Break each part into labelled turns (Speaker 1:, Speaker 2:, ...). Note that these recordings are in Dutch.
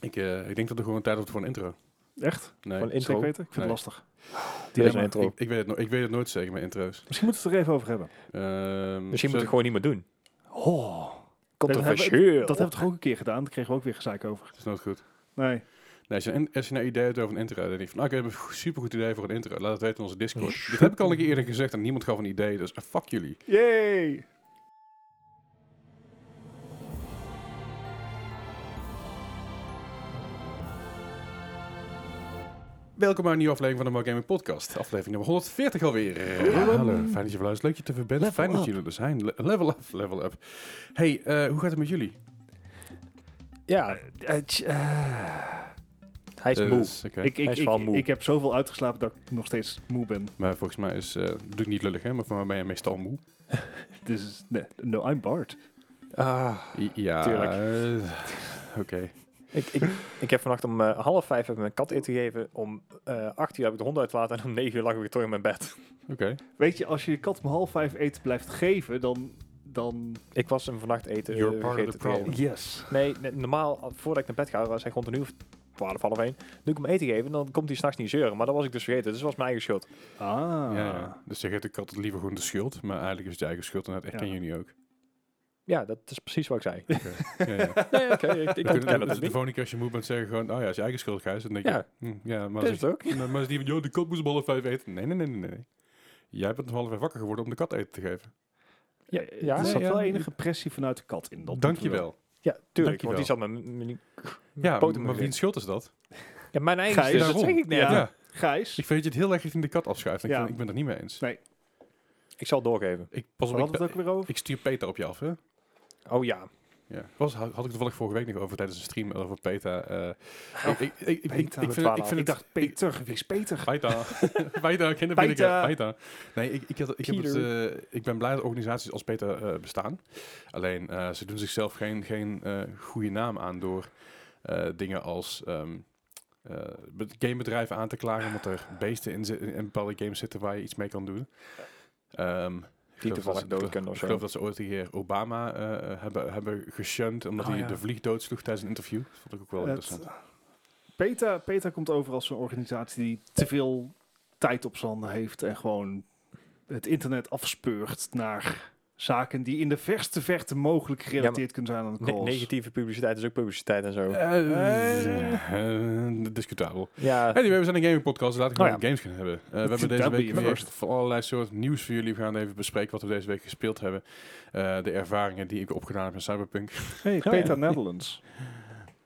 Speaker 1: Ik, eh, ik denk dat er gewoon tijd wordt voor een intro.
Speaker 2: Echt?
Speaker 1: Nee,
Speaker 2: Gewoon intro
Speaker 1: intro.
Speaker 2: weten? Ik vind
Speaker 1: Nee. Ah,
Speaker 2: het lastig.
Speaker 1: Dilemma.
Speaker 3: Deze intro.
Speaker 1: Ik, ik, weet het, no- ik weet het nooit zeker met intro's.
Speaker 2: Misschien moeten we het er even over hebben.
Speaker 1: Ehm,
Speaker 3: Misschien moet
Speaker 1: zo-
Speaker 3: ik gewoon niet meer doen.
Speaker 2: Oh,
Speaker 3: Controversieel.
Speaker 2: dat
Speaker 1: oh.
Speaker 2: hebben we toch ook een keer gedaan? Daar kregen we ook weer gezeik over.
Speaker 1: Het is nooit goed.
Speaker 2: Nee.
Speaker 1: Nee, als, je een, als je een idee hebt over een intro, dan denk ik van, nou, ik heb een go- supergoed idee voor een intro. Laat het weten in onze Discord. Dit heb ik al een keer eerder gezegd en niemand gaf een idee, dus eh, fuck jullie.
Speaker 2: Yay!
Speaker 1: Welkom bij een nieuwe aflevering van de More Gaming Podcast. Aflevering nummer 140 alweer. hallo. Fijn dat je weer luistert. Leuk je te ver bent.
Speaker 3: Level
Speaker 1: Fijn dat
Speaker 3: up.
Speaker 1: jullie er zijn. Le- Level up, level up. Hey, eh, hoe gaat het met jullie?
Speaker 3: Ja,
Speaker 2: Eh, tj- eh,
Speaker 3: hij is
Speaker 1: Eh,
Speaker 3: moe.
Speaker 1: dus, oké.
Speaker 2: ik,
Speaker 3: Hij
Speaker 2: ik,
Speaker 3: is wel
Speaker 2: ik,
Speaker 3: moe.
Speaker 2: ik heb zoveel uitgeslapen dat ik nog steeds moe ben.
Speaker 1: Maar volgens mij is, eh doe ik niet lullig hè, maar voor mij ben je meestal moe.
Speaker 2: Dit is, Dus, nee, no, I'm Bart.
Speaker 3: Ah,
Speaker 1: I- Ja,
Speaker 3: Tuurlijk.
Speaker 1: eh, Oké.
Speaker 3: ik, ik, ik heb vannacht om eh, half vijf heb ik mijn kat eten gegeven. Om eh acht uur heb ik de hond uitgelaten. En om negen uur lag ik weer terug in mijn bed.
Speaker 1: Oké.
Speaker 2: Weet je, als je je kat om half vijf eten blijft geven, dan... dan
Speaker 3: Ik was hem vannacht eten.
Speaker 1: You're
Speaker 3: eh,
Speaker 1: part of
Speaker 3: vergeten
Speaker 1: the
Speaker 3: te geven.
Speaker 1: problem.
Speaker 2: yes.
Speaker 3: Nee, ne- normaal, al- voordat ik naar bed ga, was hij rond een uur of twaalf, half één. Nu ik hem eten geven, dan komt hij s'nachts niet zeuren. Maar dat was ik dus vergeten. Dus dat was mijn eigen schuld.
Speaker 2: Ah.
Speaker 1: Ja, ja. Dus je geeft de kat liever gewoon de schuld, maar eigenlijk is het je eigen schuld en dat herken
Speaker 2: Ja.
Speaker 1: jullie ook.
Speaker 3: Ja, dat is precies wat ik zei.
Speaker 1: Oké. ja, ja.
Speaker 3: Nee, oké, ik, ik
Speaker 1: We kunnen-
Speaker 3: ontken
Speaker 1: dus
Speaker 3: het
Speaker 1: de
Speaker 3: niet.
Speaker 1: volgende keer als je moe bent zeggen gewoon, oh ja, is je eigen schuld, Gijs. Dan denk je,
Speaker 3: Ja.
Speaker 1: hm, ja maar als
Speaker 3: Dat is het ook.
Speaker 1: ik- maar maar als die van, joh, de kat moest om half vijf eten. Nee, nee, nee, nee, nee. Jij bent om half vijf wakker geworden om de kat eten te geven.
Speaker 3: Ja, ja.
Speaker 2: Eh, Er
Speaker 1: Nee,
Speaker 2: zat
Speaker 1: ja,
Speaker 2: wel
Speaker 1: maar-
Speaker 2: enige pressie vanuit de kat in. Dat
Speaker 1: Dankjewel.
Speaker 3: Ja, tuurlijk.
Speaker 1: Dankjewel.
Speaker 3: Want die zat mijn, mijn
Speaker 1: Ja,
Speaker 3: poten
Speaker 1: maar wiens schuld is dat?
Speaker 3: Ja, mijn eigen
Speaker 2: Gijs,
Speaker 3: schuld, dat
Speaker 1: daarom.
Speaker 3: zeg ik net.
Speaker 2: Ja.
Speaker 1: Ja.
Speaker 2: Gijs,
Speaker 1: Ik vind dat je het heel erg richting de kat afschuift. Ik,
Speaker 2: Ja.
Speaker 1: vind- ik ben het niet mee eens.
Speaker 2: Nee.
Speaker 3: Ik zal doorgeven.
Speaker 1: Ik, pas
Speaker 2: we
Speaker 1: op, ik,
Speaker 2: hadden het ook weer over.
Speaker 1: ik stuur Peter op je af, hè?
Speaker 3: Oh ja.
Speaker 1: Ja. Was, had had ik toevallig vorige week nog over tijdens een stream over Peter. eh ik, ik, ik, ik, ik,
Speaker 2: Oh, Peter.
Speaker 1: vind, het- ik vind het
Speaker 2: Ik dacht, Peter, wie is Peter?
Speaker 1: Paita. Paita,
Speaker 2: Paita.
Speaker 1: kinderpinnica. Paita. Nee, ik, ik, had, ik, heb het,
Speaker 3: Peter.
Speaker 1: eh, ik ben blij dat organisaties als Peter eh, bestaan. Alleen, eh, ze doen zichzelf geen, geen eh, goede naam aan door eh, dingen als ehm, eh, be- gamebedrijven aan te klagen, omdat er beesten in, zi- in bepaalde games zitten waar je iets mee kan doen. Ehm, ik
Speaker 3: Die
Speaker 1: geloof dat
Speaker 3: toevallig
Speaker 1: ze-
Speaker 3: dood kunnen of
Speaker 1: Nou, Ik geloof
Speaker 3: zo.
Speaker 1: dat ze ooit een keer Obama eh, eh, hebben, hebben geshunt omdat
Speaker 2: Oh,
Speaker 1: hij
Speaker 2: ja.
Speaker 1: de vlieg doodsloeg tijdens een interview. Dat vond ik ook wel
Speaker 2: Het-
Speaker 1: interessant.
Speaker 2: PETA, PETA komt over als een organisatie die te veel tijd op zijn handen heeft en gewoon het internet afspeurt naar zaken die in de verste verte mogelijk gerelateerd kunnen zijn aan de
Speaker 3: Ne-
Speaker 2: calls.
Speaker 3: negatieve publiciteit is ook publiciteit en zo.
Speaker 1: Oh.
Speaker 2: eh,
Speaker 1: Eh, eh, discutabel.
Speaker 3: ja.
Speaker 1: Anyway, we zijn een gaming podcast. dus Laten we gewoon
Speaker 2: Oh ja.
Speaker 1: over games gaan hebben. Eh, we hebben
Speaker 2: Daar
Speaker 1: deze
Speaker 2: ben je
Speaker 1: week weer
Speaker 2: first.
Speaker 1: van allerlei soort nieuws voor jullie. We gaan even bespreken wat we deze week gespeeld hebben. Eh, de ervaringen die ik opgedaan heb met Cyberpunk. Oké,
Speaker 2: Hey,
Speaker 3: ja.
Speaker 2: PETA Netherlands.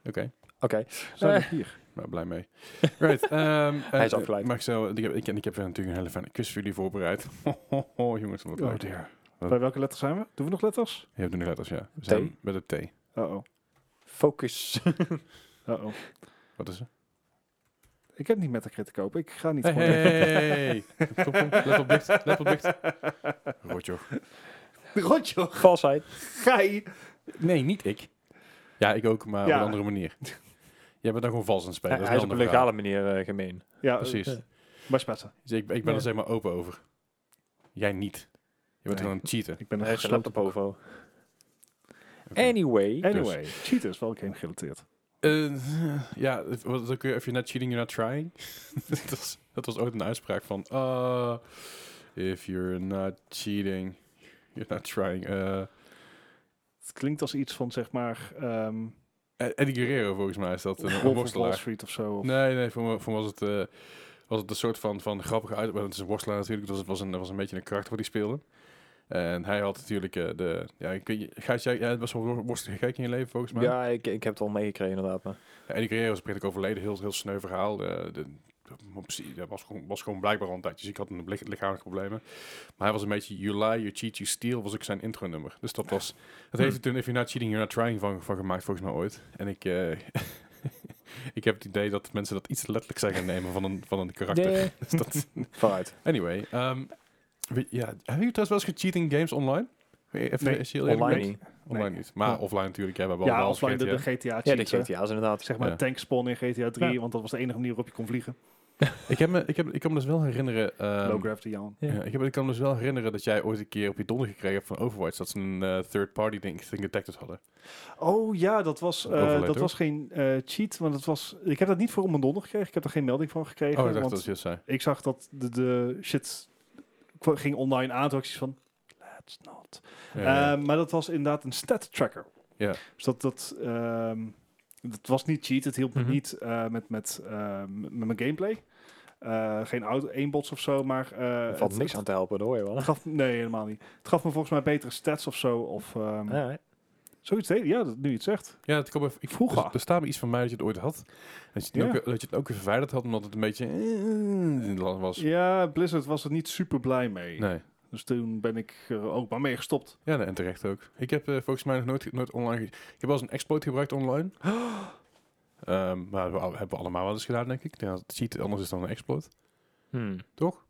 Speaker 3: Oké.
Speaker 2: Zijn we
Speaker 3: Eh.
Speaker 2: hier?
Speaker 1: nou blij mee. Right, ehm,
Speaker 3: Hij is
Speaker 1: eh,
Speaker 3: afgeleid.
Speaker 1: Marcel, ik heb, ik, en ik heb weer natuurlijk een hele fijne quiz voor jullie voorbereid. Hohoho, jongens, wat
Speaker 2: Oh
Speaker 1: leuk.
Speaker 2: dear.
Speaker 1: Wat?
Speaker 2: Bij welke letter zijn we? Doen we nog letters?
Speaker 1: Je hebt nu letters, ja. We zijn met het T.
Speaker 2: Uh-oh.
Speaker 3: Focus.
Speaker 2: Uh-oh.
Speaker 1: Wat is het?
Speaker 2: Ik heb niet met de critic open. Ik ga niet
Speaker 1: Hey,
Speaker 2: gewoon-
Speaker 1: eh, hey. Kom, kom, let op dicht, let op dicht. Rotjoch.
Speaker 2: Rotjo,
Speaker 3: Valsheid.
Speaker 2: gij!
Speaker 1: Nee, niet ik. Ja, ik ook, maar
Speaker 2: Ja.
Speaker 1: op een andere manier. Jij bent dan gewoon vals aan het spelen.
Speaker 3: Hij,
Speaker 1: dat
Speaker 3: hij is
Speaker 1: een
Speaker 3: op een
Speaker 1: andere
Speaker 3: legale manier eh, gemeen.
Speaker 2: Ja,
Speaker 1: vraag. Precies.
Speaker 3: Ja.
Speaker 2: maar spetten.
Speaker 1: Dus ik, ik ben
Speaker 3: Ja.
Speaker 1: er zeg maar open over. Jij niet. Je bent
Speaker 2: Nee.
Speaker 1: gewoon aan het cheaten.
Speaker 2: Ik ben
Speaker 3: Hij
Speaker 2: een
Speaker 3: heeft een
Speaker 2: gesloten
Speaker 3: laptop ovo. Anyway.
Speaker 2: Anyway, cheater is wel game gerelateerd.
Speaker 1: Eh, ja, wat ook weer, if you're not cheating, you're not trying. dat, was, dat was ooit een uitspraak van... ah, if you're not cheating, you're not trying. Eh,
Speaker 2: Het klinkt als iets van, zeg maar, ehm
Speaker 1: Eddie Guerrero volgens mij is dat. Een, een
Speaker 2: Wolf of Wall
Speaker 1: worstelaar.
Speaker 2: Street of zo. of-
Speaker 1: Nee, nee, voor me, voor me was, het, eh, was het een soort van, van grappige uit. want Het is een worstelaar natuurlijk, dus het was een, dat was een beetje een karakter wat hij speelde. En hij had natuurlijk eh, de... Ja, ik weet, niet- Gijs, jij, jij hebt best wel wor- worstelen gekeken in je leven volgens mij.
Speaker 3: Ja, ik, ik heb het al meegekregen inderdaad. Maar.
Speaker 1: En die carrière was prettig overleden, heel, heel sneu verhaal. Eh, de, op zich, dat was gewoon, was gewoon blijkbaar al een tijdje ziek, had een lich- lichamelijke problemen. Maar hij was een beetje You Lie, You Cheat, You Steal, was ook zijn intro-nummer. Dus dat was... Dat heeft hij toen If You're Not Cheating, You're Not Trying van, van gemaakt, volgens mij ooit. En ik... eh, ik heb het idee dat mensen dat iets te letterlijk zijn gaan nemen van een, van een karakter.
Speaker 3: Nee.
Speaker 1: Dus dat,
Speaker 3: Vooruit.
Speaker 1: anyway, ehm, we- ja, hebben jullie trouwens wel eens gecheat in games online? Even,
Speaker 2: Nee,
Speaker 1: is heel eerlijk?
Speaker 3: Online
Speaker 1: Nee,
Speaker 3: niet.
Speaker 1: Online
Speaker 2: Nee.
Speaker 1: niet. Maar
Speaker 2: Ja.
Speaker 1: offline natuurlijk. Ja, we hebben
Speaker 2: Ja,
Speaker 1: allemaal
Speaker 2: offline de,
Speaker 1: GTA.
Speaker 2: de GTA
Speaker 3: Ja, de
Speaker 2: cheaten.
Speaker 3: GTA's inderdaad.
Speaker 2: Zeg maar
Speaker 1: Ja.
Speaker 2: tankspawn in GTA 3,
Speaker 3: Ja.
Speaker 2: want dat was de enige manier waarop je kon vliegen.
Speaker 1: ik, heb me, ik, heb, ik kan me dus wel herinneren... ehm,
Speaker 2: Low gravity yawn.
Speaker 1: ja, ik, heb, ik kan me dus wel herinneren dat jij ooit een keer op je donder gekregen hebt van Overwatch. Dat ze een third-party ding, thing detected hadden.
Speaker 2: Oh ja, dat was, eh,
Speaker 1: Overleed,
Speaker 2: dat
Speaker 1: hoor.
Speaker 2: was geen eh, cheat, want dat was, ik heb dat niet voor om mijn donder gekregen. Ik heb er geen melding van gekregen.
Speaker 1: Oh, ik dacht
Speaker 2: want
Speaker 1: dat ze dat zei.
Speaker 2: ik zag dat de, de shit kwa- ging online aan. Toen was ik zoiets van, let's not.
Speaker 1: Ja, ja, ja.
Speaker 2: Eh, maar dat was inderdaad een stat tracker.
Speaker 1: Ja.
Speaker 2: Dus dat, dat, ehm, dat was niet cheat. Het hielp me
Speaker 3: Mhm.
Speaker 2: niet eh, met, met, eh, met mijn gameplay. Eh, geen auto, aimbots of zo, maar... eh,
Speaker 3: Er valt
Speaker 2: het-
Speaker 3: niks aan te helpen, dat hoor je wel.
Speaker 2: het gaf, nee, helemaal niet. Het gaf me volgens mij betere stats of zo. Of ehm,
Speaker 3: Ja,
Speaker 2: zoiets. deed- Ja, dat, nu je het zegt.
Speaker 1: Ja, het kwam even, ik,
Speaker 2: Vroeger.
Speaker 1: Er, er staat me iets van mij dat je het ooit had. Dat je het,
Speaker 2: Ja.
Speaker 1: ook, dat je het ook weer verwijderd had, omdat het een beetje... eh, was.
Speaker 2: Ja, Blizzard was er niet super blij mee.
Speaker 1: Nee.
Speaker 2: Dus toen ben ik er ook maar mee gestopt.
Speaker 1: Ja, nee, en terecht ook. Ik heb eh, volgens mij nog nooit, nooit online... ge- Ik heb wel eens een exploit gebruikt online. Ehm, maar dat hebben we allemaal wel eens gedaan, denk ik. Ja, het cheat anders is dan een exploit. Toch?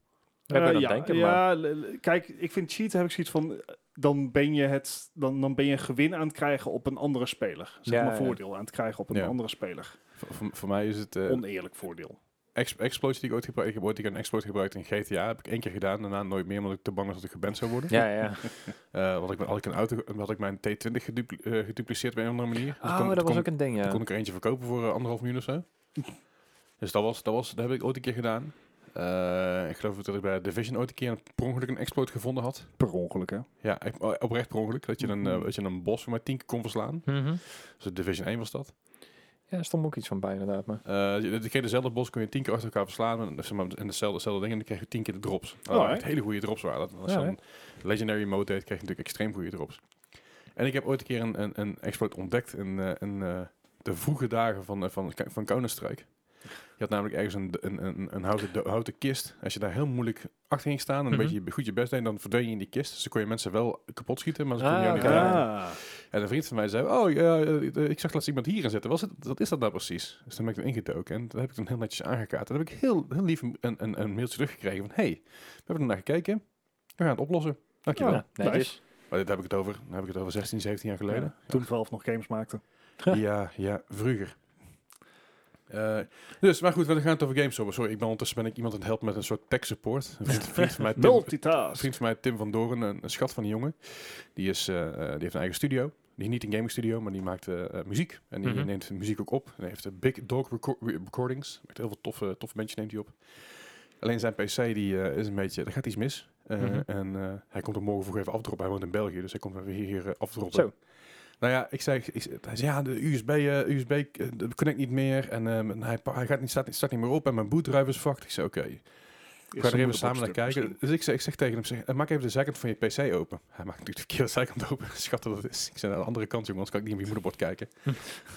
Speaker 3: Daar ben
Speaker 2: Eh,
Speaker 3: ik
Speaker 2: ja,
Speaker 3: aan het Hmm. denken, maar...
Speaker 2: ja l- l- kijk, ik vind cheat heb ik zoiets van... eh, Dan ben je, het, dan, dan ben je gewin aan het krijgen op een andere speler. Zeg
Speaker 3: Ja,
Speaker 2: maar
Speaker 3: ja.
Speaker 2: voordeel aan het krijgen op een
Speaker 1: Ja.
Speaker 2: andere speler.
Speaker 1: Voor, voor- voor mij is het... eh
Speaker 2: Oneerlijk voordeel.
Speaker 1: ex exploits die ik ooit gebruikt ik heb. Ooit een keer een exploit gebruikt in GTA. Heb ik één keer gedaan. Daarna nooit meer, omdat ik te bang was dat ik geband zou worden.
Speaker 3: Ja, ja.
Speaker 1: Eh, want ik, ben- had, ik een auto, had ik mijn T20 gedupli- eh, gedupliceerd op een of andere manier. Dus
Speaker 3: Oh,
Speaker 1: kon-
Speaker 3: dat was
Speaker 1: kon-
Speaker 3: ook een ding,
Speaker 1: Toen
Speaker 3: ja.
Speaker 1: kon ik er eentje verkopen voor eh, anderhalf miljoen of zo. dus dat, was, dat, was, dat heb ik ooit een keer gedaan. Eh, ik geloof dat ik bij Division ooit een keer een, per ongeluk een exploit gevonden had.
Speaker 2: Per ongeluk, hè?
Speaker 1: Ja, echt, eh, oprecht per ongeluk. Dat je een, eh,
Speaker 3: Mm-hmm.
Speaker 2: Mhm.
Speaker 1: dat je een bos voor maar tien keer kon verslaan.
Speaker 3: Mhm.
Speaker 1: Dus Division 1 was dat.
Speaker 3: Ja, er stond ook iets van bij, inderdaad. Maar.
Speaker 1: Eh je- dat kreeg dezelfde bos kon je tien keer achter elkaar verslaan. En, zeg maar, en dezelfde, dezelfde dingen. En dan kreeg je tien keer de drops. Nou,
Speaker 2: Oh, hè?
Speaker 1: echt hele goede drops waren dat. Als je
Speaker 3: Ja, hè?
Speaker 1: een Legendary mode deed, kreeg je natuurlijk extreem goede drops. En ik heb ooit een keer een, een, een exploit ontdekt in, eh, in eh, de vroege dagen van, eh, van, van Counter-Strike. Je had namelijk ergens een, een, een, een houten, de- houten kist. Als je daar heel moeilijk achter ging staan en een
Speaker 3: Mhm.
Speaker 1: beetje je- goed je best deed, dan verdween je in die kist. Dus dan kon je mensen wel kapot schieten, maar ze
Speaker 3: Ah,
Speaker 1: konden jou
Speaker 3: oké.
Speaker 1: niet raken.
Speaker 2: Ah.
Speaker 1: En een vriend van mij zei, oh, ja, eh, eh, ik zag laatst iemand hierin zitten. Was het, wat is dat nou precies? Dus toen ben ik dan ingedoken en dat heb ik dan heel netjes aangekaart. En dan heb ik heel, heel lief een, een, een een mailtje teruggekregen van, hey, we hebben er naar gekeken. We gaan het oplossen. Dankjewel.
Speaker 2: Oh, Ja.
Speaker 3: nee, het
Speaker 2: nice.
Speaker 3: is-
Speaker 1: Maar dit heb ik het over, dan heb ik het over 16, 17 jaar geleden.
Speaker 2: Ja, Toen Valve nog games maakte.
Speaker 1: Ja, ja, vroeger. Eh, dus, maar goed, we gaan het over games hebben. Sorry, ik ben ondertussen ben ik iemand aan het helpen met een soort tech support. Een vriend, vriend van mij, Tim, een
Speaker 2: Multitask.
Speaker 1: vriend van mij, Tim van Doren, een, een schat van een jongen. Die, is, eh, eh, die heeft een eigen studio. Die is niet een gaming studio, maar die maakt eh, eh, muziek. En die
Speaker 3: Mhm.
Speaker 1: neemt muziek ook op. En hij heeft eh, Big Dog reco- re- Recordings. Met heel veel toffe, toffe bandjes neemt hij op. Alleen zijn PC die, eh, is een beetje, er gaat iets mis. Eh,
Speaker 3: Mhm.
Speaker 1: En eh, hij komt er morgen vroeg even afdroppen. Hij woont in België, dus hij komt even hier, hier eh, afdroppen.
Speaker 3: Zo.
Speaker 1: Nou ja, ik zei, ik, zei- hij zei ja, de USB, eh, USB eh, de connect niet meer. En ehm, en hij, pa- hij gaat niet, staat, niet- staat niet meer op. En mijn bootdrive is fucked. Ik zei oké. We gaan er even samen naar kijken. Dus ik zeg, ik zeg tegen hem, zeg, eh, maak even de zijkant van je pc open. Hij maakt natuurlijk de verkeerde zijkant open. Schat dat is. Ik zei, aan de andere kant jongens, kan ik niet op je moederbord kijken.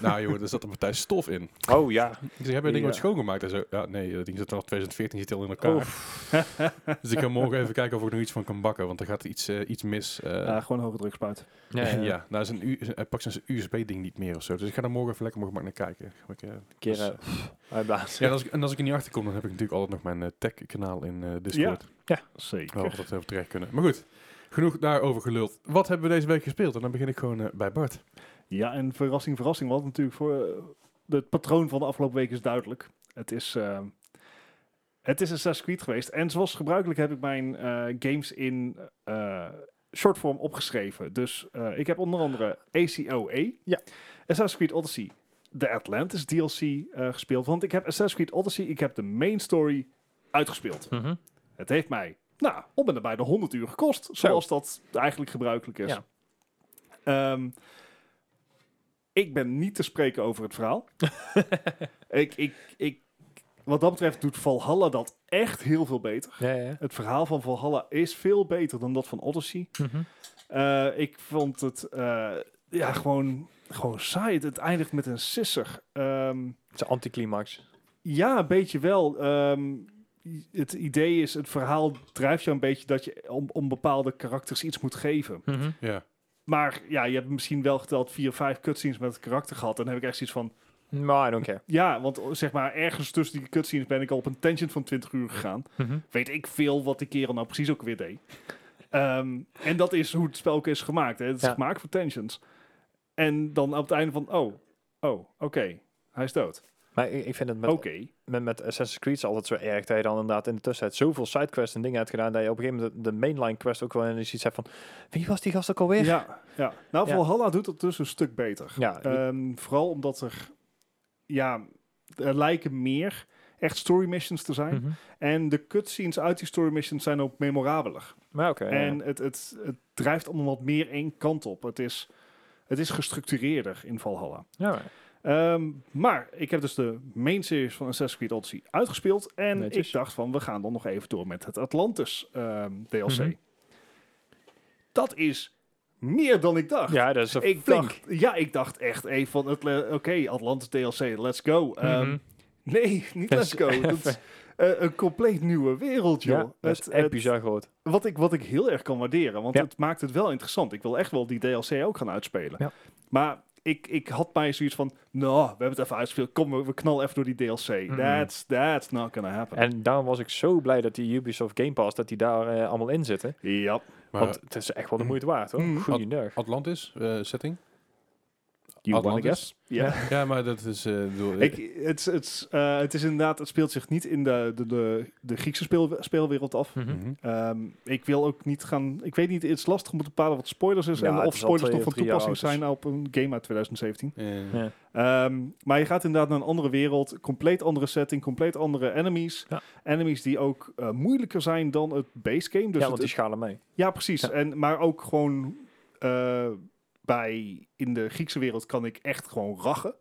Speaker 1: nou jongen, er zat een partij stof in.
Speaker 3: Oh ja.
Speaker 1: Ik zeg, heb je ding
Speaker 2: Ja.
Speaker 1: ooit schoongemaakt? Hij zo, ja, nee, dat ding zit al 2014, zit al in elkaar. dus ik ga morgen even kijken of ik er nog iets van kan bakken, want er gaat iets, eh, iets mis. eh.
Speaker 2: Ja, gewoon hoge druk spuiten.
Speaker 3: Ja,
Speaker 1: ja,
Speaker 3: ja.
Speaker 1: nou is een, U- hij pakt zijn USB-ding niet meer of zo. Dus ik ga er morgen even lekker morgen naar kijken. Ga ik, eh,
Speaker 3: Een keer
Speaker 1: dus-
Speaker 3: eh, pff, uitblazen.
Speaker 1: ja, en als, ik, en als ik er niet achter kom, dan heb ik natuurlijk altijd nog mijn eh, tech-kanaal in eh, Discord.
Speaker 2: Zeker.
Speaker 1: Wel dat we over terecht kunnen. Maar goed, genoeg daarover geluld. Wat hebben we deze week gespeeld? En dan begin ik gewoon eh, bij Bart.
Speaker 2: Ja, en verrassing, verrassing. Want natuurlijk voor eh, het patroon van de afgelopen week is duidelijk. Het is, eh, het is Assassin's Creed geweest. En zoals gebruikelijk heb ik mijn eh, games in eh short form opgeschreven. Dus eh, ik heb onder andere ACOA.
Speaker 3: Ja.
Speaker 2: E, Assassin's Creed Odyssey. De Atlantis DLC eh, gespeeld. Want ik heb Assassin's Creed Odyssey, ik heb de main story uitgespeeld.
Speaker 3: Mhm.
Speaker 2: Het heeft mij, nou, op en nabij de 100 uur gekost. Zoals dat eigenlijk gebruikelijk is.
Speaker 3: Ja.
Speaker 2: Ehm, ik ben niet te spreken over het verhaal. ik, ik, ik, wat dat betreft doet Valhalla dat echt heel veel beter.
Speaker 3: Ja, ja.
Speaker 2: Het verhaal van Valhalla is veel beter dan dat van Odyssey.
Speaker 3: Mhm.
Speaker 2: Eh, ik vond het eh, ja, gewoon, gewoon saai. Het- Het eindigt met een sisser. Ehm,
Speaker 3: Het is een anticlimax.
Speaker 2: ja, een beetje wel. Ehm, i- het idee is, het verhaal drijft jou een beetje dat je om, om bepaalde karakters iets moet geven.
Speaker 3: Mhm.
Speaker 1: Ja.
Speaker 2: Maar ja, je hebt misschien wel geteld vier, vijf cutscenes met het karakter gehad. En dan heb ik echt zoiets van,
Speaker 3: Maar I don't care.
Speaker 2: ja, want oh, zeg maar ergens tussen die cutscenes ben ik al op een tangent van 20 uur gegaan.
Speaker 3: Mhm.
Speaker 2: Weet ik veel wat die kerel nou precies ook weer deed. Ehm, en dat is hoe het spel ook is gemaakt. Hè. Het is
Speaker 3: Ja.
Speaker 2: gemaakt voor tensions. En dan op het einde van, oh, oh, oké, hij is dood.
Speaker 3: Maar ik, ik vind het met,
Speaker 2: Oké.
Speaker 3: met, met Assassin's Creed is altijd zo erg dat je dan inderdaad in de tussentijd zoveel sidequests en dingen hebt gedaan dat je op een gegeven moment de, de mainline quest ook wel eens iets hebt van wie was die gast ook alweer?
Speaker 2: Ja, ja. Nou,
Speaker 3: Ja.
Speaker 2: Valhalla doet dat dus een stuk beter.
Speaker 3: Ja,
Speaker 2: Ehm, vooral omdat er, ja, er lijken meer echt story missions te zijn.
Speaker 3: Mhm.
Speaker 2: En de cutscenes uit die story missions zijn ook memorabeler.
Speaker 3: Maar oké. ja.
Speaker 2: En het, het, het drijft allemaal wat meer één kant op. Het is, het is gestructureerder in Valhalla.
Speaker 3: Ja,
Speaker 2: Ehm, maar ik heb dus de main series van Assassin's Creed Odyssey uitgespeeld. En
Speaker 3: Netjes.
Speaker 2: ik dacht van, we gaan dan nog even door met het Atlantis ehm, DLC.
Speaker 3: Mhm.
Speaker 2: Dat is meer dan ik dacht.
Speaker 3: ja, dat is
Speaker 2: ik
Speaker 3: flink.
Speaker 2: dacht, ja, ik dacht echt even van, het le- oké, Atlantis DLC, let's go. Ehm,
Speaker 3: Mhm.
Speaker 2: Nee, niet let's go. Dat is, eh, een compleet nieuwe wereld, joh.
Speaker 3: Ja, dat is
Speaker 2: Het-
Speaker 3: echt
Speaker 2: het-
Speaker 3: bizar groot.
Speaker 2: wat ik, wat ik heel erg kan waarderen. Want
Speaker 3: Ja.
Speaker 2: het maakt het wel interessant. Ik wil echt wel die DLC ook gaan uitspelen.
Speaker 3: Ja.
Speaker 2: Maar ik, ik had mij zoiets van... Nou, we hebben het even uitgespeeld. Kom, we, we knallen even door die DLC.
Speaker 3: Mm.
Speaker 2: That's, that's not gonna happen.
Speaker 3: En daarom was ik zo blij dat die Ubisoft Game Pass, dat die daar eh, allemaal in zitten.
Speaker 2: ja.
Speaker 1: Maar
Speaker 3: Want het is echt wel de moeite waard, hoor.
Speaker 2: Mm.
Speaker 3: Goeie nerg.
Speaker 1: Atlantis, eh, setting?
Speaker 3: You wanna
Speaker 1: Atlantis?
Speaker 3: guess?
Speaker 2: ja.
Speaker 1: Ja, maar dat is... eh, ik bedoel,
Speaker 2: Ik, het, is- het, is, eh, het is inderdaad... Het speelt zich niet in de, de, de, de Griekse speel, speelwereld af.
Speaker 1: Mhm.
Speaker 2: Ehm, ik wil ook niet gaan... Ik weet niet, het is lastig om te bepalen wat spoilers is...
Speaker 3: Ja,
Speaker 2: en
Speaker 3: het
Speaker 2: of
Speaker 3: is al
Speaker 2: spoilers
Speaker 3: twee
Speaker 2: nog van
Speaker 3: of drie jaar
Speaker 2: toepassing
Speaker 3: oud, dus-
Speaker 2: zijn op een game uit 2017.
Speaker 1: Eh,
Speaker 3: Mhm. Ja.
Speaker 2: Ehm, maar je gaat inderdaad naar een andere wereld, compleet andere setting, compleet andere enemies.
Speaker 3: Ja.
Speaker 2: Enemies die ook eh, moeilijker zijn dan het base game. Dus
Speaker 3: ja,
Speaker 2: het-
Speaker 3: want die
Speaker 2: het-
Speaker 3: schalen mee.
Speaker 2: ja precies.
Speaker 3: Ja.
Speaker 2: En, maar ook gewoon eh, bij, in de Griekse wereld kan ik echt gewoon rachen.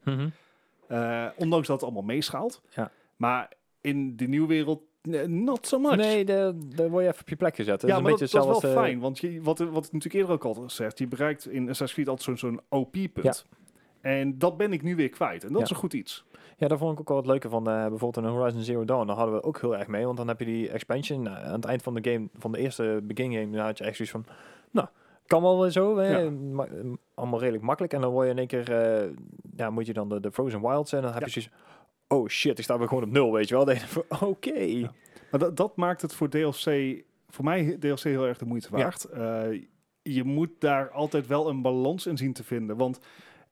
Speaker 2: Eh, ondanks dat het allemaal meeschaalt.
Speaker 3: Ja.
Speaker 2: Maar in de nieuwe wereld, eh, not so much.
Speaker 3: Nee, de- daar word je even op je plek gezet. Dat
Speaker 2: Ja,
Speaker 3: is
Speaker 2: maar
Speaker 3: een
Speaker 2: dat,
Speaker 3: beetje
Speaker 2: dat is wel
Speaker 3: hetzelfde als,
Speaker 2: fijn,
Speaker 3: eh,
Speaker 2: want je, wat, wat ik natuurlijk eerder ook al had gezegd, je bereikt in Assassin's Creed altijd zo'n zo'n OP-punt. En dat ben ik nu weer kwijt. En dat
Speaker 3: Ja.
Speaker 2: is een goed iets.
Speaker 3: Ja, daar vond ik ook wel het leuke van. eh, bijvoorbeeld in Horizon Zero Dawn, daar hadden we ook heel erg mee. Want dan heb je die expansion nou, aan het eind van de game, van de eerste begin game, dan had je echt zoiets van, nou, kan wel weer zo. hè,
Speaker 2: Ja.
Speaker 3: ma- allemaal redelijk makkelijk. En dan word je in één keer, eh, ja, moet je dan de, de Frozen Wilds en dan heb
Speaker 2: Ja.
Speaker 3: je zoiets oh shit, ik sta weer gewoon op nul, weet je wel. Dan denk je van, Oké.
Speaker 2: Maar dat, dat maakt het voor DLC, voor mij DLC heel erg de moeite
Speaker 3: Ja.
Speaker 2: waard. Eh, je moet daar altijd wel een balans in zien te vinden. Want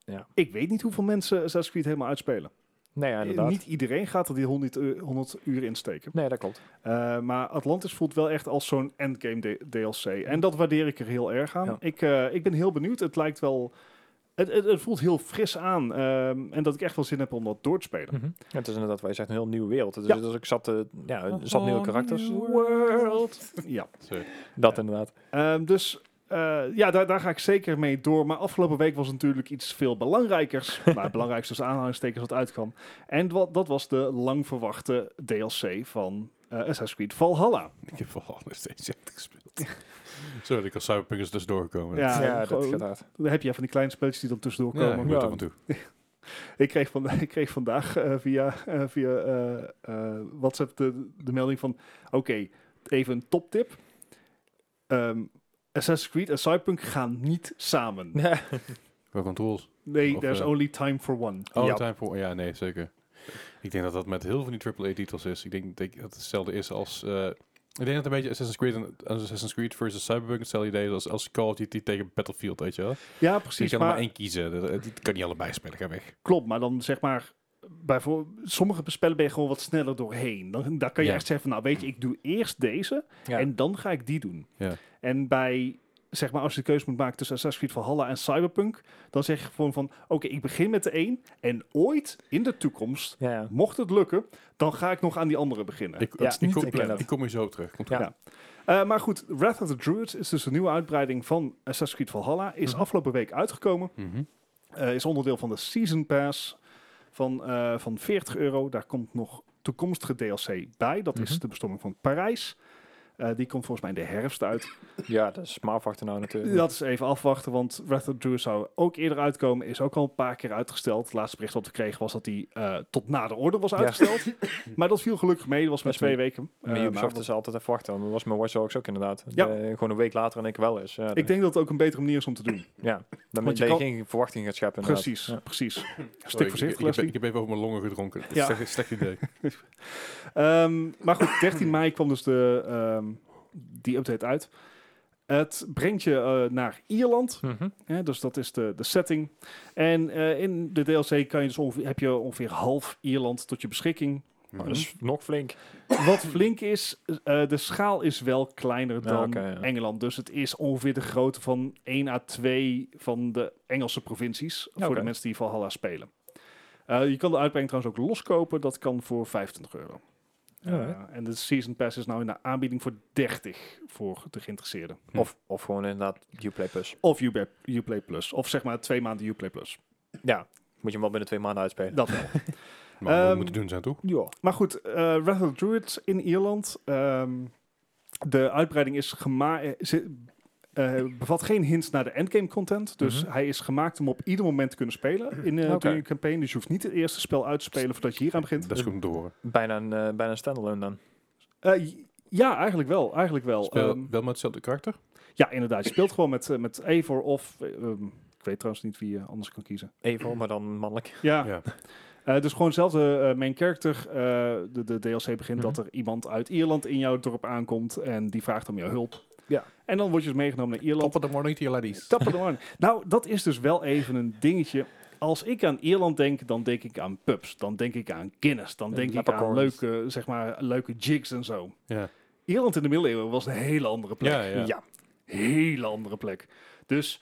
Speaker 3: Ja.
Speaker 2: ik weet niet hoeveel mensen Assassin's Creed helemaal uitspelen.
Speaker 3: Nee, ja,
Speaker 2: Eh,
Speaker 3: inderdaad.
Speaker 2: Niet iedereen gaat er die 100, uur- 100 uur in steken.
Speaker 3: Nee, dat klopt.
Speaker 2: Eh, maar Atlantis voelt wel echt als zo'n endgame D- DLC. En dat waardeer ik er heel erg aan.
Speaker 3: Ja.
Speaker 2: Ik, eh, ik ben heel benieuwd. Het lijkt wel... Het, het, het voelt heel fris aan. ehm, en dat ik echt wel zin heb om dat door te spelen.
Speaker 3: Ja, het is inderdaad, wat je zegt, een heel nieuwe wereld. Dus,
Speaker 2: Mhm. Ja.
Speaker 3: dus ik zat, eh, ja, er zat nieuwe karakters.
Speaker 1: World.
Speaker 2: Ja.
Speaker 1: Sorry.
Speaker 3: Dat inderdaad.
Speaker 2: Ehm, dus eh, ja, daar, daar ga ik zeker mee door. Maar afgelopen week was natuurlijk iets veel belangrijkers. nou, het belangrijkste dus aanhalingstekens wat uitkwam. En wat, dat was de lang verwachte DLC van eh Assassin's Creed Valhalla.
Speaker 1: Ik heb vooral nog steeds echt gespeeld. Sorry, ik als Cyberpunk is dus doorgekomen.
Speaker 2: Ja,
Speaker 3: Ja, dat
Speaker 2: gewoon-
Speaker 3: gaat hard.
Speaker 2: Dan heb je van die kleine spelletjes die dan tussendoor
Speaker 1: Ja,
Speaker 2: komen.
Speaker 1: ik moet
Speaker 3: Ja.
Speaker 1: er van toe.
Speaker 2: Ik kreeg, van, ik kreeg vandaag eh, via, eh, via eh, eh, WhatsApp de, de melding van... Oké, even een toptip. Ehm, Assassin's Creed en Cyberpunk gaan niet samen.
Speaker 3: Ja.
Speaker 1: Wel controls.
Speaker 2: Nee,
Speaker 1: Of,
Speaker 2: there's
Speaker 1: eh,
Speaker 2: only time for one.
Speaker 1: Oh,
Speaker 3: Ja.
Speaker 1: time for... Ja, nee, zeker. Ik denk dat dat met heel veel van die AAA-titels is. Ik denk dat het hetzelfde is als... eh, ik denk dat het een beetje Assassin's Creed, en, als Assassin's Creed versus Cyberpunk hetzelfde idee is als, als Call of Duty tegen Battlefield, weet je wel?
Speaker 2: Ja,
Speaker 1: je
Speaker 2: precies.
Speaker 1: kan er
Speaker 2: maar-
Speaker 1: maar één kiezen. Dat- dat- Die kan niet allebei spelen, ga weg.
Speaker 2: Klopt, maar dan zeg maar... Bij voor, sommige spellen ben je gewoon wat sneller doorheen. Dan, daar kan je
Speaker 1: Ja.
Speaker 2: echt zeggen van... Nou weet je, ik doe eerst deze
Speaker 3: Ja.
Speaker 2: en dan ga ik die doen.
Speaker 1: Ja.
Speaker 2: En bij... Zeg maar, als je de keuze moet maken tussen Assassin's Creed Valhalla en Cyberpunk... dan zeg je gewoon van... Oké, ik begin met de één en ooit in de toekomst...
Speaker 3: ja, ja.
Speaker 2: mocht het lukken, dan ga ik nog aan die andere beginnen.
Speaker 1: Ik,
Speaker 3: Ja,
Speaker 1: ik,
Speaker 3: niet
Speaker 1: kom,
Speaker 3: te plannen.
Speaker 1: ik kom hier zo op terug. Komt
Speaker 3: Ja.
Speaker 1: goed.
Speaker 2: Eh, maar goed, Wrath of the Druids is dus een nieuwe uitbreiding van Assassin's Creed Valhalla. Is
Speaker 1: Mhm.
Speaker 2: afgelopen week uitgekomen.
Speaker 1: Mhm.
Speaker 2: Eh, is onderdeel van de Season Pass van, eh, van 40 euro. Daar komt nog toekomstige DLC bij. Dat is
Speaker 3: Mhm.
Speaker 2: de bestorming van Parijs. Eh, die komt volgens mij in de herfst uit.
Speaker 3: Ja, dat is maar afwachten nou natuurlijk.
Speaker 2: Dat is even afwachten, want Wrath of the Druid zou ook eerder uitkomen. Is ook al een paar keer uitgesteld. Het laatste bericht dat we kregen was dat die eh, tot na de orde was
Speaker 3: Ja.
Speaker 2: uitgesteld. maar dat viel gelukkig mee. Dat was maar
Speaker 3: Dat is
Speaker 2: twee weken.
Speaker 3: Met
Speaker 2: Eh, maar
Speaker 3: Ubisoft is altijd even wachten. want Dat was met Watch Dogs ook inderdaad.
Speaker 2: Ja.
Speaker 3: De- gewoon een week later en ik wel eens. Ja,
Speaker 2: ik denk dat het ook een betere manier is om te doen.
Speaker 3: ja, dan
Speaker 2: want
Speaker 3: moet
Speaker 2: je
Speaker 3: je
Speaker 2: kan-
Speaker 3: geen verwachting gaat scheppen. inderdaad.
Speaker 2: Precies,
Speaker 3: Ja.
Speaker 2: precies.
Speaker 1: Sorry,
Speaker 2: Stik
Speaker 1: ik- ik,
Speaker 2: voorzichtig,
Speaker 1: ik, heb,
Speaker 2: Leslie.
Speaker 1: ik heb even over mijn longen gedronken. Dat is
Speaker 2: Ja.
Speaker 1: echt een slecht idee.
Speaker 2: Ehm, maar goed, 13 mei kwam dus de, ehm, die update uit. Het brengt je eh, naar Ierland. Hè, dus dat is de, de setting. En eh, in de DLC kan je dus ongeveer, heb je ongeveer half Ierland tot je beschikking.
Speaker 1: Mhm.
Speaker 3: Dat is Dus nog flink.
Speaker 2: Wat flink is, eh, de schaal is wel kleiner
Speaker 3: Ja,
Speaker 2: dan
Speaker 3: oké, ja.
Speaker 2: Engeland. Dus het is ongeveer de grootte van 1 à 2 van de Engelse provincies. Voor
Speaker 3: oké.
Speaker 2: de mensen die Valhalla spelen. Eh, je kan de uitbreng trouwens ook loskopen. Dat kan voor 25 euro.
Speaker 3: Alright.
Speaker 2: Eh, en de Season Pass is nou in de aanbieding voor 30 voor de geïnteresseerden.
Speaker 1: Hm.
Speaker 3: Of, of gewoon inderdaad Uplay Plus.
Speaker 2: Of Uplay, Uplay Plus. Of zeg maar twee maanden Uplay Plus.
Speaker 3: Ja, moet je hem wel binnen twee maanden uitspelen.
Speaker 2: Dat wel.
Speaker 1: Maar we
Speaker 2: Ehm,
Speaker 1: moeten doen zijn, toch?
Speaker 3: Ja.
Speaker 2: maar goed, eh Wrath of the Druids in Ierland. ehm, de uitbreiding is gema- eh, ze- eh, bevat geen hints naar de endgame content. Dus
Speaker 3: Mhm.
Speaker 2: hij is gemaakt om op ieder moment te kunnen spelen in eh
Speaker 3: Oké.
Speaker 2: during je campaign. Dus je hoeft niet het eerste spel uit te spelen voordat je hier aan begint.
Speaker 1: Dat is goed om te horen.
Speaker 3: Bijna een, eh, bijna een standalone dan.
Speaker 2: Eh, j- ja, eigenlijk wel. Eigenlijk wel.
Speaker 1: Speel
Speaker 2: Ehm,
Speaker 1: wel met hetzelfde karakter?
Speaker 2: ja, inderdaad. Je speelt gewoon met, eh, met Eivor of... eh, ehm, ik weet trouwens niet wie je anders kan kiezen.
Speaker 3: Even, maar dan mannelijk.
Speaker 2: Ja,
Speaker 1: Ja.
Speaker 2: Eh, dus gewoon hetzelfde eh, main character. Eh, de, de DLC begint
Speaker 3: Mhm.
Speaker 2: dat er iemand uit Ierland in jouw dorp aankomt en die vraagt om jouw hulp.
Speaker 3: Ja.
Speaker 2: En dan word je dus meegenomen naar Ierland.
Speaker 1: Toppen de morning to your ladies.
Speaker 2: Tappen de man. Nou, dat is dus wel even een dingetje. Als ik aan Ierland denk, dan denk ik aan pubs. Dan denk ik aan Guinness. Dan
Speaker 3: En
Speaker 2: denk ik aan
Speaker 3: leprechauns.
Speaker 2: leuke, zeg maar, leuke jigs en zo.
Speaker 1: Ja.
Speaker 2: Ierland in de middeleeuwen was een hele andere plek.
Speaker 1: Ja, ja.
Speaker 2: Hele andere plek. Dus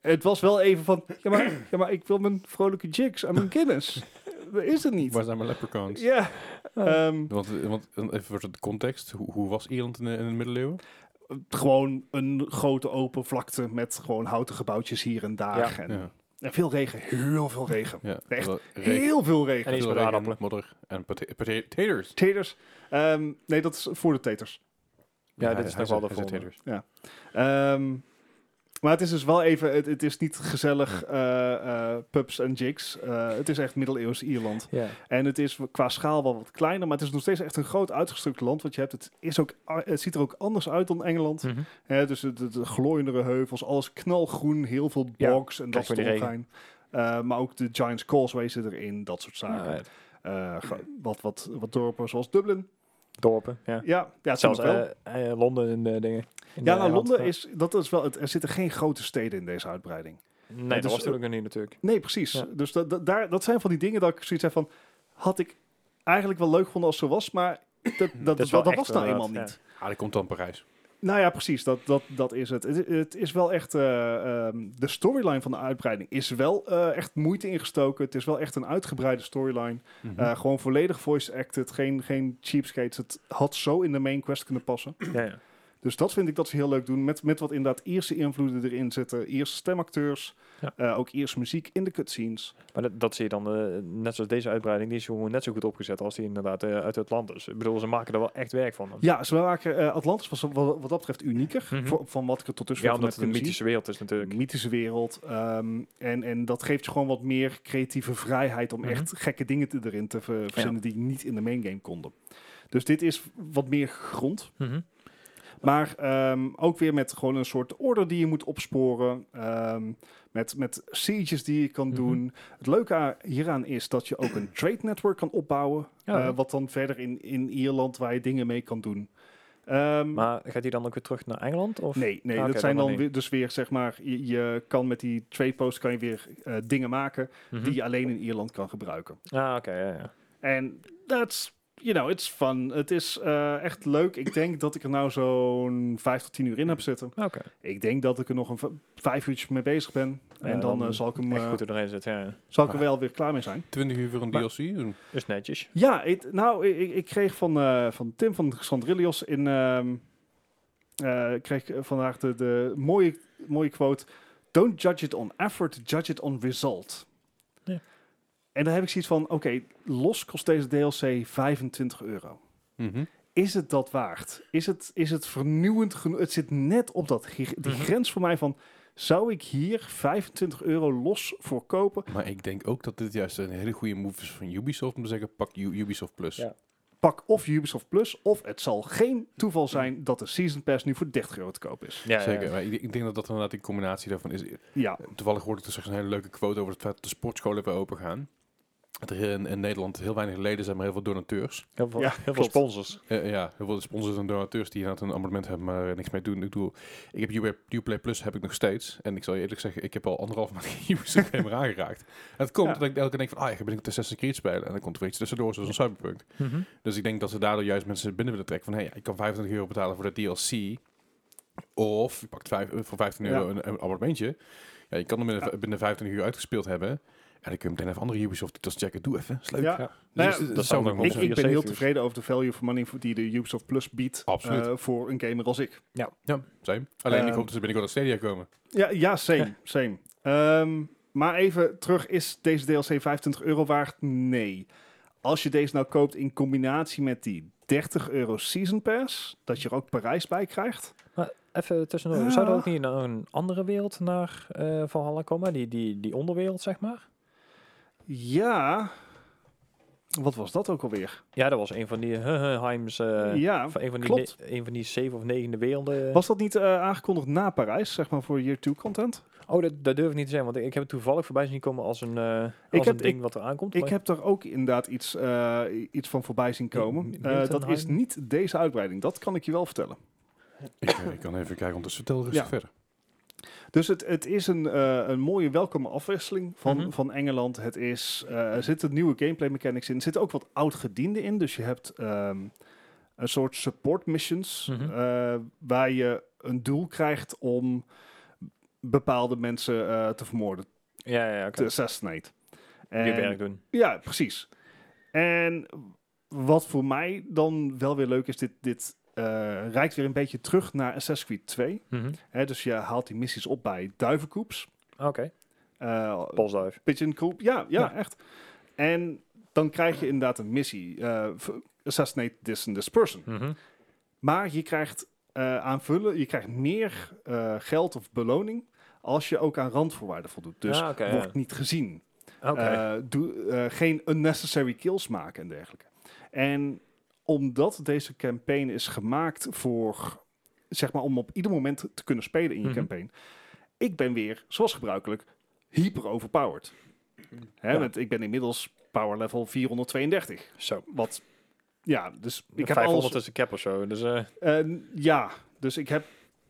Speaker 2: het was wel even van, ja maar, ja, maar ik wil mijn vrolijke jigs en mijn Guinness. Dat is het niet.
Speaker 1: Waar zijn mijn leprechauns?
Speaker 2: Ja. ehm,
Speaker 1: Want, eh, want eh, even voor de context, hoe, hoe was Ierland in de, in de middeleeuwen?
Speaker 2: gewoon een grote open vlakte met gewoon houten gebouwtjes hier en daar. En,
Speaker 1: Ja,
Speaker 2: en veel regen, heel veel regen.
Speaker 1: ja.
Speaker 2: Echt
Speaker 1: Wel regen,
Speaker 2: Heel veel regen.
Speaker 3: En iets
Speaker 1: veel regen,
Speaker 3: met aardappelen.
Speaker 1: modder en pota- pota- taters.
Speaker 2: Taters. Ehm, nee, dat is voor de taters.
Speaker 3: Ja, dit
Speaker 1: hij-
Speaker 3: is
Speaker 1: hij
Speaker 3: nog wel
Speaker 1: zei-
Speaker 3: de
Speaker 1: hij zei
Speaker 3: volgende.
Speaker 1: taters.
Speaker 2: Ehm, maar het is dus wel even, het, het is niet gezellig eh, eh, pubs en jigs. Eh, het is echt middeleeuws Ierland.
Speaker 3: Ja.
Speaker 2: En het is qua schaal wel wat kleiner, maar het is nog steeds echt een groot uitgestrukt land wat je hebt. Het, is ook, het ziet er ook anders uit dan Engeland.
Speaker 3: Mhm.
Speaker 2: Hè, dus de, de, de glooiendere heuvels, alles knalgroen, heel veel
Speaker 3: Ja,
Speaker 2: bogs en dat
Speaker 3: kijk
Speaker 2: soort
Speaker 3: maar die regen.
Speaker 2: ongein. Eh, maar ook de Giants Causeway zit erin, dat soort zaken.
Speaker 3: Alright.
Speaker 2: Eh, ge- wat, wat, wat dorpen zoals Dublin.
Speaker 3: Dorpen, ja.
Speaker 2: Ja, ja
Speaker 3: Zelfs
Speaker 2: zelfs wel.
Speaker 3: eh, eh, Londen en eh, dingen. In,
Speaker 2: ja, nou,
Speaker 3: eh, Engeland.
Speaker 2: Londen
Speaker 3: Ja.
Speaker 2: is, dat is wel, het, er zitten geen grote steden in deze uitbreiding.
Speaker 3: Nee,
Speaker 2: dus-
Speaker 3: dat was natuurlijk nog niet natuurlijk.
Speaker 2: Nee, precies.
Speaker 3: Ja.
Speaker 2: Dus dat, dat, daar, dat zijn van die dingen dat ik zoiets heb van, had ik eigenlijk wel leuk gevonden als ze was, maar dat, dat, dat,
Speaker 3: is wel
Speaker 2: dat
Speaker 3: echt
Speaker 2: was nou
Speaker 3: wel
Speaker 2: eenmaal
Speaker 3: wat, ja.
Speaker 2: niet.
Speaker 1: Ah, die komt dan Parijs.
Speaker 2: Nou ja, precies. Dat, dat, dat is het. het. Het is wel echt. eh, ehm, de storyline van de uitbreiding is wel eh, echt moeite ingestoken. Het is wel echt een uitgebreide storyline.
Speaker 3: Mhm.
Speaker 2: Eh, gewoon volledig voice acted. Geen, geen cheapskates. Het had zo in de main quest kunnen passen.
Speaker 3: Ja, ja.
Speaker 2: Dus dat vind ik dat ze heel leuk doen. Met, met wat inderdaad Ierse invloeden erin zitten. Ierse stemacteurs.
Speaker 3: Ja.
Speaker 2: eh, ook Ierse muziek in de cutscenes.
Speaker 3: Maar dat, dat zie je dan, eh, net zoals deze uitbreiding, die is gewoon net zo goed opgezet als die inderdaad eh, uit het land is. Ik bedoel, ze maken er wel echt werk van.
Speaker 2: Ja, ze maken eh, Atlantis was wat, wat dat betreft unieker.
Speaker 3: Mhm.
Speaker 2: voor- van wat ik er tot dusver
Speaker 3: Ja,
Speaker 2: van
Speaker 3: omdat
Speaker 2: heb
Speaker 3: het een
Speaker 2: kunnen zien.
Speaker 3: mythische wereld is natuurlijk.
Speaker 2: Een mythische wereld. ehm, en, en dat geeft je gewoon wat meer creatieve vrijheid om
Speaker 3: Mhm.
Speaker 2: echt gekke dingen te, erin te ver- verzinnen die niet in de main game konden. Dus dit is wat meer grond.
Speaker 3: Mhm.
Speaker 2: Maar ehm, ook weer met gewoon een soort order die je moet opsporen. ehm, met, met sieges die je kan
Speaker 3: Mhm.
Speaker 2: doen. Het leuke a- hieraan is dat je ook een trade network kan opbouwen.
Speaker 3: Oh, Ja.
Speaker 2: eh, wat dan verder in, in Ierland waar je dingen mee kan doen. Ehm,
Speaker 3: Maar gaat die dan ook weer terug naar Engeland? Of?
Speaker 2: Nee, nee
Speaker 3: Ah, oké,
Speaker 2: dat zijn
Speaker 3: dan
Speaker 2: dan
Speaker 3: maar
Speaker 2: weer, dus weer, zeg maar, je, je kan met die trade posts kan je weer eh, dingen maken
Speaker 3: Mhm.
Speaker 2: die je alleen in Ierland kan gebruiken.
Speaker 3: Ah, oké, ja, ja.
Speaker 2: En that's, you know, it's fun. Het is eh, echt leuk. Ik denk dat ik er nou zo'n vijf tot tien uur in heb zitten.
Speaker 3: Ah, Oké,
Speaker 2: Ik denk dat ik er nog een v- vijf uurtjes mee bezig ben. En
Speaker 3: Ja,
Speaker 2: dan
Speaker 3: dan
Speaker 2: eh, zal, ik hem,
Speaker 3: echt
Speaker 2: eh,
Speaker 3: goed dat erin zit, ja.
Speaker 2: zal ik er wel weer klaar mee zijn.
Speaker 1: 20 uur voor een
Speaker 2: Maar-
Speaker 1: DLC? Een
Speaker 3: Is netjes.
Speaker 2: Ja, het- nou, ik, ik- ik kreeg van, eh, van Tim van Xandrillios in... ehm, eh, kreeg ik vandaag de, de mooie, mooie quote... Don't judge it on effort, judge it on result.
Speaker 3: Ja.
Speaker 2: En daar heb ik zoiets van... Oké, los kost deze DLC 25 euro.
Speaker 1: Mhm.
Speaker 2: Is het dat waard? Is het, is het vernieuwend genoeg? Het zit net op dat, gr- die
Speaker 3: Mhm.
Speaker 2: grens voor mij van... Zou ik hier 25 euro los voor kopen?
Speaker 1: Maar ik denk ook dat dit juist een hele goede move is van Ubisoft om te zeggen, pak U- Ubisoft Plus.
Speaker 3: Ja.
Speaker 2: Pak of Ubisoft Plus, of het zal geen
Speaker 3: Mhm.
Speaker 2: toeval zijn dat de Season Pass nu voor 30 euro te koop is.
Speaker 3: Ja,
Speaker 1: Zeker.
Speaker 3: Ja,
Speaker 1: Maar ik, ik denk dat dat inderdaad die combinatie daarvan is.
Speaker 2: Ja,
Speaker 1: dus Toevallig hoorde ik er straks een hele leuke quote over het feit dat de sportscholen weer open gaan. dat er hier in, in Nederland heel weinig leden zijn, maar heel veel donateurs.
Speaker 3: Heel veel,
Speaker 2: Ja,
Speaker 3: heel veel
Speaker 2: klopt. Nou
Speaker 3: sponsors.
Speaker 1: Eh, ja, heel veel sponsors en donateurs die inderdaad een abonnement hebben, maar er niks mee doen. Ik doe, ik heb Uplay- Uplay Plus heb ik nog steeds. En ik zal je eerlijk zeggen, ik heb al anderhalf maand geen Ubisoft game meer aangeraakt. En het komt
Speaker 2: Ja.
Speaker 1: dat ik elke keer denk van, ah, ik ben ik op Assassin's Creed spelen. En dan komt er weer iets tussendoor, zoals een Cyberpunk.
Speaker 3: Mhm.
Speaker 1: Dus ik denk dat ze daardoor juist mensen binnen willen trekken van, hé, hey, ik kan 25 euro betalen voor de DLC. Of je pakt vijf, eh, voor 15 euro
Speaker 2: Ja.
Speaker 1: een, een abonnementje. Ja, je kan hem binnen,
Speaker 2: Ja.
Speaker 1: binnen 25 uur uitgespeeld hebben. En dan kun je meteen even andere Ubisoft titels checken. Doe even, is leuk.
Speaker 2: Ja.
Speaker 3: Ja.
Speaker 2: Nou ja,
Speaker 1: Dus, eh,
Speaker 3: dat
Speaker 1: dat
Speaker 3: zou
Speaker 1: zou nog
Speaker 3: nog
Speaker 1: wel
Speaker 2: Ik,
Speaker 3: Onze
Speaker 1: zijn.
Speaker 2: ik ben heel
Speaker 3: researchers.
Speaker 2: tevreden over de value for money die de Ubisoft Plus biedt
Speaker 1: Absoluut.
Speaker 2: eh, voor een gamer als ik.
Speaker 1: Ja, same. Alleen ik
Speaker 2: Ehm,
Speaker 1: hoop dat ze binnenkort naar Stadia komen.
Speaker 2: Ja, ja same.
Speaker 3: Ja.
Speaker 2: same. Ehm, maar even terug, is deze DLC 25 euro waard? Nee. Als je deze nou koopt in combinatie met die 30 euro Season Pass, dat je er ook Parijs bij krijgt.
Speaker 3: Maar even tussendoor,
Speaker 2: Ja.
Speaker 3: zou er ook niet nog een andere wereld naar eh Valhalla komen? Die, die, die onderwereld, zeg maar?
Speaker 2: Ja. Wat was dat ook alweer?
Speaker 3: Ja, dat was een van die Heims... eh
Speaker 2: ja.
Speaker 3: van een van die,
Speaker 2: klopt.
Speaker 3: ne- een van die zeven of negende werelden.
Speaker 2: Was dat niet eh, aangekondigd na Parijs, zeg maar, voor Year 2 content?
Speaker 3: Oh, dat, dat durf ik niet te zijn, want ik, ik heb het toevallig voorbij zien komen als een, eh, als
Speaker 2: heb-
Speaker 3: een ding
Speaker 2: ik-
Speaker 3: wat er aankomt.
Speaker 2: Ik
Speaker 3: maar-
Speaker 2: heb daar ook inderdaad iets, eh, iets van voorbij zien komen.
Speaker 3: Milton
Speaker 2: Eh, dat is
Speaker 3: Heidenheim?
Speaker 2: niet deze uitbreiding, dat kan ik je wel vertellen.
Speaker 1: Ik, eh, ik kan even kijken, ondertussen vertel rustig
Speaker 2: Ja.
Speaker 1: verder.
Speaker 2: Dus het, het is een, eh, een mooie welkome afwisseling van,
Speaker 3: Mhm.
Speaker 2: van Engeland. Het is, eh, er zitten nieuwe gameplay mechanics in. Er zitten ook wat oud gedienden in. Dus je hebt ehm, een soort support missions.
Speaker 3: Mhm.
Speaker 2: eh, waar je een doel krijgt om bepaalde mensen eh, te vermoorden.
Speaker 3: Ja, ja, oké.
Speaker 2: Te assassinate.
Speaker 3: Je
Speaker 2: Dus- En-
Speaker 3: werk doen.
Speaker 2: ja, precies. En wat voor mij dan wel weer leuk is, dit, dit eh, reikt weer een beetje terug naar Assassin's Creed 2.
Speaker 3: Mhm.
Speaker 2: Hè, dus je haalt die missies op bij duivenkoeps.
Speaker 3: Oké,
Speaker 2: eh,
Speaker 3: polsduif.
Speaker 2: Pigeon Group. Ja, ja,
Speaker 3: Ja.
Speaker 2: echt. En dan krijg je inderdaad een missie. eh, v- assassinate this and this person.
Speaker 3: Mhm.
Speaker 2: Maar je krijgt eh, aanvullen, je krijgt meer eh, geld of beloning als je ook aan randvoorwaarden voldoet. Dus
Speaker 3: Ah, oké, ja.
Speaker 2: wordt niet gezien.
Speaker 3: Oké.
Speaker 2: Eh, doe, eh, geen unnecessary kills maken en dergelijke. En omdat deze campaign is gemaakt voor, zeg maar, om op ieder moment te kunnen spelen in je
Speaker 3: Mhm.
Speaker 2: campaign. Ik ben weer, zoals gebruikelijk, hyper overpowered. Hè,
Speaker 3: Ja.
Speaker 2: want ik ben inmiddels power level 432.
Speaker 3: Zo.
Speaker 2: Wat, ja, dus ik heb
Speaker 3: 500
Speaker 2: alles.
Speaker 3: is de cap of zo. Dus, eh,
Speaker 2: Eh, ja, dus ik heb...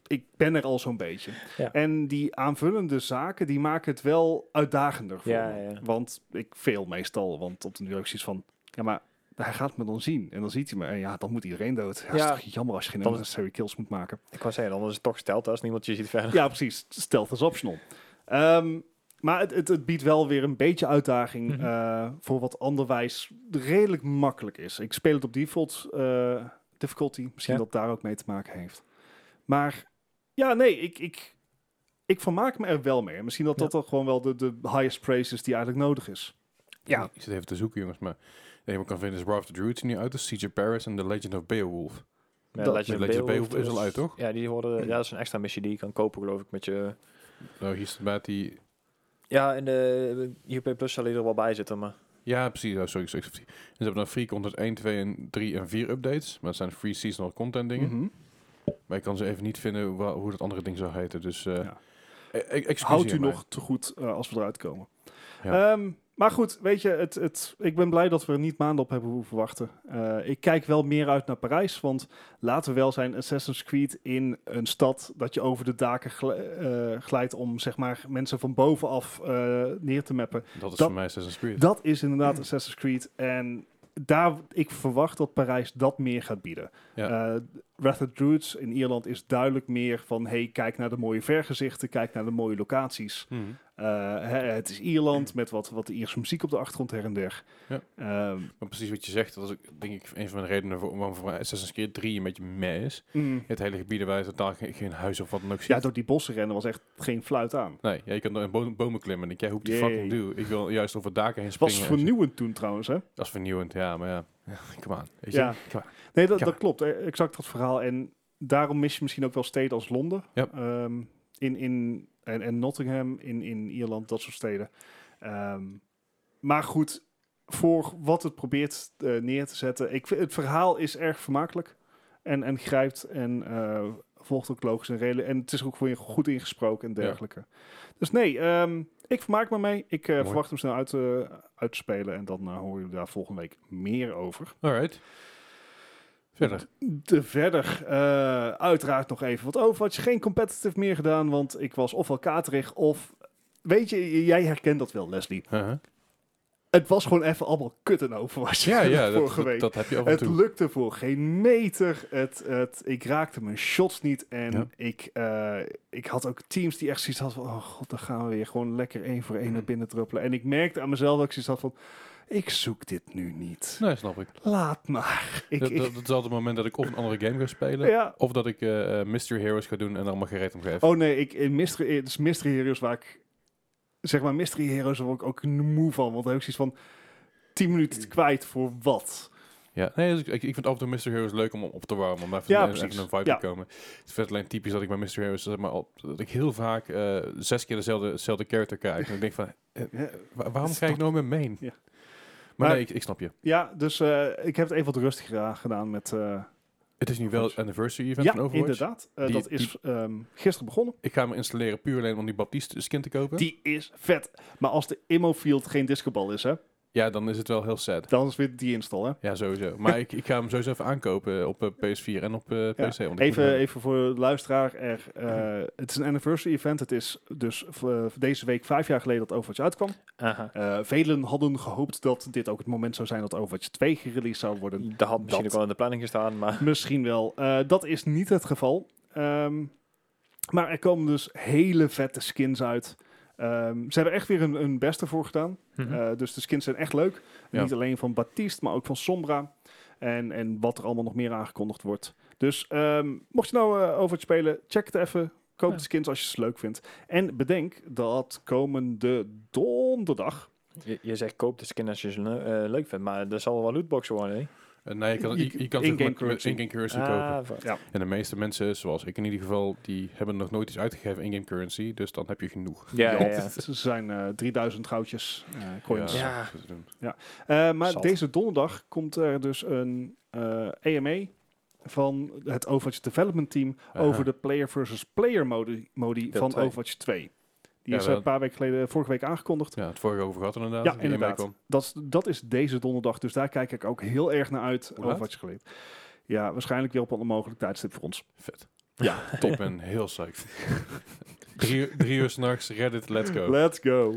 Speaker 2: Ik ben er al zo'n beetje.
Speaker 3: Ja.
Speaker 2: En die aanvullende zaken, die maken het wel uitdagender voor
Speaker 3: Ja,
Speaker 2: me.
Speaker 3: ja.
Speaker 2: Want ik veel meestal, want op de nu ook zoiets van... Ja, maar hij gaat me dan zien. En dan ziet hij me. En ja, dan moet iedereen dood. Ja,
Speaker 3: Ja.
Speaker 2: is toch jammer als je geen
Speaker 3: Dan-
Speaker 2: unnecessary kills moet maken.
Speaker 3: ik wou zeggen, dan is het toch stelt als niemand je ziet verder.
Speaker 2: ja, precies. Stealth is optional. Ehm, maar het, het, het biedt wel weer een beetje uitdaging
Speaker 3: Mhm.
Speaker 2: eh, voor wat anderwijs redelijk makkelijk is. Ik speel het op default eh, difficulty. Misschien
Speaker 3: Ja.
Speaker 2: dat daar ook mee te maken heeft. Maar ja, nee, ik, ik, ik vermaak me er wel mee. Misschien dat
Speaker 3: Ja.
Speaker 2: dat dan gewoon wel de, de highest praise is die eigenlijk nodig is. Ja.
Speaker 1: Ik zit even te zoeken, jongens, maar het enige wat ik kan vinden is War of the Druids die nu uit is, Siege of Paris en The Legend of Beowulf.
Speaker 3: Ja,
Speaker 2: dat-
Speaker 1: Legend of Beowulf is al uit, toch?
Speaker 3: dus- Ja, die hoorden, ja, dat is een extra missie die je kan kopen, geloof ik, met je...
Speaker 1: Nou, hier staat bij die...
Speaker 3: Ja, in de UP Plus zal je er wel bij zitten, maar...
Speaker 1: Ja, precies. Oh, sorry, sorry, sorry. En ze hebben dan free content 1, 2 en 3 en 4 updates. Maar het zijn free seasonal content dingen.
Speaker 2: Mhm.
Speaker 1: Maar ik kan ze even niet vinden wa- hoe dat andere ding zou heten. Dus eh
Speaker 2: Ja.
Speaker 1: e- e- excuseer
Speaker 2: Houdt u
Speaker 1: mij.
Speaker 2: nog te goed eh, als we eruit komen.
Speaker 1: Ja.
Speaker 2: Ehm, maar goed, weet je, het, het, ik ben blij dat we er niet maanden op hebben hoeven wachten. Eh, ik kijk wel meer uit naar Parijs, want laten we wel zijn Assassin's Creed in een stad dat je over de daken gl- eh, glijdt om zeg maar mensen van bovenaf eh, neer te mappen.
Speaker 1: Dat is
Speaker 2: dat-
Speaker 1: voor mij Assassin's Creed.
Speaker 2: Dat is inderdaad Assassin's Creed en daar, ik verwacht dat Parijs dat meer gaat bieden.
Speaker 1: Ja.
Speaker 2: Eh Wrath of the Druids in Ierland is duidelijk meer van, hey, kijk naar de mooie vergezichten, kijk naar de mooie locaties.
Speaker 1: Mhm.
Speaker 2: Eh, hè, het is Ierland met wat, wat de Ierse muziek op de achtergrond her en der.
Speaker 1: Ja.
Speaker 2: Ehm,
Speaker 1: Maar precies wat je zegt, dat is ook, denk ik een van de redenen voor- waarom voor mij Assassin's Creed 3 een beetje meh is.
Speaker 2: mm.
Speaker 1: Het hele gebied waar je totaal geen, geen huis of wat dan ook ziet.
Speaker 2: ja, door die bossen rennen was echt geen fluit aan.
Speaker 1: Nee, ja, je kan door in bo- bomen klimmen. Ik, jij hoeft die
Speaker 2: Jee.
Speaker 1: fucking do. Ik wil juist over daken heen springen.
Speaker 2: Was
Speaker 1: en shit.
Speaker 2: vernieuwend toen trouwens, hè?
Speaker 1: Dat is vernieuwend, ja, maar ja. Kom aan.
Speaker 2: Ja.
Speaker 1: Ja. Come on.
Speaker 2: Nee, dat,
Speaker 1: Ja.
Speaker 2: dat klopt. eh, Exact dat verhaal. En daarom mis je misschien ook wel steden als Londen.
Speaker 1: Ja.
Speaker 2: Ehm, in, in, en, en Nottingham in, in Ierland, dat soort steden. Ehm, maar goed, voor wat het probeert eh, neer te zetten. Ik, vind- het verhaal is erg vermakelijk. En, en grijpt. En eh, volgt ook logisch en redelijk. En het is ook voor je goed ingesproken en dergelijke. Dus nee, ehm, ik vermaak me mee. Ik eh,
Speaker 1: Mooi.
Speaker 2: verwacht hem snel uit, eh, uit te spelen. En dan eh, horen jullie daar volgende week meer over.
Speaker 1: Alright. Verder.
Speaker 2: De verder, eh, uiteraard nog even wat Overwatch. Geen competitive meer gedaan, want ik was ofwel katerig of... Weet je, jij herkent dat wel, Leslie.
Speaker 1: Uh-huh.
Speaker 2: Het was gewoon even allemaal kut in Overwatch
Speaker 1: Ja, ja dat,
Speaker 2: vorige
Speaker 1: dat,
Speaker 2: week.
Speaker 1: dat heb je af en
Speaker 2: Het
Speaker 1: toe.
Speaker 2: lukte voor geen meter. Het, het, ik raakte mijn shots niet. En
Speaker 1: Ja.
Speaker 2: ik, eh, ik had ook teams die echt zoiets hadden van... Oh god, dan gaan we weer gewoon lekker één voor
Speaker 1: Mhm.
Speaker 2: één naar binnen druppelen. En ik merkte aan mezelf dat ik zoiets had van... Ik zoek dit nu niet.
Speaker 1: Nee, snap ik.
Speaker 2: Laat maar. Ik,
Speaker 1: dat,
Speaker 2: ik-
Speaker 1: dat, dat is altijd het moment dat ik of een andere game ga spelen,
Speaker 2: ja.
Speaker 1: of dat ik eh eh, Mystery Heroes ga doen en allemaal gereed om geef.
Speaker 2: Oh nee, ik, in Mystery, het is Mystery Heroes waar ik... Zeg maar, Mystery Heroes word ik ook moe van. Want dan heb ik zoiets van... 10
Speaker 1: Hmm.
Speaker 2: minuten kwijt voor wat?
Speaker 1: Ja, nee, dus ik, ik ik vind af en toe Mystery Heroes leuk om op te warmen, om daar
Speaker 2: Ja,
Speaker 1: even,
Speaker 2: precies.
Speaker 1: even een vibe
Speaker 2: Ja.
Speaker 1: te komen. Het is vet alleen typisch dat ik bij Mystery Heroes, zeg maar, al, dat ik heel vaak eh, zes keer dezelfde, dezelfde character krijg. En ik denk van, eh,
Speaker 2: Ja.
Speaker 1: wa- waarom
Speaker 2: Is
Speaker 1: krijg ik nou mijn main?
Speaker 2: Ja.
Speaker 1: Maar,
Speaker 2: Maar-
Speaker 1: nee, ik, ik snap je.
Speaker 2: Ja, dus eh, ik heb het even wat rustiger aan gedaan met... eh,
Speaker 1: Het is nu wel het anniversary event van
Speaker 2: ja,
Speaker 1: Overwatch.
Speaker 2: inderdaad. Eh,
Speaker 1: Die-
Speaker 2: dat is ehm, gisteren begonnen.
Speaker 1: Ik ga hem installeren puur alleen om die Baptiste skin te kopen.
Speaker 2: Die is vet. Maar als de Immofield geen discobal is, hè,
Speaker 1: Ja, dan is het wel heel sad.
Speaker 2: dan is weer die install. Hè.
Speaker 1: Ja, sowieso. Maar ik, ik ga hem sowieso even aankopen op eh, PS4 en op eh, PC.
Speaker 2: Ja.
Speaker 1: want ik moet
Speaker 2: Even,
Speaker 1: hem-
Speaker 2: even voor de luisteraar. Er, eh, het is een anniversary event. Het is dus eh, deze week vijf jaar geleden dat Overwatch uitkwam.
Speaker 3: Aha.
Speaker 2: Eh, velen hadden gehoopt dat dit ook het moment zou zijn dat Overwatch 2 gereleased zou worden.
Speaker 3: Dat had misschien
Speaker 2: Dat-
Speaker 3: ook wel in de planning gestaan, maar...
Speaker 2: Misschien wel. Eh, dat is niet het geval. Ehm, maar er komen dus hele vette skins uit. Ehm, ze hebben echt weer hun, hun best ervoor gedaan. Eh, dus de skins zijn echt leuk.
Speaker 1: Ja.
Speaker 2: Niet alleen van Baptiste, maar ook van Sombra. En, en wat er allemaal nog meer aangekondigd wordt. Dus ehm, mocht je nou eh over het spelen, check het even. Koop
Speaker 3: Ja.
Speaker 2: de skins als je ze leuk vindt. En bedenk dat komende donderdag.
Speaker 3: je, je zegt koop de skin als je ze le- eh, leuk vindt, maar dat zal wel lootbox worden, hè?
Speaker 1: Eh, nee, je kan, je, je kan het
Speaker 2: in-game
Speaker 1: ook met- met
Speaker 2: currency.
Speaker 1: in-game currency kopen.
Speaker 3: Ah, va-
Speaker 1: En de meeste mensen, zoals ik in ieder geval, die hebben nog nooit iets uitgegeven in-game currency. Dus dan heb je genoeg.
Speaker 3: ja, ja, ja.
Speaker 2: Want het zijn eh, 3000 goudjes eh, coins.
Speaker 3: Ja.
Speaker 1: dat te doen.
Speaker 2: Eh, maar
Speaker 3: Zat.
Speaker 2: deze donderdag komt er dus een eh AMA van het Overwatch Development Team
Speaker 1: Aha.
Speaker 2: over de player versus player modi, modi
Speaker 3: Deel
Speaker 2: van
Speaker 3: twee.
Speaker 2: Overwatch 2. Die
Speaker 1: Ja,
Speaker 2: is
Speaker 1: wel-
Speaker 2: een paar weken geleden, vorige week aangekondigd.
Speaker 1: Ja, het vorige over gehad inderdaad.
Speaker 2: Ja,
Speaker 1: die
Speaker 2: inderdaad.
Speaker 1: meekwam.
Speaker 2: Dat, is- dat is deze donderdag, dus daar kijk ik ook heel erg naar uit.
Speaker 1: laat?
Speaker 2: Overwatch geleden. Ja, waarschijnlijk weer op een onmogelijk tijdstip voor ons.
Speaker 1: Vet.
Speaker 2: Ja.
Speaker 1: Ik ben heel psyched. drie, uur- drie uur s'nachts, Reddit, let's go.
Speaker 2: Let's go.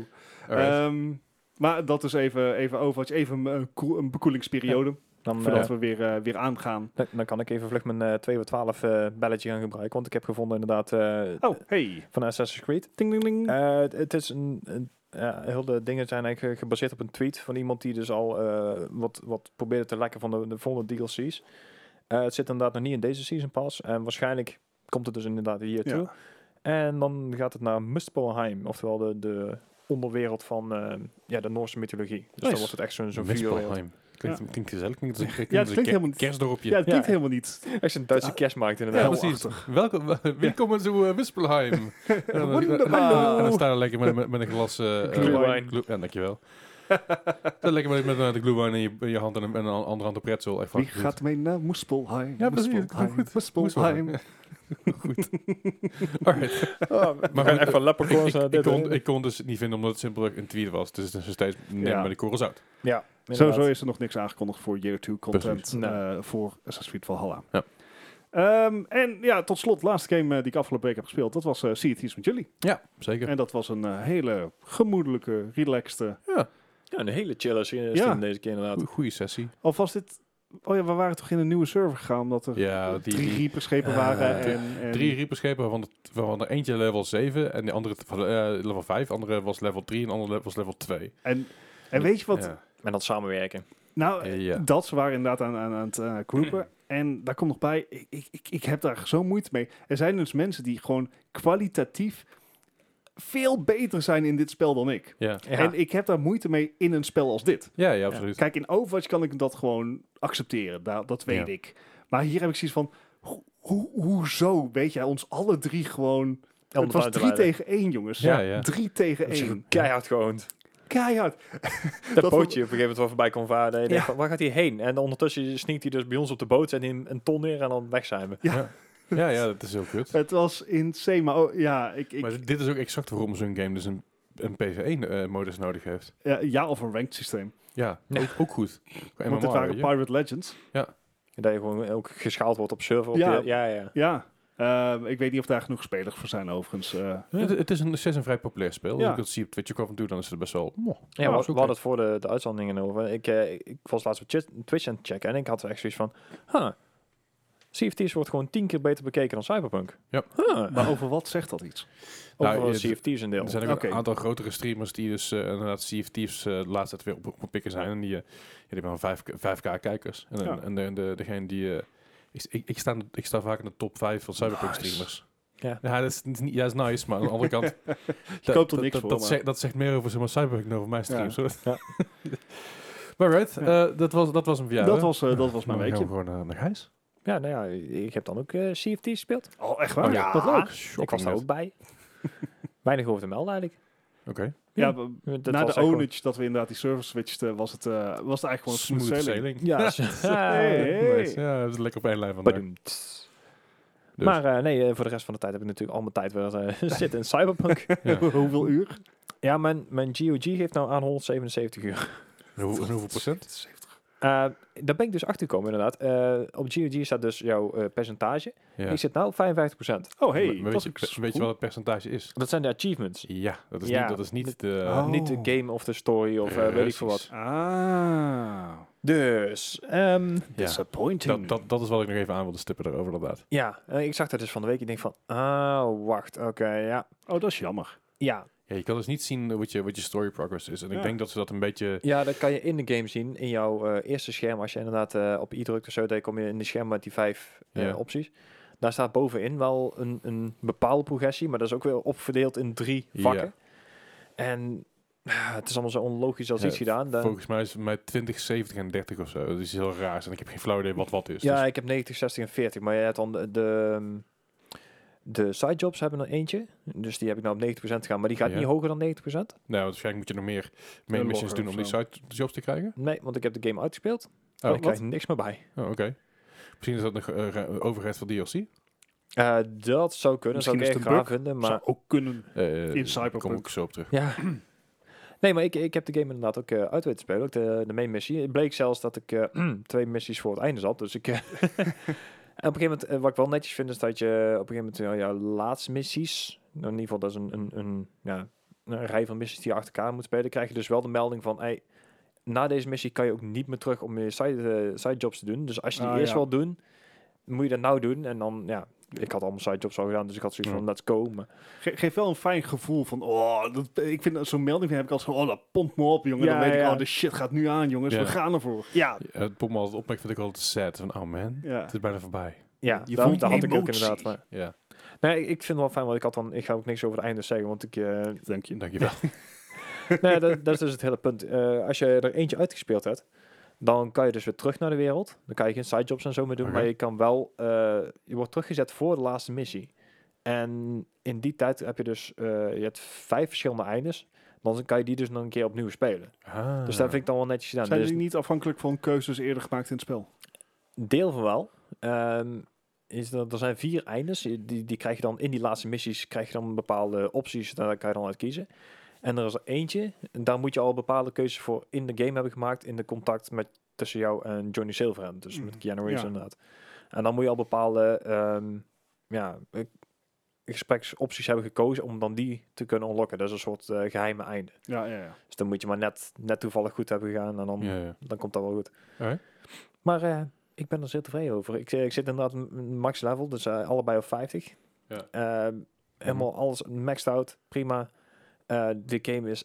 Speaker 1: Alright.
Speaker 2: Ehm, maar dat is even, even Overwatch, even een, koel- een bekoelingsperiode
Speaker 3: Dan, eh,
Speaker 2: voordat we weer, eh, weer aangaan.
Speaker 3: dan, dan kan ik even vlug mijn eh 2 voor 12 eh, belletje gaan gebruiken, want ik heb gevonden inderdaad eh,
Speaker 2: Oh, hey.
Speaker 3: van Assassin's Creed.
Speaker 2: Ding, ding,
Speaker 1: Hm.
Speaker 2: ding.
Speaker 3: Eh, het- het is een, een- ja, heel de dingen zijn eigenlijk eh, gebaseerd op een tweet van iemand die dus al eh, wat, wat probeerde te lekken van de, de volgende DLC's. Eh, het zit inderdaad nog niet in deze season pass en waarschijnlijk komt het dus inderdaad hier toe.
Speaker 2: Ja.
Speaker 3: En dan gaat het naar Muspelheim, oftewel de, de onderwereld van eh, ja, de Noorse mythologie. Dus
Speaker 2: Nice.
Speaker 3: dan wordt het echt zo'n zo'n vuurwereld.
Speaker 1: Wispelheim. Klinkt, klinkt gezellig. Klinkt, als een- klinkt
Speaker 2: Ja, het
Speaker 1: als een
Speaker 2: klinkt
Speaker 1: ke-
Speaker 2: helemaal niet-
Speaker 1: kerstdorpje.
Speaker 2: Ja, het klinkt
Speaker 3: Ja.
Speaker 2: helemaal niet.
Speaker 3: Echt een Duitse kerstmarkt
Speaker 1: Ja,
Speaker 3: inderdaad.
Speaker 1: precies.
Speaker 2: Welachtig.
Speaker 1: Welkom, welkom zo uh, Wispelheim. En dan-
Speaker 2: Wonderbaar.
Speaker 1: Ah, En dan staan we lekker met, met, met een glas... eh, eh,
Speaker 3: Glühwein.
Speaker 1: glu- ja, dankjewel. Dan lekker met, met eh, de glühwein in je, in je hand en, een- en een andere hand de pretzel. Echt
Speaker 2: Wie
Speaker 1: fucking goed.
Speaker 2: gaat eh, mee naar Moespelheim?
Speaker 1: Ja, precies, dat klinkt
Speaker 2: Moespelheim,
Speaker 1: Wispelheim.
Speaker 2: Moespelheim.
Speaker 1: goed. Alright.
Speaker 3: Oh, we
Speaker 1: Maar
Speaker 3: gaan
Speaker 1: goed,
Speaker 3: echt van
Speaker 1: Ik,
Speaker 3: leprechauns naar
Speaker 1: ik,
Speaker 3: dit.
Speaker 1: kon, ik kon dus niet vinden omdat het simpelweg een tweet was. Dus het is nog steeds neem
Speaker 2: Ja.
Speaker 1: maar de korrels uit.
Speaker 3: Ja, inderdaad.
Speaker 2: Sowieso is er nog niks aangekondigd voor Year 2 content
Speaker 1: Precies.
Speaker 3: Nee.
Speaker 2: eh, voor Assassin's Creed Valhalla.
Speaker 1: Ja.
Speaker 2: Ehm, en ja, tot slot, laatste game eh, die ik afgelopen week heb gespeeld, dat was eh Sea of Thieves met jullie.
Speaker 1: Ja, zeker.
Speaker 2: En dat was een eh, hele gemoedelijke, relaxed...
Speaker 3: Ja, een hele chille scene is
Speaker 2: Ja.
Speaker 3: het in deze keer inderdaad.
Speaker 1: Goe- Goeie sessie.
Speaker 2: Of was dit... Oh ja, we waren toch in een nieuwe server gegaan, omdat er
Speaker 1: Ja, die-
Speaker 2: drie
Speaker 1: die-
Speaker 2: reaperschepen
Speaker 3: eh,
Speaker 2: waren
Speaker 1: drie-
Speaker 2: en... en
Speaker 1: Drie reaperschepen, waarvan, de- waarvan er eentje level 7 en de andere t- eh, level 5. andere was level 3 en de andere was level 2.
Speaker 2: en, en weet je wat...
Speaker 1: Ja.
Speaker 3: En dat samenwerken.
Speaker 2: Nou,
Speaker 1: Eh, ja.
Speaker 2: dat ze waren inderdaad aan, aan, aan het eh, groupen. En daar komt nog bij, ik, ik- ik, ik heb daar zo moeite mee. Er zijn dus mensen die gewoon kwalitatief veel beter zijn in dit spel dan ik.
Speaker 1: Ja.
Speaker 3: Ja.
Speaker 2: En ik heb daar moeite mee in een spel als dit.
Speaker 1: Ja, ja, absoluut.
Speaker 2: Kijk, in Overwatch kan ik dat gewoon accepteren. Da- dat weet
Speaker 1: Ja.
Speaker 2: ik. Maar hier heb ik zoiets van... ho- ho- hoezo? Weet jij, ons alle drie gewoon...
Speaker 3: Om
Speaker 2: het was
Speaker 3: buiten
Speaker 2: drie
Speaker 3: te leiden.
Speaker 2: tegen één, jongens.
Speaker 1: Ja, ja.
Speaker 2: Drie tegen
Speaker 3: Dat is
Speaker 2: één.
Speaker 3: gewoon keihard gewoon.
Speaker 2: Keihard.
Speaker 3: Dat,
Speaker 2: Dat
Speaker 3: bootje op een gegeven moment wel voorbij kon varen. En je denkt
Speaker 2: Ja.
Speaker 3: van, waar gaat hij heen? En ondertussen sneakt hij dus bij ons op de boot. En hij een ton neer en dan weg zijn we.
Speaker 2: Ja.
Speaker 1: Ja, ja, dat is heel kut.
Speaker 2: Het was insane, maar oh, ja, ik, ik,
Speaker 1: Maar dit is ook exact waarom zo'n game dus een, een PC1-modus eh, nodig heeft.
Speaker 2: ja, ja, of een ranked systeem.
Speaker 1: Ja,
Speaker 3: Ja.
Speaker 1: Ook, ook goed. Gewoon
Speaker 2: Want dit
Speaker 1: MMR,
Speaker 2: waren
Speaker 1: weet je.
Speaker 2: Pirate Legends.
Speaker 3: Dat je gewoon ook geschaald wordt op server. op
Speaker 2: Ja.
Speaker 3: je- ja, ja.
Speaker 2: Ja, Ehm, ik weet niet of daar genoeg spelers voor zijn overigens. eh.
Speaker 1: het, het is een, steeds een vrij populair spel. Als
Speaker 2: Ja.
Speaker 1: ik dat zie op Twitch ook af en toe, dan is het best wel... moh.
Speaker 3: Ja,
Speaker 1: Ja,
Speaker 3: we,
Speaker 1: is
Speaker 3: we
Speaker 1: ook
Speaker 3: hadden het voor de, de uitzendingen over. Ik, eh, ik was laatst op Chit- Twitch aan het checken en ik had echt zoiets van... Huh, Sea of Thieves wordt gewoon tien keer beter bekeken dan Cyberpunk.
Speaker 1: Ja.
Speaker 3: Huh,
Speaker 2: Maar over wat zegt dat iets?
Speaker 1: Nou,
Speaker 3: Overal
Speaker 1: je-
Speaker 3: Sea of Thieves een deel.
Speaker 1: Er zijn ook
Speaker 2: Oké.
Speaker 1: een aantal grotere streamers die dus eh, inderdaad CFT's eh de laatste tijd weer op, op het pikken zijn. En die, eh, ja, die hebben dan 5K 5K kijkers. En,
Speaker 2: Ja.
Speaker 1: en de, de, degene die... eh, ik, ik, ik sta, ik sta vaak in de top 5 van Cyberpunk
Speaker 2: Nice.
Speaker 1: streamers.
Speaker 3: Ja.
Speaker 1: dat, is, niet- ja, dat is nice, maar aan de andere kant... dat,
Speaker 2: koopt er
Speaker 1: dat-
Speaker 2: niks
Speaker 1: dat,
Speaker 2: voor,
Speaker 1: Dat,
Speaker 2: maar-
Speaker 1: zegt, dat zegt meer over zeg maar, Cyberpunk dan over mijn streams. hoor.
Speaker 3: Ja.
Speaker 1: maar right, eh, dat, was, dat was een verjaardag.
Speaker 2: dat, was, eh, dat was mijn
Speaker 1: Dan gaan
Speaker 2: weekje.
Speaker 1: we gewoon eh, naar
Speaker 2: Ah,
Speaker 1: Gijs.
Speaker 3: Ja, nou ja, ik heb dan ook eh Sea of Thieves gespeeld.
Speaker 2: Oh, echt
Speaker 1: Oh,
Speaker 2: waar?
Speaker 1: ja.
Speaker 3: Wat leuk.
Speaker 1: Shocking
Speaker 3: ik was daar
Speaker 1: net.
Speaker 3: ook bij. Weinig over te melden eigenlijk.
Speaker 1: Oké.
Speaker 2: Ja,
Speaker 3: Ja.
Speaker 2: we-
Speaker 3: Dat
Speaker 2: na
Speaker 3: was
Speaker 2: de
Speaker 3: echt
Speaker 2: ownage dat we inderdaad die server switchten, was het, eh, was het eigenlijk gewoon smooth, sailing.
Speaker 3: gewoon- Ja,
Speaker 2: Hey, hey.
Speaker 1: Nice. Ja, dat is lekker op één lijn eh, vandaag.
Speaker 3: Badoemts.
Speaker 1: Dus.
Speaker 3: Maar eh, nee, eh, voor de rest van de tijd heb ik natuurlijk al mijn tijd weer eh, zitten in Cyberpunk.
Speaker 1: Ja.
Speaker 2: Hoeveel uur?
Speaker 3: ja, mijn, mijn GOG geeft nou aan 177 uur.
Speaker 1: En hoe- en hoeveel procent?
Speaker 3: Eh, daar ben ik dus achter gekomen inderdaad. Eh, op GOG staat dus jouw eh, percentage.
Speaker 1: Ja.
Speaker 3: Ik zit nou op 55%.
Speaker 2: Oh, hey,
Speaker 1: Maar
Speaker 2: dat
Speaker 1: weet,
Speaker 2: is
Speaker 1: je,
Speaker 2: ook
Speaker 1: weet je
Speaker 2: goed.
Speaker 1: wat het percentage is?
Speaker 3: Dat zijn de achievements.
Speaker 1: Ja, dat is
Speaker 3: Ja.
Speaker 1: niet, dat is niet de...
Speaker 2: Oh.
Speaker 3: Niet de game of de story of eh, weet ik veel wat.
Speaker 1: Precies.
Speaker 2: Ah,
Speaker 3: Dus, ehm,
Speaker 1: Ja.
Speaker 2: disappointing.
Speaker 1: Dat, dat, dat is wat ik nog even aan wilde stippen daarover, inderdaad.
Speaker 3: ja, eh, ik zag dat dus van de week. Ik denk van, ah, wacht, oké, ja.
Speaker 2: Oh, dat is jammer.
Speaker 3: Ja.
Speaker 1: Ja, je kan dus niet zien eh, wat je, wat je story progress is. En ik
Speaker 2: Ja.
Speaker 1: denk dat ze dat een beetje...
Speaker 3: ja, dat kan je in de game zien, in jouw eh, eerste scherm. Als je inderdaad eh, op i drukt of zo, dan kom je in de scherm met die vijf eh,
Speaker 1: Ja.
Speaker 3: opties. Daar staat bovenin wel een, een bepaalde progressie, maar dat is ook weer opverdeeld in drie
Speaker 1: Ja.
Speaker 3: vakken. En ah, het is allemaal zo onlogisch als
Speaker 1: Ja,
Speaker 3: iets gedaan. Dan,
Speaker 1: Volgens mij is het met 20, 70 en 30 of zo. Dat is heel raar. En ik heb geen flauw idee wat wat is.
Speaker 3: Ja,
Speaker 1: Dus-
Speaker 3: ik heb 90, 60 en 40. Maar jij hebt dan de, de, de sidejobs hebben er eentje. Dus die heb ik nou op 90% gegaan. Maar die gaat
Speaker 1: Ja.
Speaker 3: niet hoger dan 90%.
Speaker 1: nou, waarschijnlijk moet je nog meer main
Speaker 2: Een
Speaker 1: missions
Speaker 2: logger
Speaker 1: doen
Speaker 2: of
Speaker 1: om die
Speaker 2: zo.
Speaker 1: side jobs te krijgen.
Speaker 3: Nee, want ik heb de game uitgespeeld.
Speaker 1: Oh,
Speaker 3: en ik krijg niks meer bij.
Speaker 1: Oh, oké. Misschien is dat nog eh, ra- overheid van DLC.
Speaker 3: Eh, dat zou kunnen.
Speaker 2: Misschien
Speaker 3: zou
Speaker 2: is het
Speaker 3: ik echt
Speaker 2: een
Speaker 3: graag vinden. Maar
Speaker 2: Zou ook kunnen.
Speaker 1: Eh,
Speaker 2: In
Speaker 1: Daar kom
Speaker 2: Cyberpunk.
Speaker 1: ik zo op terug.
Speaker 3: ja. Nee, maar ik, ik heb de game inderdaad ook eh, uit weten te spelen. Ook de, de main missie. Het bleek zelfs dat ik eh, twee missies voor het einde zat. Dus ik... eh, en op een gegeven moment, eh, wat ik wel netjes vind, is dat je op een gegeven moment eh, jouw laatste missies... nou, In ieder geval, dat is een, een, een, ja, een rij van missies die je achter elkaar moet spelen. krijg je dus wel de melding van... Hey, na deze missie kan je ook niet meer terug om je side, eh, sidejobs te doen. Dus als je die
Speaker 2: Ah,
Speaker 3: eerst
Speaker 2: ja.
Speaker 3: wil doen, moet je dat nou doen. En dan, ja... Ik had allemaal sidejobs al gedaan, dus ik had zoiets
Speaker 1: Ja.
Speaker 3: van, let's go. Maar
Speaker 2: Ge- geeft wel een fijn gevoel van, oh, dat, ik vind dat- zo'n melding heb ik altijd van, oh, dat pompt me op, jongen.
Speaker 3: Ja,
Speaker 2: dan weet
Speaker 3: ja.
Speaker 2: ik, oh, de shit gaat nu aan, jongens.
Speaker 1: Ja.
Speaker 2: We gaan ervoor. Ja.
Speaker 1: Ja, het pomp me altijd op, maar ik vind het ook altijd sad. Van, oh man,
Speaker 2: ja.
Speaker 1: het is bijna voorbij.
Speaker 3: Ja,
Speaker 2: Je
Speaker 3: daar,
Speaker 2: voelt
Speaker 3: daar
Speaker 2: die
Speaker 3: had ik ook
Speaker 2: emotie.
Speaker 3: inderdaad. Maar,
Speaker 1: Ja,
Speaker 3: nee, ik vind het wel fijn, want ik had dan, ik ga ook niks over het einde zeggen, want ik, eh,
Speaker 2: Dank je.
Speaker 1: dankjewel.
Speaker 3: nee, dat, dat is dus het hele punt. Eh, als je er eentje uitgespeeld hebt, dan kan je dus weer terug naar de wereld. Dan kan je geen sidejobs en zo meer doen,
Speaker 1: Oké.
Speaker 3: maar je kan wel, eh, je wordt teruggezet voor de laatste missie. En in die tijd heb je dus, eh, je hebt vijf verschillende eindes. Dan kan je die dus nog een keer opnieuw spelen.
Speaker 1: Ah.
Speaker 3: Dus dat vind ik dan wel netjes gedaan.
Speaker 2: Zijn
Speaker 3: Dus
Speaker 2: jullie niet afhankelijk van keuzes eerder gemaakt in het spel?
Speaker 3: Deel van wel. Ehm, is dat, er zijn vier eindes. Die, die krijg je dan in die laatste missies. Krijg je dan bepaalde opties. Daar kan je dan uit kiezen. En er is er eentje. En daar moet je al bepaalde keuzes voor in de game hebben gemaakt. In de contact met, tussen jou en Johnny Silverhand. Dus
Speaker 2: Mm,
Speaker 3: met Keanu Reeves
Speaker 2: ja.
Speaker 3: inderdaad. En dan moet je al bepaalde ehm, ja, eh, gespreksopties hebben gekozen. Om dan die te kunnen unlocken. Dat is een soort eh, geheime einde.
Speaker 2: Ja, ja, ja.
Speaker 3: Dus dan moet je maar net, net toevallig goed hebben gegaan. En dan
Speaker 1: Ja, ja.
Speaker 3: dan komt dat wel goed.
Speaker 1: Alright.
Speaker 3: Maar eh, ik ben er zeer tevreden over. Ik, eh, ik zit inderdaad m- m- max level, dus eh, allebei op 50.
Speaker 1: Ja.
Speaker 3: Ehm, helemaal alles maxed out, prima. Eh, de game is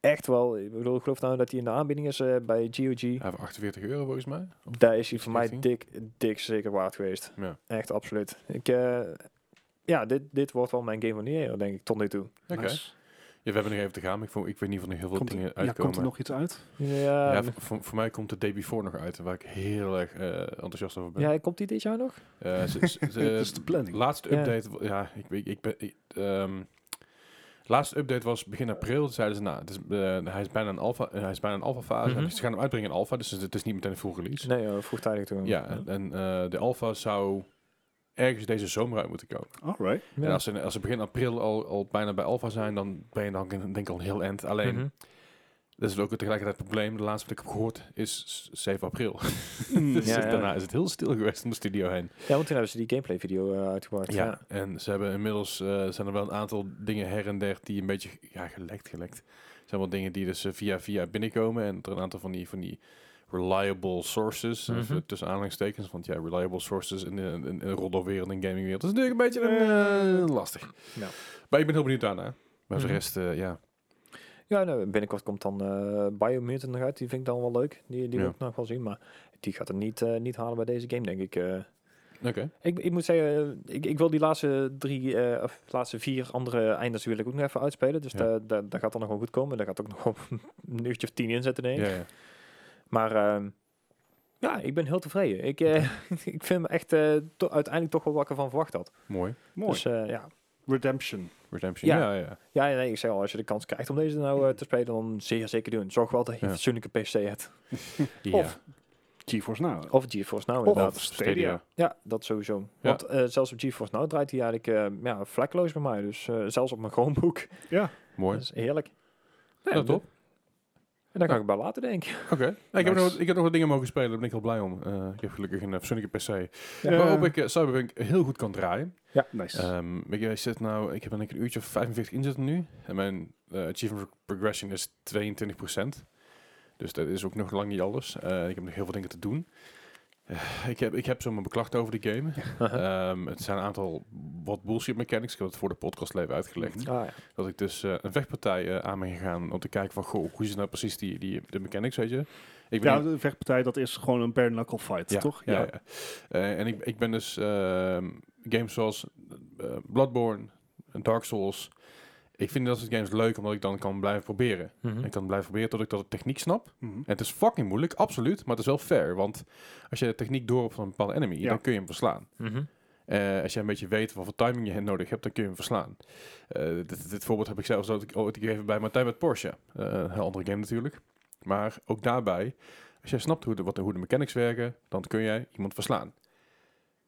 Speaker 3: echt wel... Ik bedoel, ik geloof nou dat hij in de aanbieding is eh, bij GOG.
Speaker 1: Hij heeft 48 euro volgens mij.
Speaker 3: Daar is hij voor mij
Speaker 1: Richting.
Speaker 3: dik, dik zeker waard geweest.
Speaker 1: Ja.
Speaker 3: Echt, absoluut. Ik, eh, ja, dit, dit wordt wel mijn game van de year, denk ik, tot nu toe.
Speaker 1: Oké.
Speaker 2: Nice.
Speaker 1: Ja, we hebben nog even te gaan, maar ik, vond, ik weet niet of er nog heel veel
Speaker 2: Komt,
Speaker 1: dingen
Speaker 2: ja,
Speaker 1: uitkomen.
Speaker 2: komt er nog eh, iets uit?
Speaker 3: Ja,
Speaker 1: ja,
Speaker 3: ja,
Speaker 1: voor, voor- voor mij komt de Day Before nog uit, waar ik heel erg eh, enthousiast over ben.
Speaker 3: komt die dit jaar nog?
Speaker 1: Eh, ze- ze- ze-
Speaker 2: Dat is de planning.
Speaker 1: laatste
Speaker 3: Ja.
Speaker 1: update, wa- ja, ik, weet- ik ben... ik, ehm, laatste update was begin april. Toen zeiden ze, nou, het is, eh, hij is bijna een alpha, eh, hij is bijna een alpha fase.
Speaker 3: Mhm.
Speaker 1: Ze gaan hem uitbrengen in alpha, dus het is niet meteen een full release.
Speaker 3: Nee, eh, vroegtijdig toen.
Speaker 1: Ja, en, en, eh, de alpha zou ergens deze zomer uit moeten komen.
Speaker 2: Alright.
Speaker 1: En als ze, als ze begin april al, al bijna bij Alpha zijn, dan ben je dan denk ik al heel end. Alleen,
Speaker 3: Mhm.
Speaker 1: dat is ook tegelijkertijd het probleem. De laatste wat ik heb gehoord is s- 7 april.
Speaker 2: Mm,
Speaker 1: dus
Speaker 3: Ja, ja.
Speaker 1: daarna is het heel stil geweest om de studio heen.
Speaker 3: Ja, want toen hebben ze die gameplay video uitgebracht.
Speaker 1: Ja, en ze hebben inmiddels eh, zijn er wel een aantal dingen her en der die een beetje ja, gelekt, gelekt. Er zijn wel dingen die dus eh, via via binnenkomen en er een aantal van die van die reliable sources, eh,
Speaker 3: Mhm.
Speaker 1: tussen aanhalingstekens, want ja, reliable sources in de in, in de roddelwereld en gamingwereld, dat is natuurlijk een beetje
Speaker 2: Eh,
Speaker 1: eh, lastig.
Speaker 3: ja.
Speaker 1: Maar ik ben heel benieuwd daarna. Maar voor de
Speaker 3: Mhm.
Speaker 1: rest, eh, ja.
Speaker 3: Ja, nou, binnenkort komt dan eh Biomutant nog uit. Die vind ik dan wel leuk. Die, die wil
Speaker 1: Ja.
Speaker 3: ik nog wel zien. Maar die gaat het niet, eh, niet halen bij deze game, denk ik. eh.
Speaker 1: Oké.
Speaker 3: ik. Ik moet zeggen, eh, ik, ik wil die laatste drie, eh, of laatste vier andere eindes wil ik ook nog even uitspelen. Dus
Speaker 1: Ja.
Speaker 3: daar daar daar gaat dan nog wel goed komen. Daar gaat ook nog wel een uurtje of tien in zitten, denk ik.
Speaker 1: Ja, ja.
Speaker 3: Maar ehm, ja, ik ben heel tevreden. Ik, eh, ik vind me echt eh, to- uiteindelijk toch wel wat ik ervan verwacht had.
Speaker 1: Mooi.
Speaker 2: Mooi.
Speaker 3: Dus eh, ja,
Speaker 2: Redemption.
Speaker 1: Redemption. Ja,
Speaker 3: Ja.
Speaker 1: ja. ja.
Speaker 3: Ja, nee, ik zei al, als je de kans krijgt om deze nou eh, te spelen, dan zeer zeker doen. Zorg wel dat je
Speaker 1: Ja.
Speaker 3: een fatsoenlijke PC hebt.
Speaker 2: Of GeForce Now.
Speaker 3: Of GeForce Now
Speaker 2: Of
Speaker 3: inderdaad.
Speaker 2: Stadia.
Speaker 3: Ja, dat sowieso. Want eh, zelfs op GeForce Now draait hij eigenlijk eh, ja, vlekkeloos bij mij. Dus eh, zelfs op mijn Chromebook.
Speaker 2: Ja.
Speaker 1: Mooi.
Speaker 3: Dat is heerlijk.
Speaker 1: Ja,
Speaker 3: Nou,
Speaker 1: top.
Speaker 3: En daar kan ik bij later denken.
Speaker 1: Oké. Nou, ik, heb
Speaker 2: Nice.
Speaker 1: nog, wat- ik heb nog wat dingen mogen spelen, daar ben ik heel blij om. Eh, ik heb gelukkig een eh, fatsoenlijke PC.
Speaker 2: Ja.
Speaker 1: Waarop ik eh, Cyberpunk heel goed kan draaien.
Speaker 2: Nice.
Speaker 1: Ehm, ik, eh, zit nou, ik heb denk ik een uurtje of 45 inzetten nu. En mijn eh, achievement progression is 22%. Dus dat is ook nog lang niet alles. Eh, ik heb nog heel veel dingen te doen. Eh, ik, heb, ik heb zo mijn beklachten over de game. Ehm, het zijn een aantal wat bullshit mechanics. Ik heb het voor de podcast even uitgelegd.
Speaker 2: Mhm.
Speaker 3: Ah, ja.
Speaker 1: Dat ik dus eh, een vechtpartij eh, aan ben gegaan om te kijken van... Goh, hoe is nou precies die, die, de mechanics, weet je? Ik ben
Speaker 2: ja, de vechtpartij, dat is gewoon een bare knuckle fight, toch?
Speaker 1: Ja. ja. Eh, en ik, ik ben dus ehm, games zoals eh, Bloodborne, Dark Souls. Ik vind dat soort games leuk omdat ik dan kan blijven proberen.
Speaker 2: Hm.
Speaker 3: Mhm.
Speaker 1: Ik kan blijven proberen tot ik dat de techniek snap.
Speaker 2: Mhm.
Speaker 1: En het is fucking moeilijk, absoluut. Maar het is wel fair. Want als je de techniek door hebt van een bepaalde enemy,
Speaker 2: Ja.
Speaker 1: dan kun je hem verslaan.
Speaker 3: Mhm.
Speaker 1: Eh, als jij een beetje weet wat voor timing je nodig hebt, dan kun je hem verslaan. Eh, dit, dit voorbeeld heb ik zelfs ook ooit gegeven bij Martijn met Porsche. Eh, een heel andere game natuurlijk. Maar ook daarbij, als jij snapt hoe de, wat de, hoe de mechanics werken, dan kun jij iemand verslaan.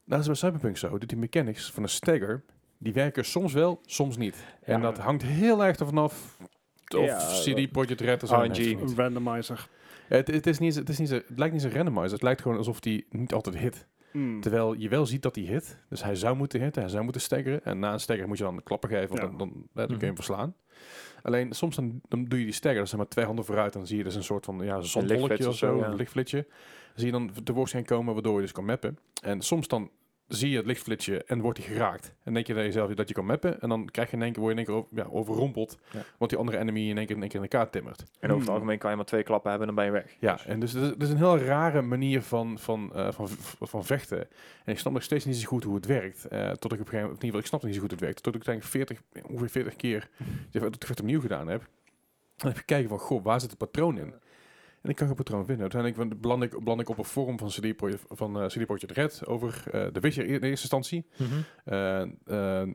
Speaker 1: Nou is het bij Cyberpunk zo, dat die mechanics van een stagger, die werken soms wel, soms niet. En
Speaker 2: Ja.
Speaker 1: dat hangt heel erg ervan af of
Speaker 3: Ja,
Speaker 1: CD Projekt Red is
Speaker 3: RNG.
Speaker 2: Een randomizer.
Speaker 1: Het, het, is niet, het, is niet, het lijkt niet eens een randomizer, het lijkt gewoon alsof die niet altijd hit.
Speaker 2: Mm.
Speaker 1: Terwijl je wel ziet dat hij hit. Dus hij zou moeten hitten, hij zou moeten staggeren. En na een stagger moet je dan de klappen geven, want
Speaker 2: Ja.
Speaker 1: dan, dan, eh, dan kun je
Speaker 3: Mhm.
Speaker 1: hem verslaan. Alleen soms dan, dan doe je die stagger, dan zijn maar twee handen vooruit. En dan zie je dus een soort van ja,
Speaker 3: lichtflits
Speaker 1: zonbolletje
Speaker 3: of
Speaker 1: of zo,
Speaker 3: zo, ja.
Speaker 1: een lichtflitsje. Dan zie je dan tevoorschijn komen, waardoor je dus kan mappen. En soms dan zie je het lichtflitsje en wordt hij geraakt. En denk je bij jezelf dat je kan mappen. En dan krijg je in één keer, word je in één keer over- ja, overrompeld.
Speaker 3: Ja.
Speaker 1: Want die andere enemy in één keer in, één keer in elkaar timmert.
Speaker 3: En over het
Speaker 2: Mm.
Speaker 3: algemeen kan je maar twee klappen hebben en dan ben je weg.
Speaker 1: Ja, en dus het is, het is een heel rare manier van, van, eh, van, van vechten. En ik snap nog steeds niet zo goed hoe het werkt. eh, tot ik op een gegeven moment, in ieder geval, ik snap nog niet zo goed hoe het werkt. Tot ik denk 40, ongeveer 40 keer dat ik het opnieuw gedaan heb. Dan heb ik kijken van, goh, waar zit het patroon in? En ik kan geen patroon vinden. Uiteindelijk beland ik, beland ik op een forum van CD Projekt, van, eh, CD Projekt Red over eh, de Witcher in eerste instantie.
Speaker 3: Mhm.
Speaker 1: Eh, eh,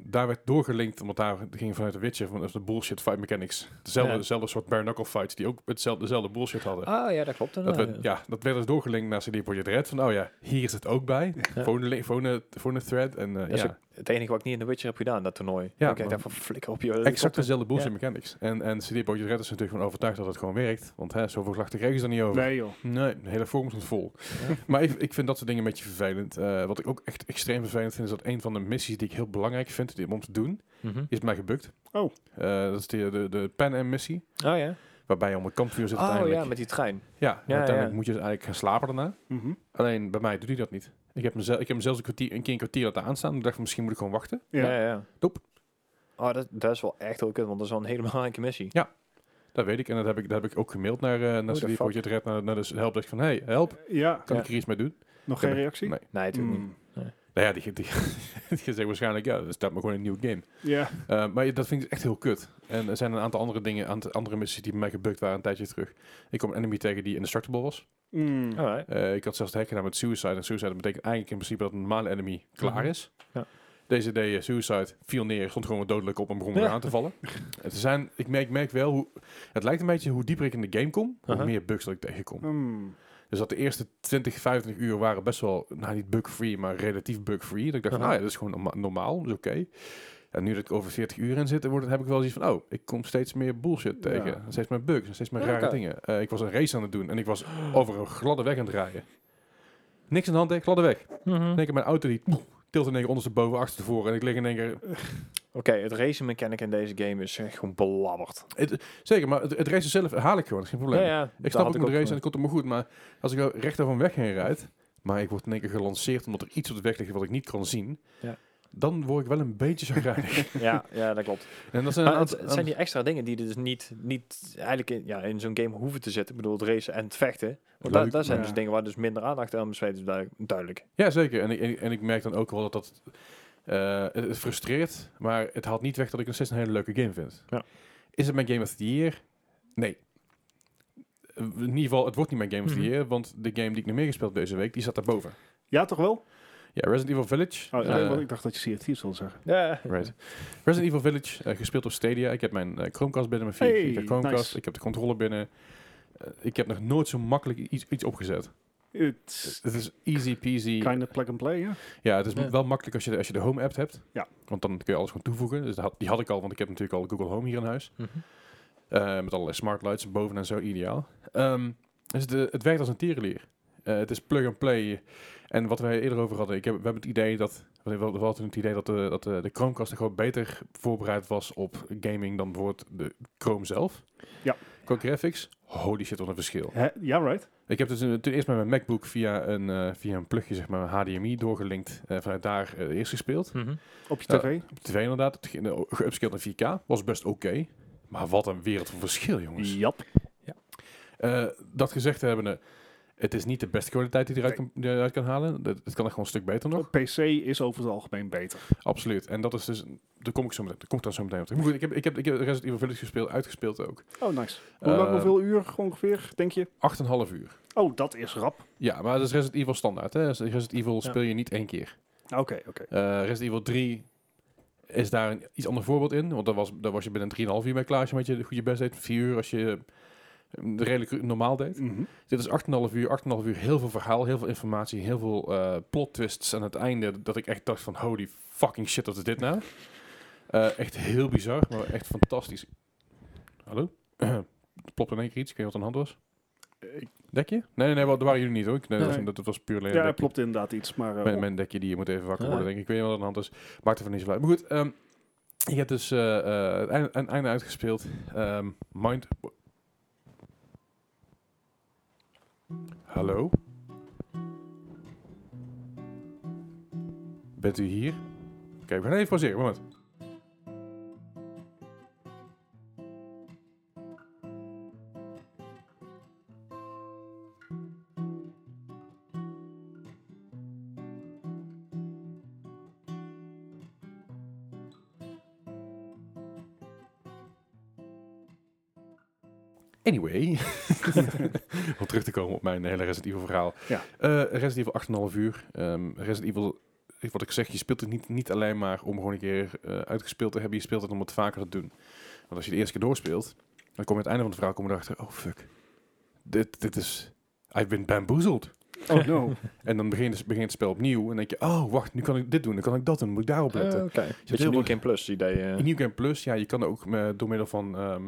Speaker 1: daar werd doorgelinkt, omdat daar ging vanuit de Witcher van de bullshit fight mechanics. Dezelfde,
Speaker 3: Ja.
Speaker 1: dezelfde soort bare knuckle fights die ook hetzelfde, dezelfde bullshit hadden.
Speaker 3: Ah ja, dat klopt.
Speaker 1: Dat
Speaker 3: inderdaad,
Speaker 1: werd, ja, dat werd dus doorgelinkt naar CD Projekt Red. Van, oh ja, hier is het ook bij.
Speaker 3: Ja.
Speaker 1: Phone, li- phone, phone thread. En, eh,
Speaker 3: Dat is
Speaker 1: ja,
Speaker 3: ook Het enige wat ik niet in The Witcher heb gedaan, dat toernooi.
Speaker 1: Ja,
Speaker 3: Ja, ik
Speaker 1: maar-
Speaker 3: dacht van flikker op je.
Speaker 1: exact dezelfde bullshit mechanics. En, en CD Projekt Red is natuurlijk gewoon overtuigd dat het gewoon werkt. Want hè, zoveel klachten kregen ze er niet over.
Speaker 2: Nee joh.
Speaker 1: Nee, de hele forum stond vol.
Speaker 3: Ja.
Speaker 1: Maar ik, ik vind dat soort dingen een beetje vervelend. Eh, wat ik ook echt extreem vervelend vind, is dat een van de missies die ik heel belangrijk vind die- om te doen,
Speaker 3: Mhm.
Speaker 1: is mij gebukt.
Speaker 2: Oh.
Speaker 1: Eh, dat is de, de, de Pan Am missie,
Speaker 3: Oh ja.
Speaker 1: waarbij je om een kampvuur zit
Speaker 3: Oh
Speaker 1: uiteindelijk.
Speaker 3: ja, met die trein.
Speaker 1: Ja,
Speaker 3: ja.
Speaker 1: uiteindelijk moet je dus eigenlijk gaan slapen daarna.
Speaker 2: Mhm.
Speaker 1: Alleen bij mij doet hij dat niet. Ik heb, mezelf, ik heb hem zelfs een, kwartier, een keer een kwartier laten aanstaan. Ik dacht, van, misschien moet ik gewoon wachten.
Speaker 2: Ja.
Speaker 3: Ja, ja. ja.
Speaker 1: Doep.
Speaker 3: Oh, dat, dat is wel echt heel kut, want dat is wel een hele belangrijke missie.
Speaker 1: Dat weet ik. En dat heb ik, dat heb ik ook gemaild naar, eh naar
Speaker 3: Oh, the
Speaker 1: CD
Speaker 3: fuck?
Speaker 1: Projekt Red, naar, naar de helpdesk van, hey, help,
Speaker 2: ja.
Speaker 1: kan
Speaker 3: Ja.
Speaker 1: ik hier iets mee doen?
Speaker 2: Nog
Speaker 1: Ja,
Speaker 2: geen reactie?
Speaker 1: Nee.
Speaker 3: Nee, natuurlijk niet.
Speaker 2: Mm.
Speaker 1: Nou ja, die, die, die zegt waarschijnlijk, ja, dat staat maar gewoon een nieuwe game.
Speaker 2: Ja.
Speaker 1: Eh, maar dat vind ik echt heel kut. En er zijn een aantal andere dingen, aant- andere missies die bij mij gebukt waren een tijdje terug. Ik kwam een enemy tegen die indestructible was.
Speaker 2: Mm.
Speaker 3: Alright.
Speaker 1: Eh, ik had zelfs het hack gedaan met Suicide. En Suicide betekent eigenlijk in principe dat een normale enemy klaar
Speaker 3: Mhm.
Speaker 1: is.
Speaker 3: Ja.
Speaker 1: Deze deed eh, Suicide, viel neer, stond gewoon dodelijk op en begon weer
Speaker 3: Ja.
Speaker 1: aan te vallen. het, zijn, ik, merk, ik merk wel, hoe, het lijkt een beetje hoe dieper ik in de game kom,
Speaker 3: Aha.
Speaker 1: hoe meer bugs dat ik tegenkom.
Speaker 2: Mm.
Speaker 1: Dus Dus dat de eerste 20, 25 uur waren best wel, nou niet bug-free, maar relatief bug-free. Dat ik dacht, van, nou
Speaker 3: Aha.
Speaker 1: ja, dat is gewoon norma- normaal, dat is oké. En nu dat ik over 40 uur in zit, wordt, heb ik wel iets van, oh, ik kom steeds meer bullshit
Speaker 2: Ja.
Speaker 1: tegen. Steeds meer bugs, en steeds meer rare
Speaker 3: Oké.
Speaker 1: dingen. Eh, ik was een race aan het doen en ik was over een gladde weg aan het rijden. Niks aan de hand, hè, gladde weg.
Speaker 3: Hm. Mhm.
Speaker 1: In één keer mijn auto die poeh, tilt in één keer ondersteboven, achterstevoren. En ik lig in één keer...
Speaker 3: Oké, het racing mechanic in deze game is echt gewoon belabberd.
Speaker 1: Zeker, maar het, het race zelf haal ik gewoon, dat is geen probleem. Ik
Speaker 3: daar
Speaker 1: snap
Speaker 3: had
Speaker 1: ook met de race en
Speaker 3: eh,
Speaker 1: ik komt hem goed. Maar als ik nou recht van weg heen rijd, maar ik word in één keer gelanceerd omdat er iets op de weg ligt wat ik niet kan zien,
Speaker 3: Ja.
Speaker 1: dan word ik wel een beetje chagrijnig.
Speaker 3: ja, ja, dat klopt.
Speaker 1: en dat zijn,
Speaker 3: Maar
Speaker 1: een
Speaker 3: het,
Speaker 1: aantal-
Speaker 3: het zijn die extra dingen die er dus niet, niet eigenlijk in, ja, in zo'n game hoeven te zitten. Ik bedoel, het racen en het vechten. Want daar,
Speaker 1: Leuk,
Speaker 3: daar zijn
Speaker 2: maar-
Speaker 3: dus dingen waar dus minder aandacht aan besteed is, duidelijk- duidelijk.
Speaker 1: Ja, zeker. En, ik- en, ik- en ik merk dan ook wel dat dat... eh, het, het frustreert, maar het haalt niet weg dat ik nog steeds een hele leuke game vind.
Speaker 3: Ja.
Speaker 1: Is het mijn Game of the Year? Nee. Eh, In ieder geval, het wordt niet mijn Game of the
Speaker 3: Mhm.
Speaker 1: Year, want de game die ik nog meer gespeeld heb deze week, die zat daarboven.
Speaker 2: Ja, toch wel?
Speaker 1: Ja, Resident Evil Village.
Speaker 2: Oh, ja,
Speaker 1: eh,
Speaker 2: want ik dacht dat je CFT zou zeggen.
Speaker 3: Ja,
Speaker 1: Right. Resident Evil Village, eh, gespeeld op Stadia. Ik heb mijn eh, Chromecast binnen, mijn 4
Speaker 2: Hey,
Speaker 1: giga Chromecast.
Speaker 2: nice.
Speaker 1: Ik heb de controller binnen. Eh, ik heb nog nooit zo makkelijk iets, iets opgezet.
Speaker 2: It's
Speaker 1: Het is easy peasy.
Speaker 2: kind of plug and play, ja.
Speaker 1: Ja, het is
Speaker 3: Ja.
Speaker 1: wel makkelijk als je, de, als je de Home app hebt.
Speaker 2: Ja.
Speaker 1: Want dan kun je alles gewoon toevoegen. Dus dat had, die had ik al, want ik heb natuurlijk al Google Home hier in huis.
Speaker 3: Mhm.
Speaker 1: Eh, met allerlei smart lights boven en zo, ideaal. Ehm, dus de, het werkt als een tierenlier. Eh, het is plug and play. En wat wij eerder over hadden, ik heb, we hebben het idee dat. We hadden we hadden toen het idee dat de, dat de, de Chromecast er gewoon beter voorbereid was op gaming dan bijvoorbeeld de Chrome zelf.
Speaker 2: Ja.
Speaker 1: Qua graphics, holy shit, wat een verschil.
Speaker 2: Hè? Ja, right.
Speaker 1: Ik heb dus een- toen eerst met mijn MacBook via een, eh, via een plugje, zeg maar, een HDMI doorgelinkt. eh, vanuit daar eh, eerst gespeeld.
Speaker 3: Mhm.
Speaker 2: Op je
Speaker 1: Ja.
Speaker 2: tv.
Speaker 1: Op tv inderdaad, het ging, eh, geupscaled naar 4K. Was best oké. Maar wat een wereld van verschil, jongens.
Speaker 2: Jap.
Speaker 1: Eh, dat gezegd hebbende, het is niet de beste kwaliteit die je eruit, kan, die je eruit kan halen. Dat, het kan er gewoon een stuk beter nog.
Speaker 2: PC is over het algemeen beter.
Speaker 1: Absoluut. En dat is dus, daar kom ik zo meteen, daar kom ik dan zo meteen op terug. Maar goed, ik heb, ik heb, ik heb Resident Evil Village gespeeld, uitgespeeld ook.
Speaker 2: Oh, nice. Hoe lang,
Speaker 1: Eh,
Speaker 2: hoeveel uur ongeveer, denk je?
Speaker 1: 8,5 uur.
Speaker 2: Oh, dat is rap.
Speaker 1: Ja, maar dat is Resident Evil standaard. Hè? Dus Resident Evil speel je niet één keer.
Speaker 2: Oké, Ah, oké.
Speaker 1: Eh, Resident Evil 3 is daar een iets ander voorbeeld in. Want daar was, daar was je binnen 3,5 uur mee klaar als je met je goed je best deed. 4 uur als je eh, redelijk normaal deed.
Speaker 2: Mhm.
Speaker 1: Dit is 8,5 uur, 8,5 uur, heel veel verhaal, heel veel informatie, heel veel eh, plot twists aan het einde. Dat ik echt dacht van holy fucking shit, wat is dit nou? Eh, echt heel bizar, maar echt fantastisch. Hallo? Plopt in één keer iets, ik weet niet wat aan de hand was.
Speaker 2: Eh, Ik-
Speaker 1: Dekje? Nee, nee, nee, wa- dat waren jullie niet hoor. Ik- Nee, Dat,
Speaker 2: Nee.
Speaker 1: was, dat was puur alleen
Speaker 2: Ja,
Speaker 1: dekje.
Speaker 2: dat klopt inderdaad iets, maar... eh, Ah.
Speaker 1: Mijn, mijn dekje die je moet even wakker
Speaker 3: Ja.
Speaker 1: worden, denk ik. Ik weet niet wat er aan de hand is. Maakt er van niet zo uit. Maar goed, ehm ik heb dus eh, eh, het einde, het einde uitgespeeld. Ehm, mind... Hallo? Bent u hier? Oké, we gaan even pauzeren. Moment. Anyway, om terug te komen op mijn hele Resident Evil verhaal.
Speaker 2: Ja.
Speaker 1: Eh, Resident Evil 8,5 uur. Ehm, Resident Evil, ik- wat ik zeg, je speelt het niet, niet alleen maar om gewoon een keer eh, uitgespeeld te hebben. Je speelt het om het vaker te doen. Want als je de eerste keer doorspeelt, dan kom je aan het einde van het verhaal kom je erachter. Oh fuck, dit, dit is... I've been bamboozled.
Speaker 2: Oh no.
Speaker 1: En dan begint het, begint het spel opnieuw. En denk je, oh wacht, nu kan ik dit doen, dan kan ik dat doen, moet ik daarop letten.
Speaker 3: Eh, Oké.
Speaker 1: heel
Speaker 3: Beetje New
Speaker 1: veel-
Speaker 3: Game Plus idee. eh.
Speaker 1: In New Game Plus, ja, je kan ook eh, door middel van ehm,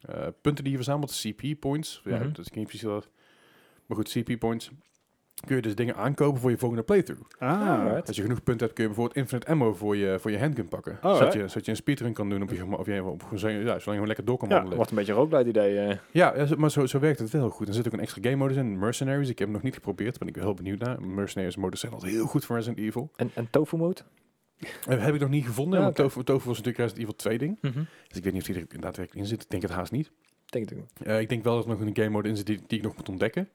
Speaker 1: eh, punten die je verzamelt, CP points. Ja,
Speaker 3: Mhm.
Speaker 1: dat is niet precies wat. Maar goed, CP points. Kun je dus dingen aankopen voor je volgende playthrough.
Speaker 2: Ah,
Speaker 3: Alright.
Speaker 1: Als je genoeg punten hebt, kun je bijvoorbeeld infinite ammo voor je, voor je handgun pakken.
Speaker 3: Oh,
Speaker 2: Alright.
Speaker 1: zodat, je, zodat je een speedrun kan doen op je gema- of je, op, zo- ja, zolang je gewoon lekker door kan
Speaker 3: Ja,
Speaker 1: wandelen.
Speaker 3: wordt een beetje rookluid idee. eh.
Speaker 1: Ja, ja, zo- maar zo, zo werkt het wel heel goed. Er zit ook een extra game modus in, Mercenaries. Ik heb hem nog niet geprobeerd, ben ik heel benieuwd naar. Mercenaries modus zijn altijd heel goed voor Resident Evil.
Speaker 3: En, en tofu mode?
Speaker 1: Eh, heb ik nog niet gevonden,
Speaker 3: Ja,
Speaker 1: want
Speaker 3: oké.
Speaker 1: Tofu, Tofu was natuurlijk Resident Evil 2 ding.
Speaker 3: Mhm.
Speaker 1: Dus ik weet niet of die er inderdaad werkelijk in zit. Ik denk het haast niet.
Speaker 3: Denk het ook.
Speaker 1: Eh, ik denk wel dat er nog een game mode in zit die, die ik nog moet ontdekken.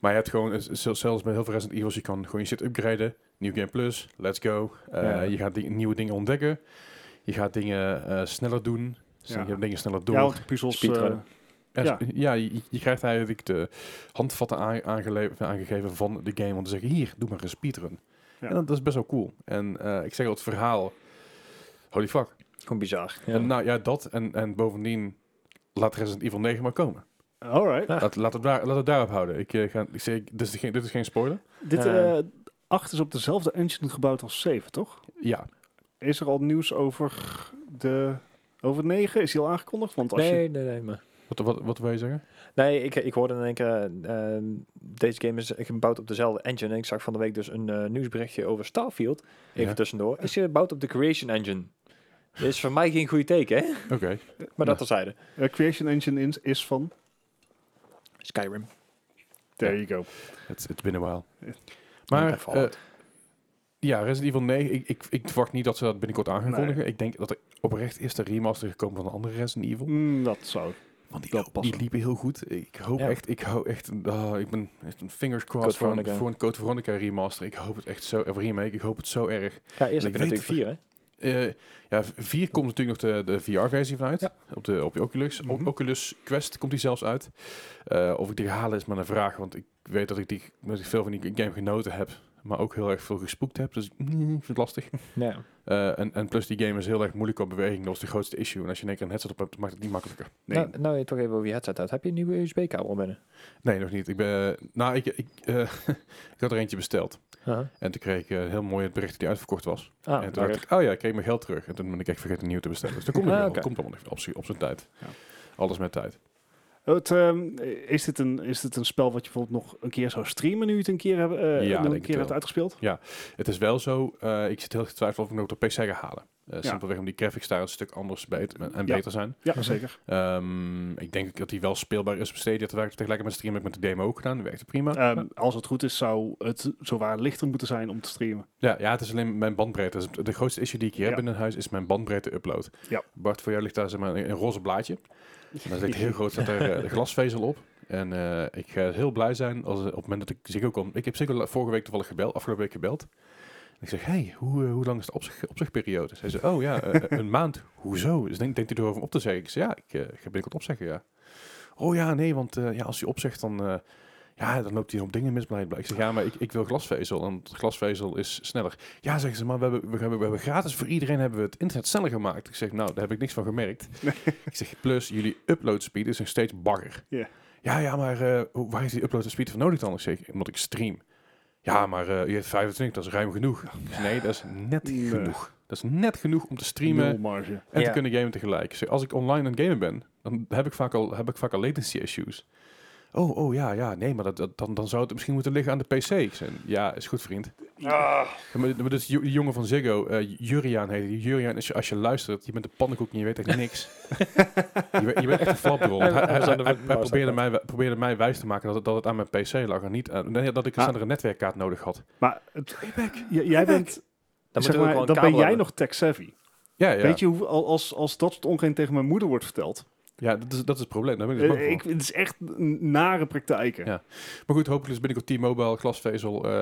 Speaker 1: Maar je hebt gewoon, eh, zel- zelfs bij heel veel Resident Evils, je kan gewoon je shit upgraden. New Game Plus, let's go. Eh,
Speaker 3: Ja.
Speaker 1: Je gaat ding- nieuwe dingen ontdekken. Je gaat dingen eh, sneller doen. Dus
Speaker 2: Ja.
Speaker 1: Je hebt dingen sneller door.
Speaker 2: ja, want de puzzels...
Speaker 3: Speedrun.
Speaker 2: eh,
Speaker 1: En
Speaker 2: ja.
Speaker 1: s- ja, je, je krijgt eigenlijk de handvatten aan- aangele- aangegeven van de game. Om te zeggen, hier, doe maar een speedrun.
Speaker 2: Ja.
Speaker 1: En dat, dat is best wel cool. En eh, ik zeg al, het verhaal... Holy fuck.
Speaker 3: Gewoon bizar. Ja.
Speaker 1: En nou ja, dat. En, en bovendien, laat Resident Evil 9 maar komen.
Speaker 2: eh, Alright.
Speaker 1: Laat, laat, het daar, laat het daarop houden. Ik, eh, ga, ik zeg, dit, is geen, dit is geen spoiler.
Speaker 2: Dit
Speaker 3: Eh.
Speaker 2: eh 8 is op dezelfde engine gebouwd als 7, toch?
Speaker 1: Ja,
Speaker 2: Is er al nieuws over de over 9? Is die al aangekondigd? Want als je
Speaker 3: Nee, nee, nee, maar...
Speaker 1: wat, wat, wat wil je zeggen?
Speaker 3: Nee, ik, ik hoorde in één keer, eh, eh, deze game is gebouwd op dezelfde engine. En ik zag van de week dus een eh, nieuwsberichtje over Starfield, even
Speaker 1: Ja.
Speaker 3: tussendoor. Is gebouwd op de Creation Engine. Dit is voor mij geen goede teken, hè?
Speaker 1: Oké.
Speaker 3: Maar
Speaker 1: Ja.
Speaker 3: dat terzijde.
Speaker 2: eh, Creation Engine is, is van...
Speaker 3: Skyrim.
Speaker 2: There you go.
Speaker 1: Het het been a while.
Speaker 2: Ja.
Speaker 1: Maar
Speaker 3: En Fallout.
Speaker 1: eh, ja, Resident Evil 9, ik, ik, ik verwacht niet dat ze dat binnenkort aan gaan
Speaker 2: Nee.
Speaker 1: kondigen. Ik denk dat er oprecht is de remaster gekomen van een andere Resident Evil.
Speaker 2: Mm, dat zou...
Speaker 1: Want die,
Speaker 2: Dat
Speaker 1: lo-
Speaker 2: past
Speaker 1: die
Speaker 2: wel.
Speaker 1: liepen heel goed. Ik hoop
Speaker 3: Ja.
Speaker 1: echt, ik hou echt, ah, ik ben echt een fingers crossed
Speaker 3: Code
Speaker 1: voor een,
Speaker 3: Veronica.
Speaker 1: voor een Code Veronica remaster. Ik hoop het echt zo, of remake, ik hoop het zo erg.
Speaker 3: ja, eerst heb
Speaker 1: ik
Speaker 3: je
Speaker 1: weet
Speaker 3: natuurlijk vier, hè?
Speaker 1: Eh, ja, 4 komt natuurlijk nog de, de VR-versie van uit.
Speaker 3: Ja.
Speaker 1: Op, de, op de Oculus. O-
Speaker 2: Mhm.
Speaker 1: Oculus Quest komt die zelfs uit. Eh, of ik die ga halen is maar een vraag. Want ik weet dat ik, die, dat ik veel van die game genoten heb. Maar ook heel erg veel gespoekt heb. Dus mm, ik vind het lastig.
Speaker 3: Ja.
Speaker 1: Eh, en, en plus die game is heel erg moeilijk op beweging. Dat is de grootste issue. En als je in één keer een headset op hebt, maakt het niet makkelijker.
Speaker 2: Nee.
Speaker 3: Nou, nou, je toch even over je headset uit. Heb je een nieuwe USB-kabel binnen?
Speaker 1: Nee, nog niet. Ik, ben, nou, ik, ik, eh, ik had er eentje besteld. En toen kreeg ik eh, heel mooi het bericht dat die uitverkocht was.
Speaker 3: Ah,
Speaker 1: en toen dacht
Speaker 3: lekker.
Speaker 1: ik, oh ja, ik kreeg mijn geld terug. En toen ben ik echt vergeten nieuw te bestellen. Dus dat komt nog
Speaker 3: Ah,
Speaker 1: wel.
Speaker 3: oké.
Speaker 1: komt allemaal nog wel op, z'n- op zijn tijd.
Speaker 2: Ja.
Speaker 1: Alles met tijd.
Speaker 2: Het, ehm, is, dit een, is dit een spel wat je bijvoorbeeld nog een keer zou streamen nu je het een keer, hebben, eh,
Speaker 1: Ja, denk
Speaker 2: een keer
Speaker 1: het
Speaker 2: hebt
Speaker 1: wel.
Speaker 2: uitgespeeld?
Speaker 1: Het is wel zo, eh, ik zit heel erg te twijfelen of ik nog op de PC ga halen. Eh,
Speaker 2: Ja.
Speaker 1: Simpelweg omdat die graphics daar een stuk anders beter, en
Speaker 2: Ja.
Speaker 1: beter zijn.
Speaker 3: Mhm.
Speaker 2: Ja, zeker.
Speaker 1: Ehm, ik denk dat die wel speelbaar is op Stadia. Terwijl ik tegelijk met stream heb ik met de demo ook gedaan. Die werkte prima.
Speaker 2: Ehm, als het goed is, zou het zowaar lichter moeten zijn om te streamen.
Speaker 1: Ja, ja, het is alleen mijn bandbreedte. Dat is De grootste issue die ik hier
Speaker 2: Ja.
Speaker 1: heb in huis is mijn bandbreedte upload.
Speaker 2: Ja.
Speaker 1: Bart, voor jou ligt daar zeg maar, een, een roze blaadje. En daar zit heel groot staat er, eh, de glasvezel op. En eh, ik ga heel blij zijn als eh, op het moment dat ik Ziggo kom. Ik heb Ziggo la- vorige week toevallig gebeld, afgelopen week gebeld. En ik zeg, hey, hoe, eh, hoe lang is de opzeg, opzegperiode? Zij zei, oh ja, eh, een maand. Hoezo? Dus denk, denkt hij erover om op te zeggen? Ik zei, ja, ik eh, ga binnenkort opzeggen, ja. Oh ja, nee, want eh, ja, als hij opzegt, dan... eh, ja, dan loopt hij op dingen mis blijkbaar. Ik zeg, ja, maar ik, ik wil glasvezel. En glasvezel is sneller. Ja, zeggen ze, maar we hebben, we, hebben, we hebben gratis voor iedereen hebben we het internet sneller gemaakt. Ik zeg, nou, daar heb ik niks van gemerkt. Ik zeg, plus jullie upload speed is nog steeds bagger.
Speaker 2: Ja.
Speaker 1: Ja, ja, maar eh, hoe- waar is die upload speed voor nodig dan? Ik zeg, omdat ik stream. Ja, maar eh, je hebt 25, dat is ruim genoeg. Ik zeg, nee, dat is net
Speaker 2: Nee.
Speaker 1: genoeg. Dat is net genoeg om te streamen
Speaker 2: Nul marge.
Speaker 1: en
Speaker 3: Ja.
Speaker 1: te kunnen gamen tegelijk. Ik zeg, als ik online aan het gamen ben, dan heb ik vaak al, heb ik vaak al latency issues. Oh, oh ja, ja, nee, maar dat, dat- dan, dan zou het misschien moeten liggen aan de PC. Ik zeg, ja, is goed, vriend. Ja, maar, maar dus die jongen van Ziggo, eh Juriaan heet hij. Juriaan, als je, als je luistert, je bent een pannenkoek en je weet echt niks. je, bent- je bent echt een flapdrol. Hij,
Speaker 3: Hij-
Speaker 1: hij,
Speaker 3: hij was aan de
Speaker 1: hij- hij
Speaker 3: was
Speaker 1: probeerde,
Speaker 3: aan
Speaker 1: mij, probeerde mij wijs te maken dat het, dat het aan mijn PC lag en niet aan, nee, dat ik een
Speaker 2: Ah.
Speaker 1: snellere netwerkkaart nodig had.
Speaker 2: Maar het, J- jij bent, zeg
Speaker 3: Dan moeten we ook
Speaker 2: maar,
Speaker 3: wel
Speaker 2: dan
Speaker 3: een
Speaker 2: ben
Speaker 3: kabel
Speaker 2: jij
Speaker 3: hebben.
Speaker 2: nog tech-savvy.
Speaker 1: Ja, ja.
Speaker 2: Weet je, hoe, al- als, als dat soort ongein tegen mijn moeder wordt verteld.
Speaker 1: ja dat, is, dat is het probleem. Daar ben ik dus bang
Speaker 2: eh,
Speaker 1: voor.
Speaker 2: ik, het is echt n- nare praktijken.
Speaker 1: Ja. Maar goed, hopelijk dus is binnenkort T-Mobile, glasvezel. eh,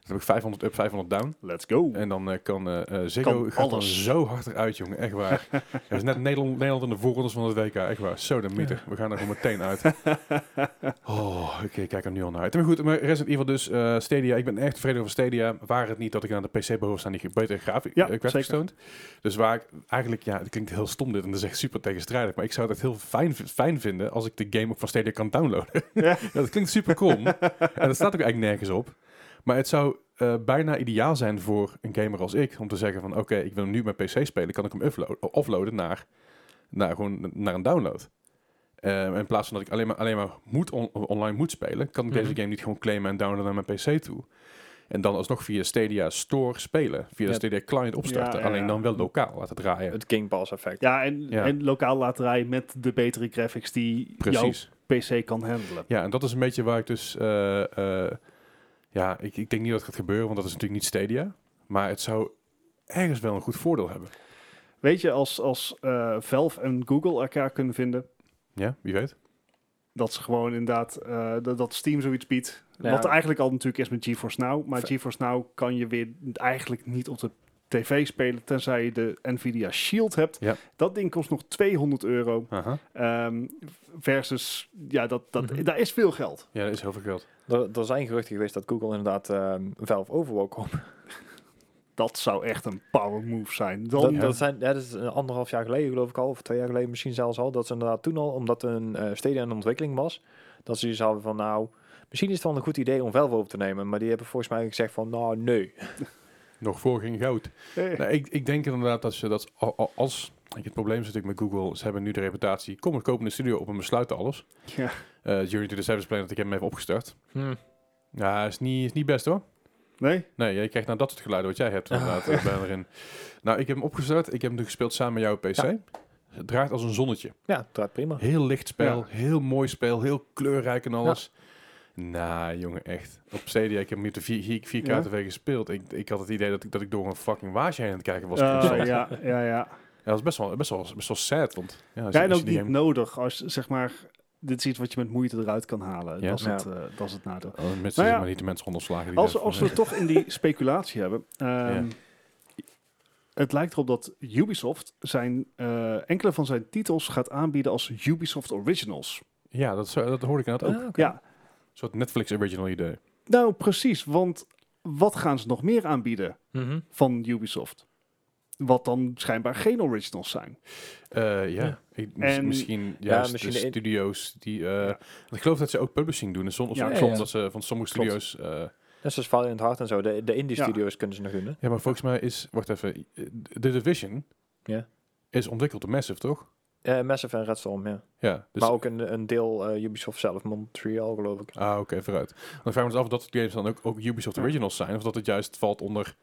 Speaker 1: dan heb ik 500 up, 500 down.
Speaker 2: Let's go.
Speaker 1: En dan eh, kan eh eh, Ziggo
Speaker 2: Kan
Speaker 1: gaat dan
Speaker 2: alles.
Speaker 1: zo hard eruit, jongen. Echt waar. Dat is net Nederland, Nederland in de voorrondes van het WK. Echt waar. Zo de mieter. We gaan er gewoon meteen uit. Oh, oké. ik kijk er nu al naar uit. Maar goed, maar Resident Evil dus. eh, Stadia. Ik ben echt tevreden over Stadia. Waar het niet dat ik aan de PC behoor staan die beter grafisch
Speaker 2: Ja,
Speaker 1: ja, graphics
Speaker 2: zeker.
Speaker 1: toont. eh, Dus waar ik eigenlijk... Ja, het klinkt heel stom dit. En dat is echt super tegenstrijdig. Maar ik zou het echt heel fijn, vi- fijn vinden als ik de game ook van Stadia kan downloaden.
Speaker 2: Ja.
Speaker 1: dat klinkt super krom. en dat staat ook eigenlijk nergens op. Maar het zou eh, bijna ideaal zijn voor een gamer als ik om te zeggen van oké, ik wil hem nu met PC spelen, kan ik hem upload- offloaden naar, naar, gewoon, naar een download. Eh, in plaats van dat ik alleen maar, alleen maar moet on- online moet spelen, kan ik deze
Speaker 3: Mhm.
Speaker 1: game niet gewoon claimen en downloaden naar mijn PC toe. En dan alsnog via Stadia Store spelen, via de
Speaker 3: Ja.
Speaker 1: Stadia Client opstarten,
Speaker 2: Ja, ja,
Speaker 1: alleen
Speaker 2: ja.
Speaker 1: dan wel lokaal laten draaien.
Speaker 3: Het King Pass effect.
Speaker 2: Ja, en,
Speaker 1: Ja.
Speaker 2: en lokaal laten draaien met de betere graphics die
Speaker 1: Precies.
Speaker 2: jouw PC kan handelen.
Speaker 1: Ja, en dat is een beetje waar ik dus. eh, eh, ja, ik, ik denk niet dat het gaat gebeuren, want dat is natuurlijk niet Stadia. Maar het zou ergens wel een goed voordeel hebben.
Speaker 2: Weet je, als, als eh, Valve en Google elkaar kunnen vinden,
Speaker 1: Ja, wie weet.
Speaker 2: dat ze gewoon inderdaad, eh, dat, dat Steam zoiets biedt.
Speaker 3: Ja.
Speaker 2: Wat eigenlijk al natuurlijk is met GeForce Now, maar
Speaker 3: Ver-
Speaker 2: GeForce Now kan je weer eigenlijk niet op de tv spelen, tenzij je de Nvidia Shield hebt.
Speaker 1: Ja.
Speaker 2: Dat ding kost nog 200 euro,
Speaker 1: Aha.
Speaker 2: ehm, versus, ja, dat, dat,
Speaker 3: Mhm.
Speaker 2: daar is veel geld.
Speaker 1: Ja, dat is heel veel geld.
Speaker 3: Er, er zijn geruchten geweest dat Google inderdaad ehm Valve Overwatch koopt.
Speaker 2: Dat zou echt een power move zijn. Dan,
Speaker 3: Dat,
Speaker 1: Ja.
Speaker 3: dat, zijn, ja, dat is een anderhalf jaar geleden geloof ik al, of twee jaar geleden misschien zelfs al. Dat ze inderdaad toen al, omdat een eh steden in ontwikkeling was, dat ze zouden hadden van nou, misschien is het wel een goed idee om Valve over te nemen. Maar die hebben volgens mij gezegd van nou nee.
Speaker 1: Nog voor geen goud.
Speaker 2: Eh,
Speaker 1: Nee, ik, ik denk inderdaad dat ze dat a- a- als. kijk, Het probleem zit natuurlijk met Google. Ze hebben nu de reputatie. Kom, we kopen een studio op en besluiten alles.
Speaker 2: ja.
Speaker 1: Eh Journey to the Savage Planet, ik heb hem even opgestart. Ja, is niet, is niet best hoor.
Speaker 2: Nee?
Speaker 1: Nee, jij krijgt nou dat soort geluiden wat jij hebt inderdaad. eh, bijna erin. Nou, ik heb hem opgestart. Ik heb hem nu gespeeld samen met jou op PC. Het draait als een zonnetje.
Speaker 3: Ja, het draait prima.
Speaker 1: Heel licht spel, heel mooi spel, heel kleurrijk en alles. Nou, jongen, echt. Op CD, ik heb hem nu de 4, 4K
Speaker 2: Ja.
Speaker 1: TV gespeeld. Ik, ik had het idee dat ik, dat ik door een fucking waasje heen aan het kijken was.
Speaker 2: Ah,
Speaker 1: constant.
Speaker 2: ja, ja, ja.
Speaker 1: Ja, dat is best wel, best wel, best wel sad, want... Ja, als
Speaker 2: Ja,
Speaker 1: je-
Speaker 2: en
Speaker 1: als
Speaker 2: ook
Speaker 1: je die
Speaker 2: niet nodig. Als, zeg maar, dit is iets wat je met moeite eruit kan halen.
Speaker 1: Ja.
Speaker 2: Dat, is het,
Speaker 3: Ja.
Speaker 2: eh, dat is het nadeel.
Speaker 1: game- Oh, mensen
Speaker 2: Nou ja.
Speaker 1: zeg maar niet de mensen onderslagen. Die
Speaker 2: Als,
Speaker 1: dat-
Speaker 2: als we het toch in die speculatie hebben. ehm, Het lijkt erop dat Ubisoft zijn, eh, enkele van zijn titels gaat aanbieden als Ubisoft Originals.
Speaker 1: Ja, dat, zou- dat hoorde ik inderdaad ook.
Speaker 3: Ah, oké.
Speaker 2: Ja,
Speaker 1: Een soort Netflix original idee.
Speaker 2: Nou, precies. Want wat gaan ze nog meer aanbieden
Speaker 3: Mhm.
Speaker 2: van Ubisoft? Wat dan schijnbaar geen originals zijn.
Speaker 1: Eh, ja,
Speaker 3: Ja.
Speaker 1: Ik, mis-
Speaker 2: En-
Speaker 1: misschien juist
Speaker 3: misschien
Speaker 1: de
Speaker 3: de in-
Speaker 1: studio's die... eh,
Speaker 2: Ja.
Speaker 1: want Ik geloof dat ze ook publishing doen. En soms,
Speaker 2: Ja,
Speaker 1: soms
Speaker 3: ja, ja.
Speaker 1: dat ze van sommige
Speaker 3: Klopt.
Speaker 1: studio's... eh,
Speaker 3: Net zoals Valiant Heart en zo. De, de indie
Speaker 2: Ja.
Speaker 3: studios kunnen ze nog doen. Hè?
Speaker 1: ja, maar volgens mij is... Wacht even. eh, The Division
Speaker 3: Ja.
Speaker 1: is ontwikkeld door Massive, toch?
Speaker 3: Eh, Massive en Redstorm, ja.
Speaker 1: Ja, dus...
Speaker 3: maar ook een, een deel eh, Ubisoft zelf, Montreal geloof ik.
Speaker 1: Ah, oké, vooruit. Dan vraag ik me dus af of dat de games dan ook, ook Ubisoft
Speaker 2: Ja.
Speaker 1: Originals zijn. Of dat het juist valt onder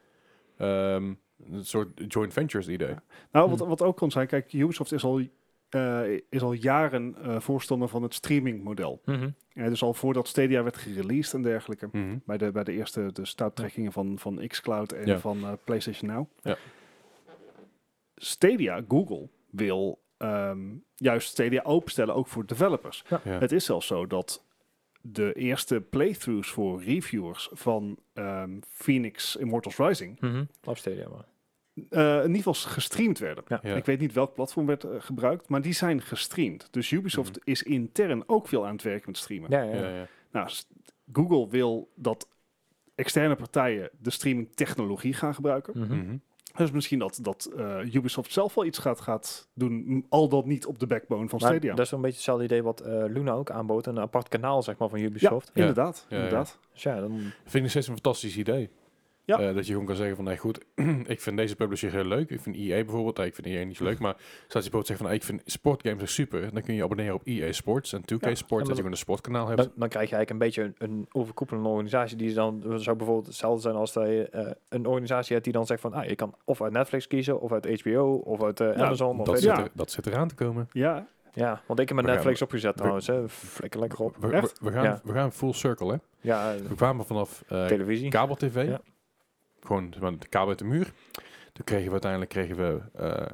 Speaker 1: ehm, een soort joint ventures idee.
Speaker 2: Nou, wat,
Speaker 3: Hm.
Speaker 2: wat ook kon zijn, kijk, Ubisoft is al, eh, is al jaren eh, voorstander van het streamingmodel. Eh, dus al voordat Stadia werd gereleased en dergelijke.
Speaker 1: Mhm.
Speaker 2: Bij de, bij de eerste de stuiptrekkingen van, van xCloud en
Speaker 1: Ja.
Speaker 2: van eh, PlayStation Now.
Speaker 1: Ja.
Speaker 2: Stadia, Google, wil ehm, juist Stadia openstellen, ook voor developers.
Speaker 1: Ja.
Speaker 2: Het is zelfs zo dat de eerste playthroughs voor reviewers van ehm, Phoenix Immortals Rising
Speaker 3: Op Stadia, maar.
Speaker 2: eh, in ieder geval gestreamd werden.
Speaker 1: Ja.
Speaker 2: Ik weet niet welk platform werd eh, gebruikt, maar die zijn gestreamd. Dus Ubisoft is intern ook veel aan het werk met streamen.
Speaker 3: Ja, ja.
Speaker 1: Ja,
Speaker 3: ja.
Speaker 1: ja.
Speaker 2: Nou, s- Google wil dat externe partijen de streaming technologie gaan gebruiken.
Speaker 3: Mhm.
Speaker 1: Mhm.
Speaker 2: Dus misschien dat, dat eh, Ubisoft zelf wel iets gaat, gaat doen, m- al dan niet op de backbone van
Speaker 3: Maar
Speaker 2: Stadia.
Speaker 3: dat is wel een beetje hetzelfde idee wat eh, Luna ook aanbood. Een apart kanaal, zeg maar, van Ubisoft.
Speaker 1: Ja.
Speaker 2: Inderdaad,
Speaker 1: Ja, ja.
Speaker 2: inderdaad.
Speaker 3: Dus ja, dan...
Speaker 1: Vind ik nog steeds een fantastisch idee.
Speaker 2: Ja.
Speaker 1: Eh, dat je gewoon kan zeggen van, nee goed, ik vind deze publisher heel leuk. Ik vind EA bijvoorbeeld, nee, ik vind EA niet zo leuk, maar zoals je bijvoorbeeld zegt van, nou, ik vind sportgames echt super. Dan kun je je abonneren op EA Sports en 2K
Speaker 2: Ja.
Speaker 1: Sports,
Speaker 3: maar
Speaker 1: dat je
Speaker 3: dat-
Speaker 1: gewoon een sportkanaal hebt.
Speaker 3: Dan, dan krijg je eigenlijk een beetje een, een overkoepelende organisatie die dan zou bijvoorbeeld hetzelfde zijn als dat je eh, een organisatie hebt die dan zegt van ah, je kan of uit Netflix kiezen of uit HBO of uit eh,
Speaker 2: Ja,
Speaker 3: Amazon. Of
Speaker 1: dat,
Speaker 3: weet
Speaker 1: zit
Speaker 2: ja.
Speaker 1: er, dat zit eraan te komen.
Speaker 2: Ja,
Speaker 3: ik- ja, want ik
Speaker 1: We
Speaker 3: heb mijn
Speaker 1: gaan-
Speaker 3: Netflix opgezet
Speaker 1: we-
Speaker 3: trouwens. Hè. Flikker lekker op.
Speaker 1: We, we,
Speaker 2: Echt?
Speaker 1: we gaan,
Speaker 3: Ja.
Speaker 1: we gaan full circle, hè.
Speaker 3: Ja, eh,
Speaker 1: We kwamen vanaf eh
Speaker 3: televisie.
Speaker 1: kabel-tv,
Speaker 3: Ja.
Speaker 1: gewoon zeg maar, de kabel uit de muur. Toen kregen we uiteindelijk kregen we, eh,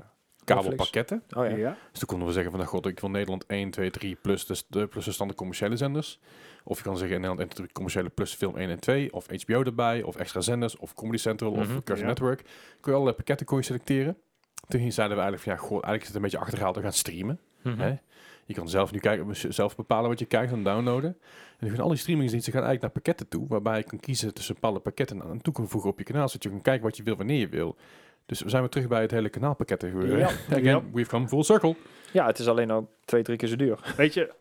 Speaker 1: kabelpakketten.
Speaker 3: Oh ja.
Speaker 2: ja.
Speaker 1: Dus toen konden we zeggen van, nou god, ik wil Nederland 1, 2, 3 plus de, de, plus de standaard commerciële zenders. Of je kan zeggen Nederland 1, 2, 3 commerciële plus film 1 en 2. Of HBO erbij, of extra zenders, of Comedy Central,
Speaker 3: Mhm.
Speaker 1: of Cartoon
Speaker 2: Ja.
Speaker 1: Network. Kun je allerlei pakketten kon je selecteren. Toen zeiden we eigenlijk van, ja god, eigenlijk is het een beetje achterhaald, we gaan streamen. Hè? Je kan zelf nu kijken, zelf bepalen wat je kijkt en downloaden. En nu gaan al die streamingsdiensten gaan eigenlijk naar pakketten toe, waarbij je kan kiezen tussen bepaalde pakketten aan toe kan voegen op je kanaal, zodat je kan kijken wat je wil wanneer je wil. Dus we zijn weer terug bij het hele kanaalpakketten. gebeuren. Again,
Speaker 2: Ja.
Speaker 1: we've come full circle.
Speaker 3: Ja, het is alleen al twee, drie keer zo duur.
Speaker 2: Weet je,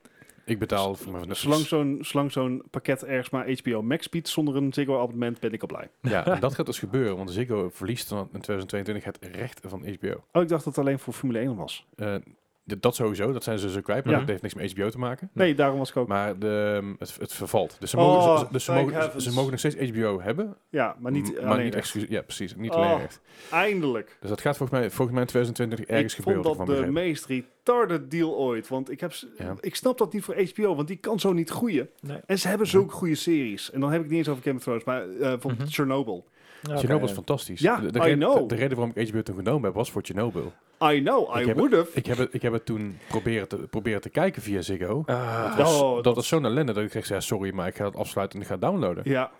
Speaker 1: Ik betaal voor mijn Netflix.
Speaker 2: zolang zo'n, zolang zo'n pakket ergens maar HBO Max biedt zonder een Ziggo-abonnement, ben ik al blij.
Speaker 1: Ja, en dat gaat dus gebeuren, want Ziggo verliest dan in 2022 het recht van HBO.
Speaker 2: Oh, ik dacht dat het alleen voor Formule 1 was.
Speaker 1: Eh, d- dat sowieso, dat zijn ze zo kwijt, maar
Speaker 2: Ja.
Speaker 1: dat heeft niks met HBO te maken.
Speaker 2: Nee, daarom was ik ook...
Speaker 1: Maar de, ehm, het, het vervalt. Dus ze
Speaker 2: Oh,
Speaker 1: mogen, ze- dus ze,
Speaker 2: thank
Speaker 1: mogen,
Speaker 2: heavens.
Speaker 1: ze mogen nog steeds HBO hebben.
Speaker 2: ja, maar niet
Speaker 1: m-
Speaker 2: alleen
Speaker 1: niet
Speaker 2: recht.
Speaker 1: excuus. Ja, precies. Niet
Speaker 2: Oh,
Speaker 1: alleen recht.
Speaker 2: Eindelijk.
Speaker 1: Dus dat gaat volgens mij, volgens mij in 2022 ergens
Speaker 2: Ik vond
Speaker 1: gebeuren.
Speaker 2: dat de
Speaker 1: heb ik van
Speaker 2: meest retarded deal ooit. Want ik, heb, s-
Speaker 1: Ja.
Speaker 2: ik snap dat niet voor HBO, want die kan zo niet groeien.
Speaker 3: Nee.
Speaker 2: En ze hebben zulke goede series. En dan heb ik het niet eens over Game of Thrones, maar eh bijvoorbeeld
Speaker 3: Mhm.
Speaker 2: Chernobyl.
Speaker 1: begrepen. Chernobyl is fantastisch.
Speaker 2: Ja,
Speaker 1: de, de,
Speaker 2: I
Speaker 1: reden,
Speaker 2: know.
Speaker 1: De, de reden waarom ik HBO toen genomen heb, was voor Chernobyl.
Speaker 2: I know, I
Speaker 1: Ik heb-
Speaker 2: would have.
Speaker 1: Ik heb het, ik heb het toen proberen te, proberen te kijken via Ziggo.
Speaker 3: Ah,
Speaker 1: Dat was,
Speaker 2: Oh,
Speaker 1: dat
Speaker 2: dat-
Speaker 1: was zo'n ellende dat ik zeg, ja, sorry, maar ik ga het afsluiten en ik ga het downloaden.
Speaker 2: Ja,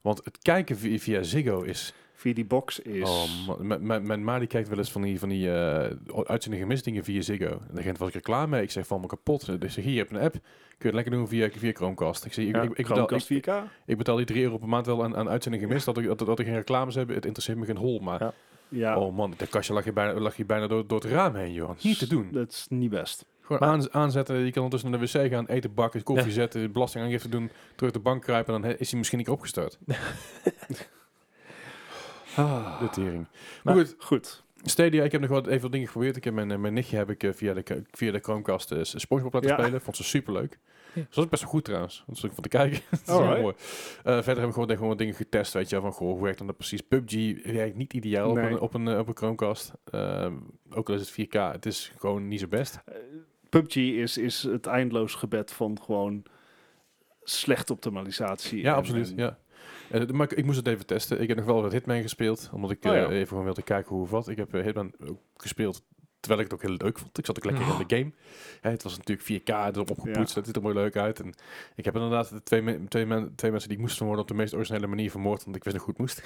Speaker 1: Want het kijken via, via Ziggo is
Speaker 2: via die box is.
Speaker 1: Oh, ma- mijn- mijn- mijn ma die kijkt wel eens van die, van die eh, uitzendingen misdingen via Ziggo. En daar was ik er klaar mee. Ik zeg van me kapot. Eh, Dus ik zeg, hier, je hebt een app. Kun je het lekker doen via, via Chromecast. Ik zeg, ik,
Speaker 2: Ja,
Speaker 1: ik, ik, betaal,
Speaker 2: Chromecast
Speaker 1: ik,
Speaker 2: 4K.
Speaker 1: ik betaal die 3 euro per maand wel aan, aan uitzendingen mis. Dat, ik, dat, dat ik geen reclames heb, het interesseert me geen hol. Maar,
Speaker 3: Ja.
Speaker 2: Ja,
Speaker 1: oh man, dat kastje lag je bijna, lag je bijna door, door het raam heen, joh. Niet te doen.
Speaker 2: dat is niet best.
Speaker 1: Gewoon aan- aanzetten, je kan ondertussen naar de wc gaan, eten bakken, koffie zetten, belastingaangifte doen, terug de bank kruipen en dan he- is hij misschien niet opgestart. De tering. Maar
Speaker 3: Maar-
Speaker 1: goed,
Speaker 2: Goed.
Speaker 1: Stadia, ik heb nog wat even wat dingen geprobeerd. Ik heb mijn, eh, mijn nichtje heb ik eh, via de, k- via de Chromecast eh, SpongeBob laten
Speaker 2: Ja.
Speaker 1: spelen. Vond ze superleuk.
Speaker 3: Ja.
Speaker 1: Ze was best wel goed trouwens. Dat is leuk om te kijken. Dat is
Speaker 2: Alright.
Speaker 1: heel mooi. Eh, verder hebben we gewoon, gewoon wat dingen getest. Weet je, wel, van goh, hoe werkt dan dat precies? PUBG werkt niet ideaal op,
Speaker 2: Nee.
Speaker 1: een, op, een, eh, op een Chromecast. Ehm, ook al is het 4K, het is gewoon niet zo best.
Speaker 2: PUBG is, is het eindeloos gebed van gewoon slechte optimalisatie.
Speaker 1: Ja,
Speaker 2: en-
Speaker 1: absoluut.
Speaker 2: en-
Speaker 1: Ja. Eh, maar ik, ik moest het even testen. Ik heb nog wel wat Hitman gespeeld, omdat ik
Speaker 2: Oh,
Speaker 1: eh,
Speaker 2: ja.
Speaker 1: even gewoon wilde kijken hoe of wat. Ik heb eh, Hitman ook gespeeld terwijl ik het ook heel leuk vond. Ik zat ook lekker in de game. Hè, het was natuurlijk 4K, het is opgepoetst, het ziet er mooi leuk uit. En ik heb inderdaad de twee, men- twee, men- twee mensen die ik moest vermoorden op de meest originele manier vermoord, want ik wist nog goed moest.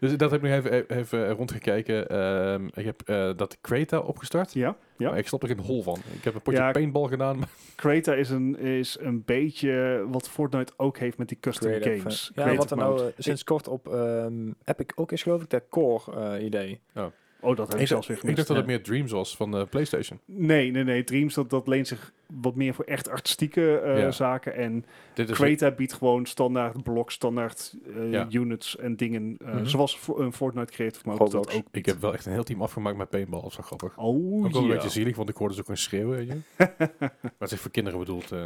Speaker 1: dus dat heb ik nog even, even rondgekeken. Ehm, ik heb eh, dat Creta opgestart.
Speaker 2: ja, ja.
Speaker 1: Maar ik snap er geen hol van. Ik heb een potje
Speaker 2: Ja,
Speaker 1: paintball gedaan. maar-
Speaker 2: Creta is een, is een beetje wat Fortnite ook heeft met die custom
Speaker 3: Creative, eh,
Speaker 2: games.
Speaker 3: Ja,
Speaker 2: Creative
Speaker 3: wat er nou
Speaker 2: mode.
Speaker 3: eh, sinds kort op ehm, Epic ook is, geloof ik, dat core eh, idee.
Speaker 2: Oh, dat heb ik
Speaker 1: Ik
Speaker 2: zelfs weer
Speaker 1: dacht, ik
Speaker 2: gemist.
Speaker 1: dacht dat het
Speaker 3: ja.
Speaker 1: meer Dreams was van eh, PlayStation.
Speaker 2: Nee, nee, nee. Dreams, dat, dat leent zich wat meer voor echt artistieke eh,
Speaker 1: Ja. Dus
Speaker 2: zaken. En
Speaker 1: Dit is
Speaker 2: Creta biedt gewoon standaard bloks, standaard eh,
Speaker 1: Ja.
Speaker 2: units en dingen. eh,
Speaker 3: Mhm.
Speaker 2: Zoals voor, een Fortnite Creative Mode dat
Speaker 3: Roblox.
Speaker 2: ook
Speaker 1: Ik heb wel echt een heel team afgemaakt met paintball. Dat is wel grappig.
Speaker 2: Oh,
Speaker 1: ook wel
Speaker 2: ja.
Speaker 1: een beetje zielig, want ik hoorde ze ook een schreeuwen. Weet je? maar het is voor kinderen bedoeld. eh.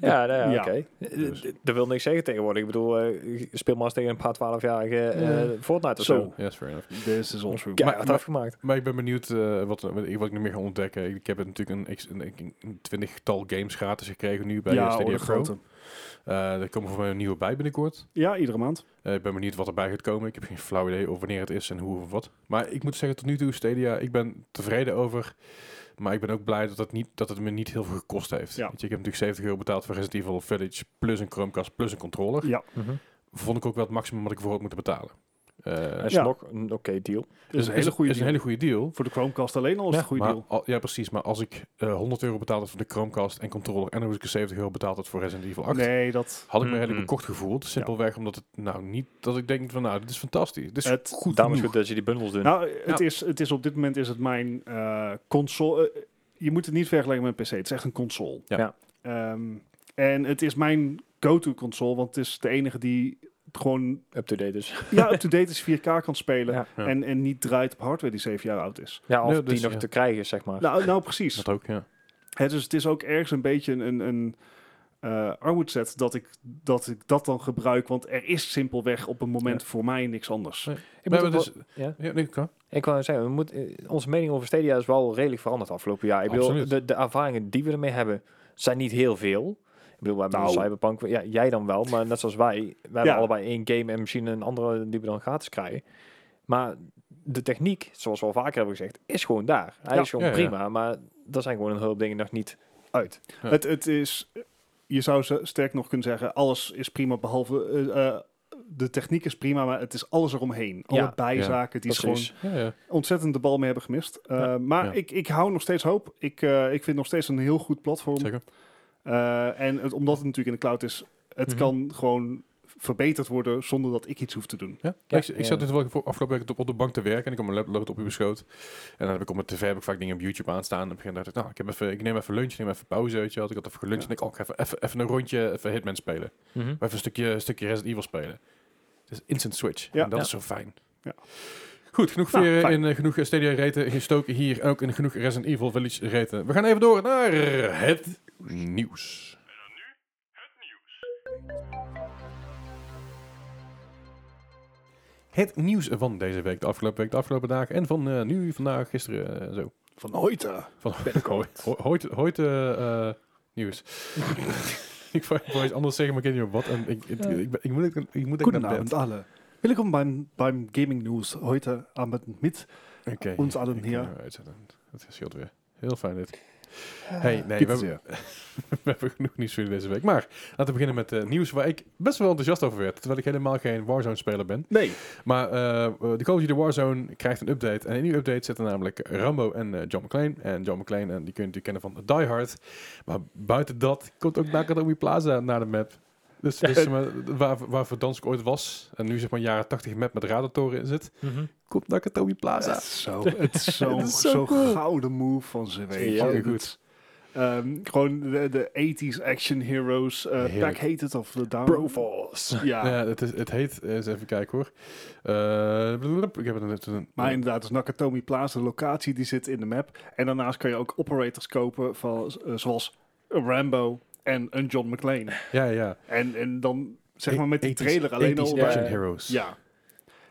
Speaker 3: Ja, nou ja,
Speaker 2: ja.
Speaker 3: oké. Eh, d- Dat wil niks zeggen tegenwoordig. Ik bedoel, eh, je speel maar eens tegen een paar 12-jarige eh, Fortnite of
Speaker 2: Zo.
Speaker 3: zo.
Speaker 1: Ja, is fair enough.
Speaker 2: This is all true.
Speaker 3: Ja,
Speaker 1: Maar-
Speaker 3: het
Speaker 1: maar-
Speaker 3: afgemaakt.
Speaker 1: Maar ik ben benieuwd eh, wat, wat ik nog meer ga ontdekken. Ik heb natuurlijk een, x- een, een- een twintigtal games gratis gekregen nu bij
Speaker 2: ja,
Speaker 1: ja,
Speaker 2: oh,
Speaker 1: Stadia
Speaker 2: de
Speaker 1: Pro.
Speaker 2: grote.
Speaker 1: Eh, er komen voor mij een nieuwe bij binnenkort.
Speaker 2: Ja, iedere maand.
Speaker 1: Eh, ik ben benieuwd wat erbij gaat komen. Ik heb geen flauw idee of wanneer het is en hoe of wat. Maar ik moet zeggen, tot nu toe, Stadia, ik ben tevreden over. Maar ik ben ook blij dat het, niet, dat het me niet heel veel gekost heeft.
Speaker 2: Ja.
Speaker 1: Weet je, ik heb natuurlijk 70 euro betaald voor Resident Evil Village, plus een Chromecast, plus een controller.
Speaker 2: Ja,
Speaker 1: Vond ik ook wel het maximum wat ik voor had moeten betalen. Eh,
Speaker 3: Dat is
Speaker 2: Ja.
Speaker 3: nog een oké deal.
Speaker 2: dat is een hele goede
Speaker 1: is een
Speaker 2: deal.
Speaker 1: hele goede deal.
Speaker 2: Voor de Chromecast alleen al is
Speaker 3: Ja,
Speaker 2: het een goede
Speaker 1: Maar
Speaker 2: deal.
Speaker 1: al- ja, precies. Maar als ik eh, 100 euro betaald had voor de Chromecast en controller... en nog eens een keer 70 euro betaald had voor Resident Evil 8...
Speaker 2: Nee, dat...
Speaker 1: had ik me
Speaker 3: Mhm.
Speaker 1: redelijk bekocht gevoeld. Simpelweg omdat het nou niet... dat ik denk van nou, dit is fantastisch. Dit is
Speaker 2: Het-
Speaker 1: goed
Speaker 3: Daarom is
Speaker 1: genoeg.
Speaker 3: goed dat je die bundels doet.
Speaker 2: Nou, het, is, het is op dit moment is het mijn eh, console. eh, je moet het niet vergelijken met een PC. Het is echt een console.
Speaker 1: Ja.
Speaker 3: Ja.
Speaker 2: Ehm, en het is mijn go-to console, want het is de enige die het gewoon
Speaker 3: Up-to-date dus.
Speaker 2: ja, up-to-date is 4K kan spelen.
Speaker 3: Ja.
Speaker 1: Ja.
Speaker 2: En, en niet draait op hardware die zeven jaar oud is.
Speaker 3: Ja, of
Speaker 1: Nee, dus,
Speaker 3: die nog
Speaker 1: ja.
Speaker 3: te krijgen is, zeg maar.
Speaker 2: Nou, nou precies.
Speaker 1: Dat ook, ja.
Speaker 2: Hè, dus het is ook ergens een beetje een, een, een eh, armoedzet dat ik, dat ik dat dan gebruik. Want er is simpelweg op een moment voor mij niks anders.
Speaker 1: Ja.
Speaker 3: ik,
Speaker 1: Nee,
Speaker 3: moet
Speaker 1: maar
Speaker 3: ook wel-
Speaker 1: dus,
Speaker 3: ja?
Speaker 1: ja, nee, kan.
Speaker 3: ik wou zeggen, we moeten eh, onze mening over Stadia is wel redelijk veranderd afgelopen jaar. Ik bedoel,
Speaker 1: Absoluut.
Speaker 3: de, de ervaringen die we ermee hebben, zijn niet heel veel. Ik bedoel, we hebben
Speaker 2: Nou.
Speaker 3: Cyberpunk, ja, jij dan wel, maar net zoals wij. We hebben allebei één game en misschien een andere die we dan gratis krijgen. Maar de techniek, zoals we al vaker hebben gezegd, is gewoon daar. Hij
Speaker 2: Ja.
Speaker 3: is gewoon
Speaker 1: Ja, ja.
Speaker 3: prima, maar er zijn gewoon een hoop dingen nog niet uit.
Speaker 1: Ja.
Speaker 2: Het, het is, je zou ze- sterk nog kunnen zeggen, alles is prima behalve, eh, eh, de techniek is prima, maar het is alles eromheen. Alle
Speaker 3: Ja.
Speaker 2: bijzaken die ze gewoon
Speaker 3: Precies.
Speaker 1: Ja, ja.
Speaker 2: ontzettend de bal mee hebben gemist. Eh,
Speaker 3: Ja.
Speaker 2: Maar
Speaker 1: Ja.
Speaker 2: Ik, ik hou nog steeds hoop. Ik, eh, ik vind nog steeds een heel goed platform.
Speaker 1: Zeker.
Speaker 2: Eh, en het, omdat het natuurlijk in de cloud is, het
Speaker 1: Mhm.
Speaker 2: kan gewoon verbeterd worden zonder dat ik iets hoef te doen.
Speaker 1: Ja.
Speaker 3: Ja,
Speaker 1: ik, ik zat
Speaker 3: ja.
Speaker 1: dus wel voor- afgelopen week op, op de bank te werken en ik had mijn lap- laptop op beschoot. En dan heb ik op mijn tv heb ik vaak dingen op YouTube aanstaan. En op een gegeven moment dacht ik, nou, ik, heb even, ik neem even lunch, ik neem even pauze. Weet je wel. Ik had even geluncht
Speaker 2: Ja.
Speaker 1: en ik, oh, ik ga even, even, even een rondje even Hitman spelen.
Speaker 3: Mhm.
Speaker 1: Of even een stukje, een stukje Resident Evil spelen. Het is instant switch.
Speaker 2: Ja.
Speaker 1: En dat
Speaker 3: Ja.
Speaker 1: is zo fijn.
Speaker 2: Ja.
Speaker 1: Goed, genoeg
Speaker 2: Nou,
Speaker 1: veren
Speaker 2: fijn.
Speaker 1: in eh, genoeg Stadia reten gestoken hier. En ook in genoeg Resident Evil Village reten. We gaan even door naar het nieuws. Het nieuws van deze week, de afgelopen week, de afgelopen dagen en van eh, nu, vandaag, gisteren, eh, zo.
Speaker 2: Van Hoyte.
Speaker 1: Van Ho- Hoyt, Hoyt eh, eh, nieuws. ik wou ik wou iets anders zeggen, maar ik weet niet meer wat. En ik, ik, ik, ben- ik moet ik, ik moet ik naar bed.
Speaker 2: Goedenavond alle. Welkom beim, beim Gaming News. Heute Abend mit
Speaker 1: Oké.
Speaker 2: Ons allen
Speaker 1: Ik kan
Speaker 2: hier.
Speaker 1: hem uitzetten. Dat scheelt weer. Heel fijn dit.
Speaker 2: Ah,
Speaker 1: Hey, nee, we
Speaker 2: Pieter
Speaker 1: hebben,
Speaker 2: zeer.
Speaker 1: we hebben genoeg nieuws voor jullie deze week. Maar laten we beginnen met eh, nieuws waar ik best wel enthousiast over werd. Terwijl ik helemaal geen Warzone-speler ben.
Speaker 2: Nee.
Speaker 1: Maar eh, eh, de Call of Duty Warzone krijgt een update. En in die update zitten namelijk Rambo en eh, John McClane. En John McClane, en die kun je natuurlijk kennen van Die Hard. Maar buiten dat komt ook Nakatomi Plaza naar de map. Dus, dus zeg maar, waar, waar Verdansk ooit was, en nu zeg maar jaren 80 map met radartoren in zit,
Speaker 2: Mhm.
Speaker 1: komt Nakatomi Plaza.
Speaker 2: Het is zo, het is zo,
Speaker 1: Het is zo
Speaker 2: zo,
Speaker 1: cool.
Speaker 2: gouden move van ze, weet je.
Speaker 1: Ja,
Speaker 2: Het-
Speaker 1: goed.
Speaker 2: ehm, gewoon de, de 80s action heroes. eh,
Speaker 1: Heerlijk.
Speaker 2: Pack heet het of de down. Ja,
Speaker 1: Ja, het, is, het heet, eens even kijken hoor. Eh, blub, ik heb het net een.
Speaker 2: maar inderdaad, dus Nakatomi Plaza, de locatie die zit in de map. En daarnaast kan je ook operators kopen van, eh, zoals een Rambo en een John McClane.
Speaker 1: Ja, ja.
Speaker 2: En, en dan zeg maar met die
Speaker 1: 80s
Speaker 2: trailer alleen al.
Speaker 1: 80s
Speaker 2: bij-
Speaker 1: E- Action Heroes.
Speaker 2: Ja.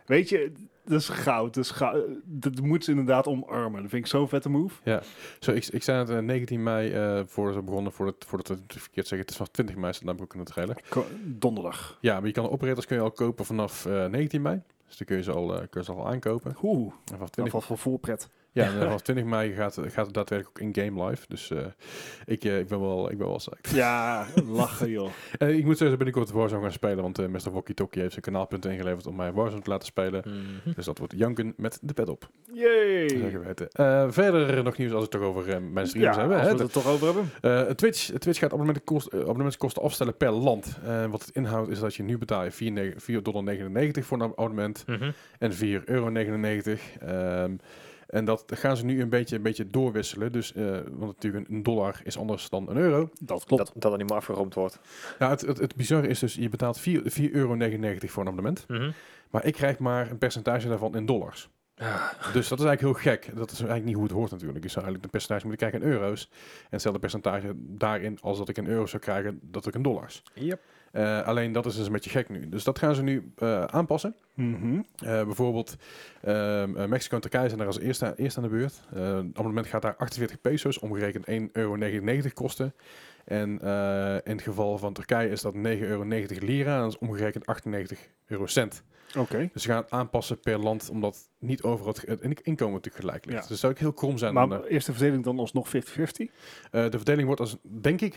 Speaker 2: Weet je, dat is goud. Dat, is goud. Eh, dat moet ze inderdaad omarmen. Dat vind ik zo'n vette move.
Speaker 1: Zo, ik, ik zei het eh, 19 mei eh voor ze begonnen, voordat, voordat we het verkeerd zeggen. Het is vanaf 20 mei, staat namelijk ook in de trailer.
Speaker 2: Ko- Donderdag.
Speaker 1: Ja, maar je kan de operators kun je al kopen vanaf eh, 19 mei. Dus dan kun je ze al, eh, kun je ze al aankopen.
Speaker 2: Oeh,
Speaker 1: En vanaf
Speaker 2: dat
Speaker 1: 20,
Speaker 2: was voor voorpret.
Speaker 1: ja, en vanaf 20 mei gaat, gaat het daadwerkelijk ook in-game live. Dus eh, ik, eh, ik ben wel, ik ben wel psyched.
Speaker 2: Ja, lachen joh.
Speaker 1: Eh, ik moet sowieso binnenkort Warzone gaan spelen, want eh Mr. Walkie Talkie heeft zijn kanaalpunten ingeleverd om mij Warzone te laten spelen.
Speaker 2: Mhm.
Speaker 1: Dus dat wordt Janken met de pet op.
Speaker 2: Yay!
Speaker 1: Zeker weten. Eh, verder nog nieuws als we het toch over eh, mijn streams hebben.
Speaker 2: als
Speaker 1: hè?
Speaker 2: we het er toch over hebben.
Speaker 1: Eh, Twitch, Twitch gaat abonnementkosten, eh, abonnementskosten afstellen per land. Eh, wat het inhoudt is dat je nu betaalt 4,99 4,99 voor een abonnement
Speaker 2: Mhm.
Speaker 1: en 4,99 euro. Ehm, en dat gaan ze nu een beetje, een beetje doorwisselen. Dus, eh, want natuurlijk een dollar is anders dan een euro.
Speaker 2: Dat klopt.
Speaker 3: Dat, dat er niet meer afgerond wordt.
Speaker 1: Nou, het, het, het bizarre is dus, je betaalt 4,99 euro voor een abonnement.
Speaker 2: Mhm.
Speaker 1: Maar ik krijg maar een percentage daarvan in dollars. Dus dat is eigenlijk heel gek. Dat is eigenlijk niet hoe het hoort natuurlijk. Je zou eigenlijk een percentage moeten krijgen in euro's. En hetzelfde percentage daarin als dat ik in euro's zou krijgen, dat ik in dollars.
Speaker 3: Yep.
Speaker 1: Eh, alleen dat is dus een beetje gek nu. Dus dat gaan ze nu eh, aanpassen.
Speaker 2: Mhm.
Speaker 1: Eh, bijvoorbeeld ehm, eh, Mexico en Turkije zijn daar als eerste, eerst aan de beurt. Eh, het abonnement gaat daar 48 pesos, omgerekend 1,99 euro kosten. En eh, in het geval van Turkije is dat 9,90 euro lira, en dat is omgerekend 98 eurocent.
Speaker 2: Oké.
Speaker 1: Dus ze gaan het aanpassen per land, omdat niet overal het, het in- inkomen natuurlijk gelijk ligt.
Speaker 2: Ja.
Speaker 1: Dus dat zou ik heel krom zijn.
Speaker 2: Maar
Speaker 1: dan, eh.
Speaker 2: eerst de verdeling dan alsnog 50-50.
Speaker 1: Eh, de verdeling wordt als, denk ik,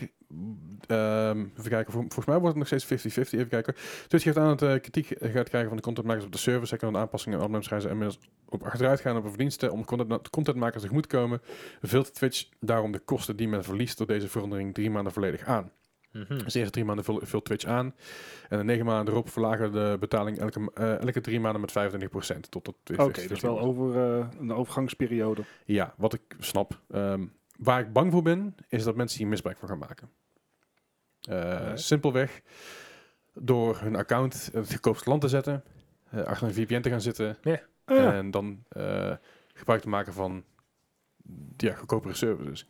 Speaker 1: ehm, even kijken, vol- volgens mij wordt het nog steeds 50-50, even kijken. Dus geeft aan dat eh, kritiek eh, gaat krijgen van de contentmakers op de service. Zij kunnen aanpassingen en abonnements gaan ze inmiddels op achteruit gaan op hun verdiensten om content, contentmakers tegemoetkomen. Veelt Twitch daarom de kosten die men verliest door deze verandering drie maanden volledig aan.
Speaker 2: Mhm.
Speaker 1: Dus de eerste drie maanden vul- vult Twitch aan. En de negen maanden erop verlagen de betaling elke, ma- eh, elke drie maanden met 25% tot dat
Speaker 2: Oké, dus wel over eh, een overgangsperiode.
Speaker 1: Ja, wat ik snap. Ehm, waar ik bang voor ben, is dat mensen hier misbruik van gaan maken. Eh,
Speaker 3: Nee.
Speaker 1: Simpelweg door hun account in het goedkoopste land te zetten, eh, achter een VPN te gaan zitten
Speaker 2: Ja.
Speaker 1: en dan eh, gebruik te maken van ja, goedkopere services.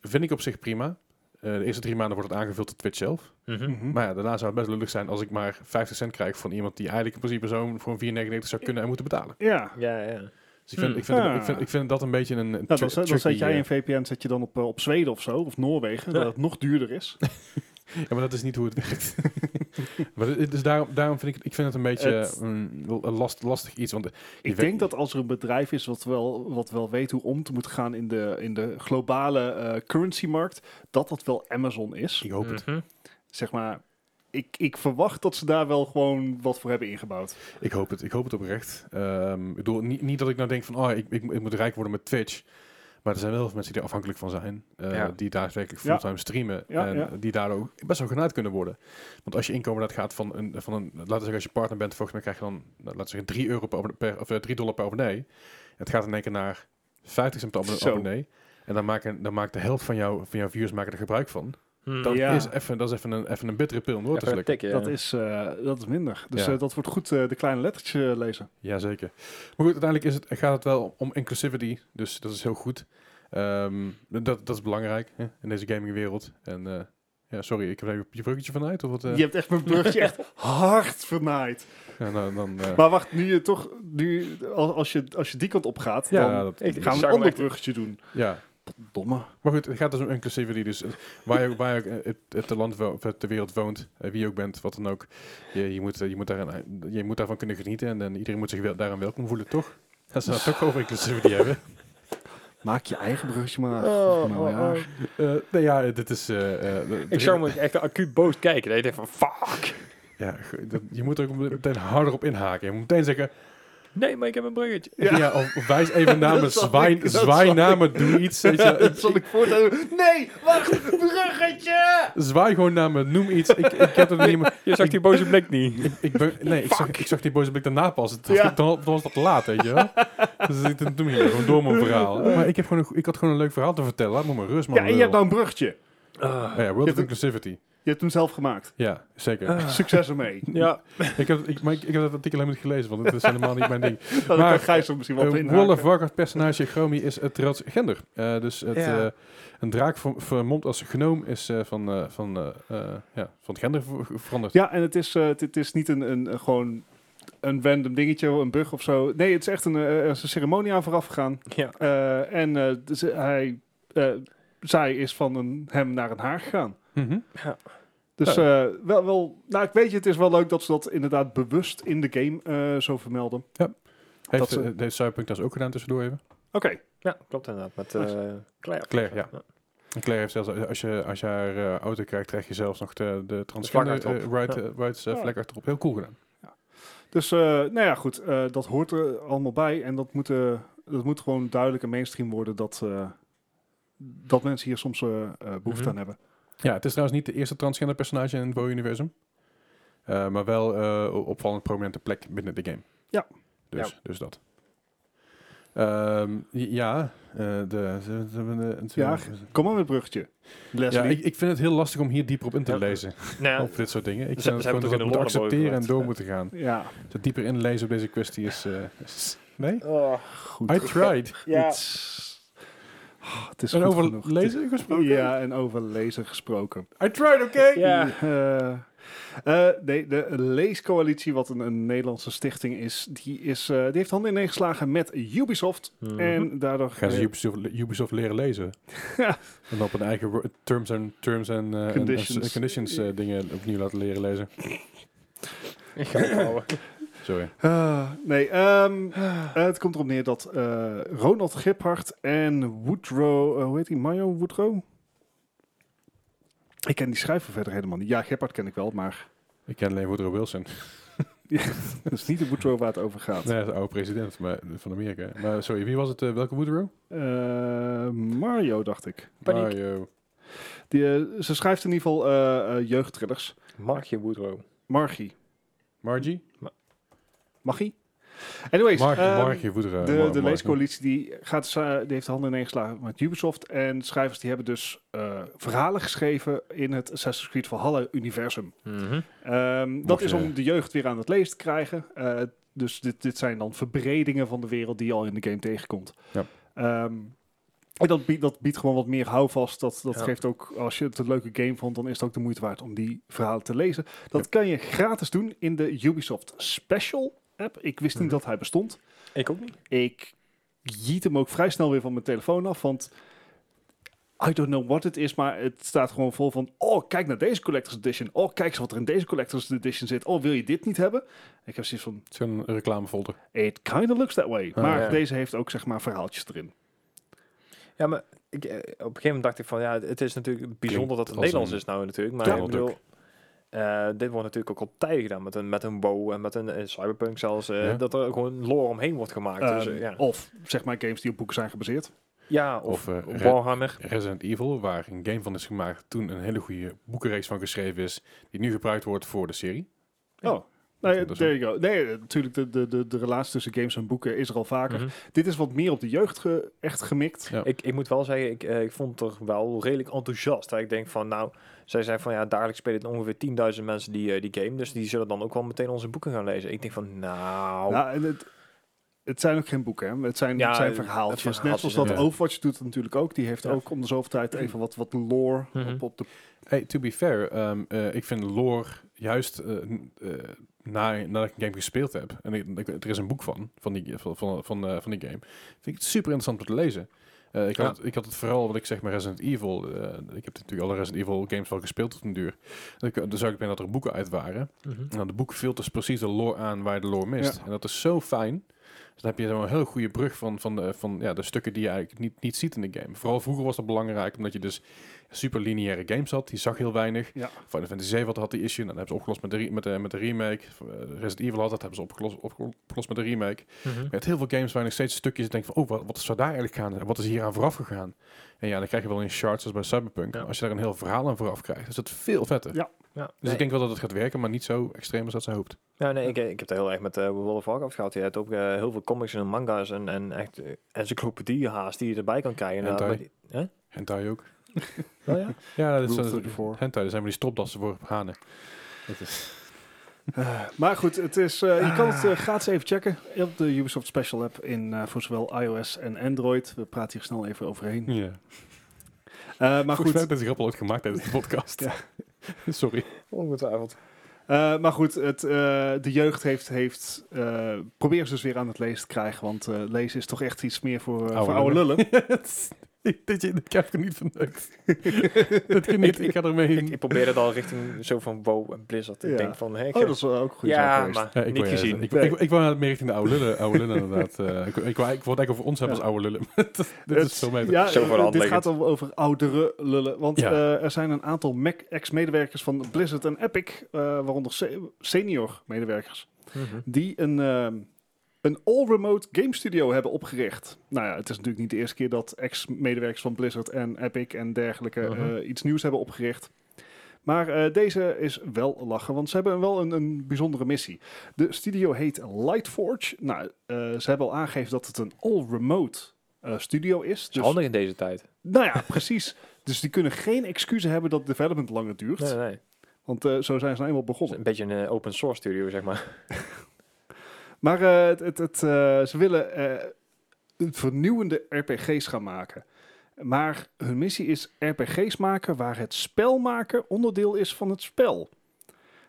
Speaker 1: Vind ik op zich prima. Eh, de eerste drie maanden wordt het aangevuld door Twitch zelf.
Speaker 2: Mhm.
Speaker 1: Maar ja, daarna zou het best lullig zijn als ik maar 50 cent krijg van iemand die eigenlijk in principe zo'n voor een 4,99 zou kunnen en moeten betalen.
Speaker 2: ja. Nou,
Speaker 3: Ja, ja.
Speaker 1: Dus ik vind,
Speaker 3: Hmm.
Speaker 1: ik vind,
Speaker 2: Ah.
Speaker 1: ik vind, ik vind dat een beetje een. een
Speaker 2: Nou,
Speaker 1: tri-
Speaker 2: dan, zet- dan
Speaker 1: tricky,
Speaker 2: zet jij
Speaker 1: eh,
Speaker 2: een VPN zet je dan op, eh, op Zweden of zo, of Noorwegen, dat het nog duurder is.
Speaker 1: Ja, maar dat is niet hoe het werkt. maar dit- dus daarom, daarom vind ik, het- ik vind het een beetje
Speaker 2: Het-
Speaker 1: een, een last, lastig iets. Want
Speaker 2: Ik
Speaker 1: weet-
Speaker 2: denk dat als er een bedrijf is wat wel, wat wel weet hoe om te moeten gaan in de, in de globale eh currencymarkt, dat dat wel Amazon is.
Speaker 1: ik hoop het.
Speaker 2: Mhm. Zeg maar, ik, ik verwacht dat ze daar wel gewoon wat voor hebben ingebouwd.
Speaker 1: Ik hoop het. Ik hoop het oprecht. Ehm, ik bedoel, niet, niet dat ik nou denk van, oh, ik, ik, ik moet rijk worden met Twitch. Maar er zijn wel veel mensen die er afhankelijk van zijn. eh,
Speaker 3: Ja.
Speaker 1: Die daadwerkelijk
Speaker 2: Ja.
Speaker 1: fulltime streamen.
Speaker 2: Ja,
Speaker 1: en
Speaker 2: ja.
Speaker 1: die daardoor ook best wel genaaid kunnen worden. Want als je inkomen dat gaat van een, van een... Laten we zeggen, als je partner bent, volgens mij krijg je dan... nou, Laten we zeggen, 3, euro per, abonne- per, of, eh, 3 dollar per abonnee. Het gaat in één keer naar 50 cent per abonne-
Speaker 2: Zo.
Speaker 1: abonnee. En dan, maken, dan maakt de helft van, jou, van jouw viewers maken er gebruik van. Dat,
Speaker 2: Ja.
Speaker 1: is, even, dat is even een, even een bittere pil om door te
Speaker 3: Even een
Speaker 1: slikken.
Speaker 3: tik, ja.
Speaker 2: Mhm. Dat, is, eh, dat is minder. Dus
Speaker 1: Ja.
Speaker 2: eh, dat wordt goed eh, de kleine lettertjes eh, lezen.
Speaker 1: Jazeker. Maar goed, uiteindelijk is het, gaat het wel om inclusivity. Dus dat is heel goed. Ehm, dat, dat is belangrijk hè, in deze gamingwereld. En eh, ja, sorry, ik heb even je bruggetje vanuit. Of wat, eh?
Speaker 2: Je hebt echt mijn brugje echt hard vernaaid.
Speaker 1: Ja, nou, dan, eh,
Speaker 2: Maar wacht, nu je toch, nu, als, als, je, als je die kant op gaat,
Speaker 1: ja,
Speaker 2: dan
Speaker 1: dat-
Speaker 3: Ik- ik
Speaker 2: gaan we
Speaker 3: zag
Speaker 2: een
Speaker 3: hem
Speaker 2: ander
Speaker 3: echt-
Speaker 2: bruggetje doen.
Speaker 1: ja.
Speaker 2: Domme.
Speaker 1: Maar goed, het gaat dus om inclusivity. Dus eh, waar je ook, waar je ook eh, het, het land wo- of het de wereld woont, eh, wie je ook bent, wat dan ook. Je, je, moet, eh, je, moet daarin, je moet daarvan kunnen genieten. En, eh, iedereen moet zich wel, daaraan welkom voelen, toch? Dat ze het toch over inclusivity hebben.
Speaker 2: Maak je eigen bruggetje maar.
Speaker 3: Oh,
Speaker 2: Of nou,
Speaker 3: oh,
Speaker 2: ja.
Speaker 3: oh.
Speaker 1: Eh, nee, ja, dit is... eh, eh,
Speaker 4: Ik zou me echt acuut boos kijken. Dat je denkt van, fuck.
Speaker 1: ja, ge- dat- je moet er ook meteen harder op inhaken. Je moet meteen zeggen,
Speaker 4: Nee, maar ik heb een bruggetje.
Speaker 1: ja, of of wijs even naar me,
Speaker 2: Dat zal ik-
Speaker 1: zwaai,
Speaker 2: dat
Speaker 1: zwaai
Speaker 2: zal
Speaker 1: naar
Speaker 2: ik-
Speaker 1: me, doe iets. weet je.
Speaker 2: Dat zal ik voortaan doen. Nee, wacht, bruggetje!
Speaker 1: Zwaai gewoon naar me, noem iets. Ik, ik heb het niet meer...
Speaker 4: Je zag die boze blik niet.
Speaker 1: Ik, ik ben, nee, ik zag, ik zag die boze blik daarna pas. Het-
Speaker 2: Ja.
Speaker 1: Dan, dan was dat laat, weet je wel. Dus ik, toen ging ik gewoon door mijn verhaal. Maar ik, heb gewoon een go- ik had gewoon een leuk verhaal te vertellen. Laat me maar rust, man.
Speaker 2: Ja, en je hebt
Speaker 1: lul.
Speaker 2: nou een bruggetje.
Speaker 1: Ja, ja, World
Speaker 2: je
Speaker 1: of
Speaker 2: hebt- Ah.
Speaker 1: Inclusivity.
Speaker 2: Je hebt hem zelf gemaakt.
Speaker 1: Ja, zeker.
Speaker 2: Succes ermee.
Speaker 4: Ja,
Speaker 1: ik, heb, ik, maar ik, ik heb dat artikel helemaal niet gelezen, want het is helemaal niet mijn ding.
Speaker 2: Dan
Speaker 1: Maar,
Speaker 2: kan Gijs er misschien wat
Speaker 1: Een
Speaker 2: in.
Speaker 1: World of Warcraft personage Chromie is het transgender. Eh, dus het,
Speaker 3: Ja.
Speaker 1: eh, een draak verm- vermomd als gnoom is eh, van, eh, van, eh, eh, ja, van het gender ver- veranderd.
Speaker 2: Ja, en het is, eh, het, het is niet een, een, een gewoon een random dingetje, een bug of zo. Nee, het is echt een, eh, er is een ceremonie aan vooraf gegaan.
Speaker 3: Ja.
Speaker 2: Eh, en eh, dus hij, eh, zij is van een hem naar een haar gegaan.
Speaker 1: Mhm.
Speaker 2: Dus eh, wel, wel, nou ik weet je, het is wel leuk dat ze dat inderdaad bewust in de game eh, zo vermelden.
Speaker 1: Heeft,
Speaker 2: ze-
Speaker 1: eh, heeft Cyberpunk dat ook gedaan tussendoor even?
Speaker 2: Oké,
Speaker 3: Ja, klopt inderdaad. Met eh Claire.
Speaker 1: Claire, ja. En Claire heeft zelfs, als je, als je haar eh, auto krijgt, krijg je zelfs nog de, de transgender
Speaker 3: achterop.
Speaker 1: eh, right, eh, rights eh,
Speaker 2: Ja.
Speaker 1: vlek achterop. Heel cool gedaan.
Speaker 2: dus eh, nou ja, goed, eh, dat hoort er allemaal bij. En dat moet, eh, dat moet gewoon duidelijk en mainstream worden dat, eh, dat mensen hier soms eh, eh, behoefte
Speaker 3: Mhm.
Speaker 2: aan hebben.
Speaker 1: Ja, het is trouwens niet de eerste transgender personage in het WoW-universum. Eh, maar wel eh, op- opvallend prominente plek binnen de game.
Speaker 2: Ja.
Speaker 1: Dus, dus dat. Ehm, j- ja, eh, de, de- de- de- de-
Speaker 2: Ja, Kom maar met het bruggetje.
Speaker 1: ja
Speaker 2: Leslie.
Speaker 1: ik, ik vind het heel lastig om hier dieper op in te
Speaker 3: Ja.
Speaker 1: lezen.
Speaker 3: Nou,
Speaker 1: Op dit soort dingen. Ik
Speaker 4: Ze-
Speaker 1: vind het
Speaker 4: ze
Speaker 1: gewoon dat we
Speaker 4: hebben toch in de
Speaker 1: moeten
Speaker 4: lore
Speaker 1: accepteren en
Speaker 4: boven
Speaker 1: door
Speaker 4: gelegd,
Speaker 1: moeten gaan.
Speaker 2: Ja,
Speaker 1: Te dieper inlezen op deze kwestie is... eh, is- nee?
Speaker 4: Oh,
Speaker 2: goed.
Speaker 1: I tried.
Speaker 2: Het is, Ah, het is
Speaker 1: En
Speaker 2: goed
Speaker 1: over
Speaker 2: genoeg.
Speaker 1: lezen gesproken?
Speaker 2: Ja, en over lezen gesproken.
Speaker 1: I tried, oké?
Speaker 4: Ja.
Speaker 2: Eh, eh, nee, de Leescoalitie, wat een, een Nederlandse stichting is, die, is eh, die heeft handen ineengeslagen met Ubisoft.
Speaker 4: mm,
Speaker 3: Mhm.
Speaker 2: En daardoor...
Speaker 1: Gaan ze Ubisoft, Ubisoft leren lezen?
Speaker 2: Ja.
Speaker 1: En op hun eigen wo- terms en terms en eh, en- en
Speaker 2: Conditions.
Speaker 1: s- conditions eh, dingen opnieuw laten leren lezen.
Speaker 4: ik ga het houden.
Speaker 1: Sorry.
Speaker 2: Ah, nee, ehm, eh, het komt erop neer dat eh, Ronald Giphart en Woodrow, eh, hoe heet die, Mario Woodrow? Ik ken die schrijver verder helemaal niet. Ja, Giphart ken ik wel, maar
Speaker 1: Ik ken alleen Woodrow Wilson.
Speaker 2: dat is niet de Woodrow waar het over gaat.
Speaker 1: Nee, dat is de oude president maar, van Amerika. Maar sorry, wie was het? eh, welke Woodrow?
Speaker 2: Eh, Mario, dacht ik.
Speaker 4: Paniek.
Speaker 1: Mario.
Speaker 2: Die, eh, ze schrijft in ieder geval eh, eh, jeugdthrillers.
Speaker 3: Markje Woodrow.
Speaker 2: Margie.
Speaker 1: Margie?
Speaker 2: Magie? Anyways,
Speaker 1: Margie,
Speaker 2: ehm,
Speaker 1: Margie Woodrow. Mar-
Speaker 2: de, de
Speaker 1: Margie.
Speaker 2: leescoalitie die gaat, sa- die heeft de handen ineengeslagen met Ubisoft. En schrijvers die hebben dus eh, verhalen geschreven in het Assassin's Creed Valhalla-universum. Ehm, dat
Speaker 1: Mocht
Speaker 2: is
Speaker 1: je-
Speaker 2: om de jeugd weer aan het lezen te krijgen. Eh, dus dit, dit zijn dan verbredingen van de wereld die je al in de game tegenkomt.
Speaker 1: Ja.
Speaker 2: Ehm, en dat biedt, dat biedt gewoon wat meer houvast. Dat, dat
Speaker 3: Ja.
Speaker 2: geeft ook, als je het een leuke game vond, dan is het ook de moeite waard om die verhalen te lezen. Dat kan je gratis doen in de Ubisoft Special app. Ik wist niet
Speaker 3: Mhm.
Speaker 2: dat hij bestond.
Speaker 3: Ik ook niet.
Speaker 2: Ik jiet hem ook vrij snel weer van mijn telefoon af, want I don't know what het is, maar het staat gewoon vol van, oh, kijk naar deze Collector's Edition. Oh, kijk eens wat er in deze Collector's Edition zit. Oh, wil je dit niet hebben? Ik heb zoiets van,
Speaker 1: Zo'n reclamefolder.
Speaker 2: it kind of looks that way.
Speaker 1: Ah,
Speaker 2: maar
Speaker 3: ja.
Speaker 2: deze heeft ook, zeg maar, verhaaltjes erin.
Speaker 3: Ja, maar ik, eh, op een gegeven moment dacht ik van ja, het is natuurlijk bijzonder dat het
Speaker 1: als
Speaker 3: Nederlands
Speaker 1: een
Speaker 3: is nou natuurlijk. Maar
Speaker 1: Ja.
Speaker 3: ik bedoel, eh, dit wordt natuurlijk ook op tijden gedaan met een, met een WoW en met een eh, Cyberpunk zelfs. eh,
Speaker 1: Ja.
Speaker 3: Dat er gewoon lore omheen wordt gemaakt. dus,
Speaker 2: Ehm,
Speaker 3: eh, ja.
Speaker 2: Of, zeg maar, games die op boeken zijn gebaseerd.
Speaker 3: ja,
Speaker 1: Of,
Speaker 3: of,
Speaker 1: eh, Red-
Speaker 3: Warhammer.
Speaker 1: Resident Evil, waar een game van is gemaakt, toen een hele goede boekenreeks van geschreven is, die nu gebruikt wordt voor de serie.
Speaker 3: Ja.
Speaker 2: Oh, nee,
Speaker 1: Dat is
Speaker 2: there you go. Nee, eh, natuurlijk, de, de, de, de relatie tussen games en boeken is er al vaker.
Speaker 3: Mhm.
Speaker 2: Dit is wat meer op de jeugd ge- echt gemikt.
Speaker 1: Ja.
Speaker 3: Ik, ik moet wel zeggen, ik, eh, ik vond er wel redelijk enthousiast. Hè. Ik denk van, nou, zij zei van, ja, dagelijks spelen het ongeveer 10.000 mensen die, eh, die game. Dus die zullen dan ook wel meteen onze boeken gaan lezen. Ik denk van, nou...
Speaker 2: Ja, en het, het zijn ook geen boeken, hè? Het zijn,
Speaker 3: Ja,
Speaker 2: het zijn
Speaker 3: het
Speaker 2: verhaaltjes.
Speaker 3: verhaaltjes,
Speaker 2: Net zoals dat
Speaker 1: ja.
Speaker 2: Overwatch doet het natuurlijk ook. Die heeft
Speaker 3: Ja.
Speaker 2: ook om de zoveel tijd even wat, wat lore
Speaker 3: Mhm.
Speaker 2: op, op de...
Speaker 1: Hey, to be fair, ehm, eh, ik vind lore juist eh, n- eh, na, nadat ik een game gespeeld heb, en ik, ik- er is een boek van, van die, van, van, van, eh, van die game, vind ik het super interessant om te lezen. Eh, ik, had
Speaker 3: Ja.
Speaker 1: het, ik had het vooral, wat ik zeg maar Resident Evil, eh, ik heb natuurlijk alle Resident Evil games wel gespeeld tot een duur. Dus ik- Dus ik ben dat er boeken uit waren.
Speaker 3: Mhm.
Speaker 1: Nou, de boek filtert precies de lore aan waar je de lore mist. En dat is zo fijn. Dus dan heb je wel een heel goede brug van, van, de, van ja, de stukken die je eigenlijk niet, niet ziet in de game. Vooral vroeger was dat belangrijk, omdat je dus super lineaire games had. Die zag heel weinig.
Speaker 2: Ja.
Speaker 1: Final Fantasy 7 had, had die issue, en dat hebben ze opgelost met de, re- met de, met de remake. Eh, Resident Evil had dat, hebben ze opgelost, opgelost met de remake. Met heel veel games waar je nog steeds stukjes denkt van, oh, wat, wat is er daar eigenlijk gaan? En wat is hier aan vooraf gegaan? En ja, dan krijg je wel in shards als bij Cyberpunk.
Speaker 4: Ja.
Speaker 1: Maar als je daar een heel verhaal aan vooraf krijgt, is dat veel vetter.
Speaker 2: Ja.
Speaker 4: Ja.
Speaker 1: Dus ik denk wel dat het gaat werken, maar niet zo extreem als dat ze hoopt.
Speaker 3: Ja, nou, nee, ik, ik heb het heel erg met eh World of Warcraft gehad. Je hebt ook eh, heel veel comics en manga's en, en echt eh, encyclopedieën haast die je erbij kan kijken.
Speaker 1: Hentai.
Speaker 3: maar die- hè?
Speaker 1: Hentai ook.
Speaker 3: Oh, ja?
Speaker 1: Ja, dat
Speaker 2: Rule
Speaker 1: is
Speaker 2: 34.
Speaker 1: hentai. Dat zijn maar die stropdassen voor hanen.
Speaker 2: Eh, maar goed, het is, eh, je kan het
Speaker 3: Ah.
Speaker 2: eh, gratis even checken op de Ubisoft Special App in, eh, voor zowel iOS en Android. We praten hier snel even overheen.
Speaker 1: Ja.
Speaker 2: Eh, maar
Speaker 1: Maar goed,
Speaker 2: goed,
Speaker 1: dat deze grap al ooit gemaakt tijdens de podcast.
Speaker 2: Ja.
Speaker 1: Sorry.
Speaker 3: Ongetwijfeld.
Speaker 2: Eh, maar goed, het, eh, de jeugd heeft, heeft eh, probeer ze dus weer aan het lezen te krijgen, want eh, lezen is toch echt iets meer voor, eh,
Speaker 1: Oude
Speaker 2: voor oude
Speaker 1: lullen.
Speaker 2: lullen.
Speaker 1: Dit je ik heb er niet van neukt. dat kan niet. Ik ga ermee.
Speaker 3: Ik, ik probeer het al richting zo van WoW en Blizzard. Ik
Speaker 2: Ja.
Speaker 3: denk van, hey, ik
Speaker 2: Oh,
Speaker 3: heb-
Speaker 2: dat is wel ook goed.
Speaker 3: ja, maar
Speaker 1: Ja, ik
Speaker 3: niet
Speaker 1: wou- eh,
Speaker 3: gezien.
Speaker 1: Ik,
Speaker 2: Nee.
Speaker 1: ik, ik wou meer richting de oude lullen, oude lullen inderdaad. Eh, ik, ik, wou- ik wou het eigenlijk over ons hebben
Speaker 2: Ja.
Speaker 1: als oude lullen. Dit is veel meer.
Speaker 2: ja, eh,
Speaker 3: Zo voor de hand
Speaker 2: dit
Speaker 3: liggend.
Speaker 2: gaat al over oudere lullen. Want
Speaker 1: Ja.
Speaker 2: eh, er zijn een aantal Mac- ex-medewerkers van Blizzard en Epic, eh, waaronder se- senior medewerkers, die een, ehm, een all-remote game studio hebben opgericht. Nou ja, het is natuurlijk niet de eerste keer dat ex-medewerkers van Blizzard en Epic en dergelijke
Speaker 4: Mhm.
Speaker 2: eh, iets nieuws hebben opgericht. Maar eh, deze is wel lachen, want ze hebben wel een, een bijzondere missie. De studio heet Lightforge. Nou, eh, ze hebben al aangegeven dat het een all-remote eh, studio is.
Speaker 3: Dat is
Speaker 2: Dus,
Speaker 3: handig in deze tijd.
Speaker 2: nou ja, precies. Dus die kunnen geen excuses hebben dat development langer duurt.
Speaker 3: Nee, nee, nee. Het
Speaker 2: Want eh, zo zijn ze nou eenmaal
Speaker 3: is
Speaker 2: begonnen.
Speaker 3: Een beetje een eh, open source studio, zeg maar.
Speaker 2: Maar eh, het, het, het, eh, ze willen eh, een vernieuwende RPG's gaan maken. Maar hun missie is RPG's maken waar het spel maken onderdeel is van het spel.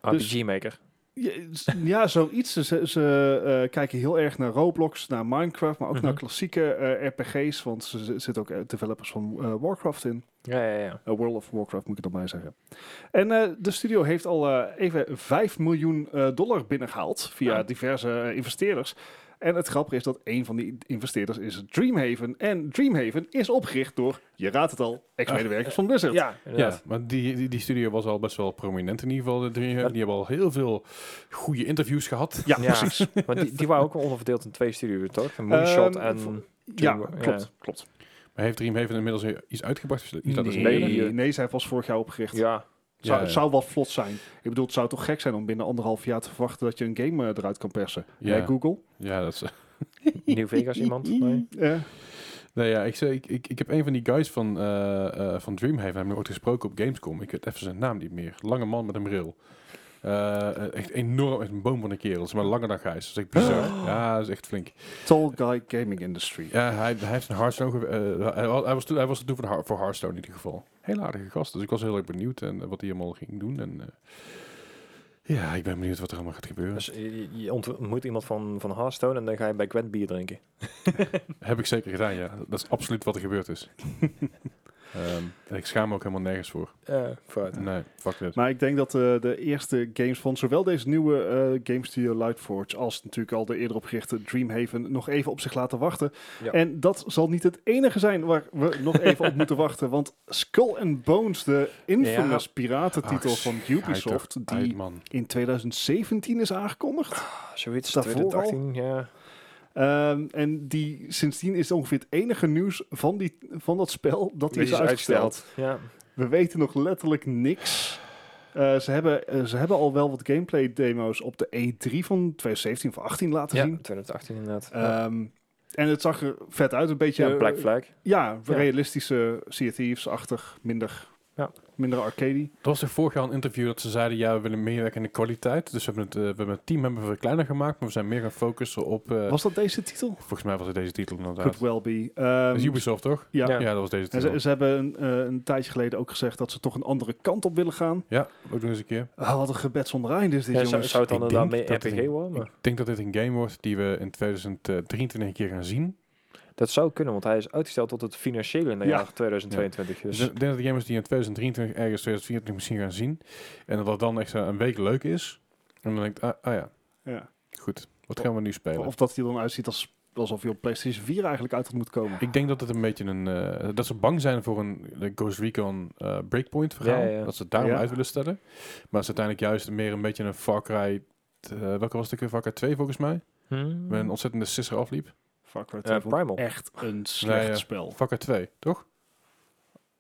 Speaker 2: Dus-
Speaker 3: RPG-maker.
Speaker 2: Ja, s- Ja, zoiets. Ze, ze- ze, eh, kijken heel erg naar Roblox, naar Minecraft, maar ook naar
Speaker 4: Mhm.
Speaker 2: klassieke eh, RPG's. Want ze- ze- er zitten ook eh, developers van eh, Warcraft in.
Speaker 3: Ja, ja, ja.
Speaker 2: Eh, World of Warcraft moet ik er dan bij zeggen. En eh, de studio heeft al eh, even 5 miljoen eh, dollar binnengehaald via
Speaker 4: Ja.
Speaker 2: diverse eh, investeerders. En het grappige is dat een van die investeerders is Dreamhaven. En Dreamhaven is opgericht door, je raadt het al, ex-medewerkers van Blizzard.
Speaker 3: Ja,
Speaker 1: Ja,
Speaker 3: inderdaad.
Speaker 1: maar die, die, die studio was al best wel prominent in ieder geval. De drie, die
Speaker 3: Ja.
Speaker 1: hebben al heel veel goede interviews gehad.
Speaker 2: Ja,
Speaker 3: Ja.
Speaker 2: precies.
Speaker 3: Maar die, die waren ook wel onderverdeeld in twee studio's, toch? Een Moonshot
Speaker 2: Ehm,
Speaker 3: en...
Speaker 2: voor- Ja,
Speaker 3: Dream-
Speaker 2: klopt.
Speaker 3: ja.
Speaker 2: klopt.
Speaker 1: Maar heeft Dreamhaven inmiddels iets uitgebracht? Is dat- Iets laten zien?
Speaker 3: Nee.
Speaker 2: Nee, nee, zij was vorig jaar opgericht.
Speaker 3: Ja,
Speaker 2: Zou,
Speaker 1: Ja, ja.
Speaker 2: Het zou wel vlot zijn. Ik bedoel, het zou toch gek zijn om binnen anderhalf jaar te verwachten dat je een game eh, eruit kan persen.
Speaker 1: Ja.
Speaker 2: Ja, Google.
Speaker 1: Ja, dat is...
Speaker 3: New Vegas iemand. Nee.
Speaker 2: Eh,
Speaker 1: Nee, ja, ik, zei- ik, ik, ik heb een van die guys van, eh, eh, van Dreamhaven, hebben we ooit gesproken op Gamescom. Ik weet even zijn naam niet meer. Lange man met een bril. Eh, echt enorm, echt een boom van een kerel. Het is maar langer dan Gijs. Dat is echt bizar. Ja, dat is echt flink.
Speaker 2: Tall Guy Gaming Industry.
Speaker 1: Ja, hij, hij heeft een Hearthstone... ge- eh, hij, wa- hij was toen, hij was er toen voor, de Har- voor Hearthstone in ieder geval. Heel aardige gast. Dus ik was heel erg benieuwd en, eh, wat hij allemaal ging doen. En, eh, ja, ik ben benieuwd wat er allemaal gaat gebeuren.
Speaker 3: Dus je, je ontmoet iemand van, van Hearthstone en dan ga je bij Gwent bier drinken.
Speaker 1: Heb ik zeker gedaan, ja. Dat is absoluut wat er gebeurd is. Ehm, en ik schaam me ook helemaal nergens voor.
Speaker 3: Ja, vooruit.
Speaker 1: Nee, fuck that.
Speaker 2: Maar ik denk dat eh, de eerste games van zowel deze nieuwe eh, game studio Lightforge als natuurlijk al de eerder opgerichte Dreamhaven nog even op zich laten wachten.
Speaker 3: Ja.
Speaker 2: En dat zal niet het enige zijn waar we nog even op moeten wachten, want Skull and Bones, de infamous piratentitel
Speaker 1: Ach,
Speaker 2: van
Speaker 1: Uit,
Speaker 2: Ubisoft,
Speaker 1: toch, uit,
Speaker 2: die
Speaker 1: man.
Speaker 2: in 2017 is aangekondigd.
Speaker 3: Ah, Zoiets,
Speaker 2: Daarvoor al?
Speaker 3: 2018, ja.
Speaker 2: Ehm, en die sindsdien is ongeveer het enige nieuws van, die, van dat spel dat die is uitgesteld.
Speaker 3: Ja.
Speaker 2: We weten nog letterlijk niks. Eh, ze, hebben, eh, ze hebben al wel wat gameplay demo's op de E3 van 2017 of 18 laten
Speaker 3: ja,
Speaker 2: zien.
Speaker 3: 2018 inderdaad. ja.
Speaker 2: Ehm, en het zag er vet uit, een beetje...
Speaker 3: Ja, Black Flag.
Speaker 2: Ja,
Speaker 3: Ja.
Speaker 2: realistische Sea of Thieves-achtig, minder,
Speaker 3: Ja.
Speaker 2: minder arcade.
Speaker 1: Er was toch vorig jaar een interview dat ze zeiden... ja, we willen meewerken aan de kwaliteit. Dus we hebben het, eh, we hebben het team hebben we kleiner gemaakt... maar we zijn meer gaan focussen op... eh,
Speaker 2: Was dat deze titel?
Speaker 1: volgens mij was het deze titel inderdaad.
Speaker 2: Could well be. Ehm,
Speaker 1: Dat is Ubisoft, toch?
Speaker 2: ja.
Speaker 1: Ja.
Speaker 3: Ja.
Speaker 1: dat was deze
Speaker 2: En
Speaker 1: titel.
Speaker 2: ze, ze hebben een, eh, een tijdje geleden ook gezegd dat ze toch een andere kant op willen gaan.
Speaker 1: Ja, ook nog eens een keer.
Speaker 2: Ah, wat een gebed zonder eind is dit,
Speaker 3: Ja, zou,
Speaker 2: jongens.
Speaker 3: zou het dan
Speaker 1: ik
Speaker 3: inderdaad
Speaker 1: denk
Speaker 3: mee
Speaker 1: dat het
Speaker 3: RPG
Speaker 1: een-
Speaker 3: worden? maar-
Speaker 1: Ik denk dat dit een game wordt die we in 2023 een keer gaan zien.
Speaker 3: Dat zou kunnen, want hij is uitgesteld tot het financiële in de
Speaker 2: Ja.
Speaker 3: jaar 2022.
Speaker 1: Dus
Speaker 3: Dus
Speaker 1: ik denk dat de game is die in 2023, ergens 2024 misschien gaan zien. En dat dat dan echt eh, een week leuk is. En dan denk ik, ah, ah ja,
Speaker 2: Ja.
Speaker 1: goed. Wat gaan we nu spelen?
Speaker 2: Of dat hij er dan uitziet als, alsof hij op PlayStation 4 eigenlijk uit had moeten komen.
Speaker 1: Ik denk dat het een beetje een... eh, dat ze bang zijn voor een de Ghost Recon eh, Breakpoint verhaal.
Speaker 4: Ja, ja.
Speaker 1: Dat ze het daarom
Speaker 2: Ja.
Speaker 1: uit willen stellen. Maar het is uiteindelijk juist meer een beetje een Far Cry... eh, welke was het? ook weer? Far Cry 2 volgens
Speaker 4: Mhm.
Speaker 1: mij. Waar een ontzettende sisser afliep.
Speaker 2: Far Cry
Speaker 3: Eh,
Speaker 2: 2 vond ik
Speaker 3: Hmm. Primal.
Speaker 2: echt een slecht
Speaker 1: ja.
Speaker 2: spel.
Speaker 1: Far Cry 2, toch?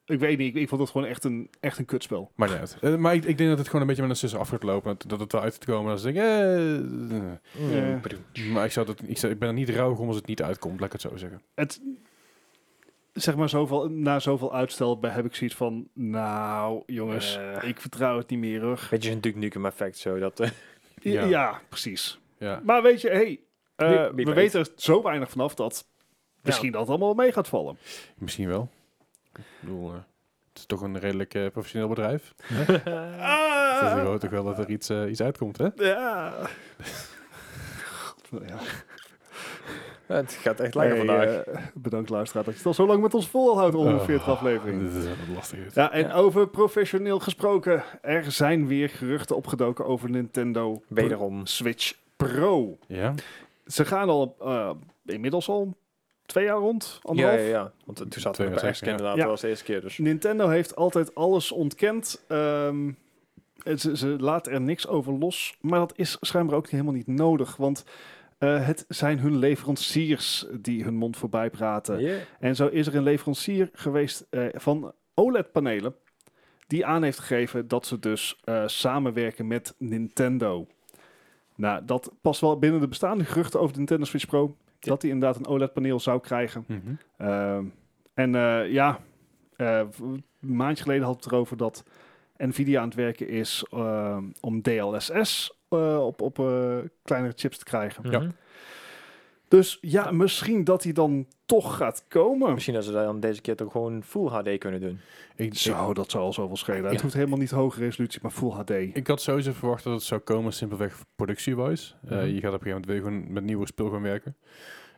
Speaker 2: Ik weet niet, ik, ik vond het gewoon echt een, echt een kutspel.
Speaker 1: Maar niet uit. Eh, maar ik, ik denk dat het gewoon een beetje met een sisser af gaat lopen. Dat, dat het eruit te komen. Dat ze denken... eh, eh.
Speaker 3: Hmm.
Speaker 2: Ja.
Speaker 1: Maar ik, zou dat, ik, zou, ik ben er niet rauw om als het niet uitkomt. Laat ik het zo zeggen.
Speaker 2: Het, zeg maar, zoveel, na zoveel uitstel ben- heb ik zoiets van, nou jongens,
Speaker 3: Eh.
Speaker 2: ik vertrouw het niet meer hoor.
Speaker 3: Beetje een Duke Nukem effect zo. Dat, eh,
Speaker 2: I-
Speaker 1: Ja.
Speaker 2: Ja, precies.
Speaker 1: Ja.
Speaker 2: Maar weet je, hey, eh,
Speaker 3: Wie- wie
Speaker 2: we
Speaker 3: weet.
Speaker 2: weten er zo weinig vanaf dat misschien dat allemaal mee gaat vallen.
Speaker 1: Misschien wel. Ik bedoel, eh, het is toch een redelijk eh, professioneel bedrijf.
Speaker 3: eh,
Speaker 2: Ah.
Speaker 1: Dus ik hoop toch wel dat er iets, eh, iets uitkomt, hè?
Speaker 2: Ja. God, ja.
Speaker 3: het gaat echt lekker
Speaker 2: Hey,
Speaker 3: vandaag.
Speaker 2: eh, bedankt luisteraar dat je het al zo lang met ons volhoudt onder de 40
Speaker 1: Oh,
Speaker 2: afleveringen.
Speaker 1: Dit is wel lastig. dit.
Speaker 2: Ja, en over professioneel gesproken, er zijn weer geruchten opgedoken over Nintendo
Speaker 3: Wederom.
Speaker 2: Switch Pro.
Speaker 1: Ja?
Speaker 2: Ze gaan al eh, inmiddels al twee jaar rond,
Speaker 3: Ja,
Speaker 2: anderhalf.
Speaker 3: ja, ja. Want eh, toen zaten we bij
Speaker 1: 2006,
Speaker 3: Esk inderdaad.
Speaker 2: ja.
Speaker 3: Dat was de eerste keer dus.
Speaker 2: Nintendo heeft altijd alles ontkend. Ehm, en ze, ze laat er niks over los. Maar dat is schijnbaar ook helemaal niet nodig. Want eh, het zijn hun leveranciers die hun mond voorbij praten.
Speaker 3: eh,
Speaker 4: Yeah.
Speaker 2: En zo is er een leverancier geweest eh, van OLED-panelen. Die aan heeft gegeven dat ze dus eh, samenwerken met Nintendo. Nou, dat past wel binnen de bestaande geruchten over de Nintendo Switch Pro.
Speaker 3: Ja.
Speaker 2: Dat hij inderdaad een OLED-paneel zou krijgen.
Speaker 1: Mhm.
Speaker 2: Ehm, en eh, ja, eh, v- een maandje geleden had het erover dat Nvidia aan het werken is ehm, om DLSS eh, op, op eh, kleinere chips te krijgen.
Speaker 3: Hm.
Speaker 1: Ja.
Speaker 2: Dus ja, misschien dat die dan toch gaat komen.
Speaker 3: Misschien dat ze dat dan deze keer toch gewoon full HD kunnen doen.
Speaker 1: Ik, ik,
Speaker 2: Zo, dat zou al zoveel schelen.
Speaker 1: Ja.
Speaker 2: Het hoeft helemaal niet hoge resolutie, maar Full HD.
Speaker 1: ik had sowieso verwacht dat het zou komen simpelweg productie-wise. Eh,
Speaker 3: Mhm.
Speaker 1: Je gaat op een gegeven moment weer gewoon met nieuwe spul gaan werken.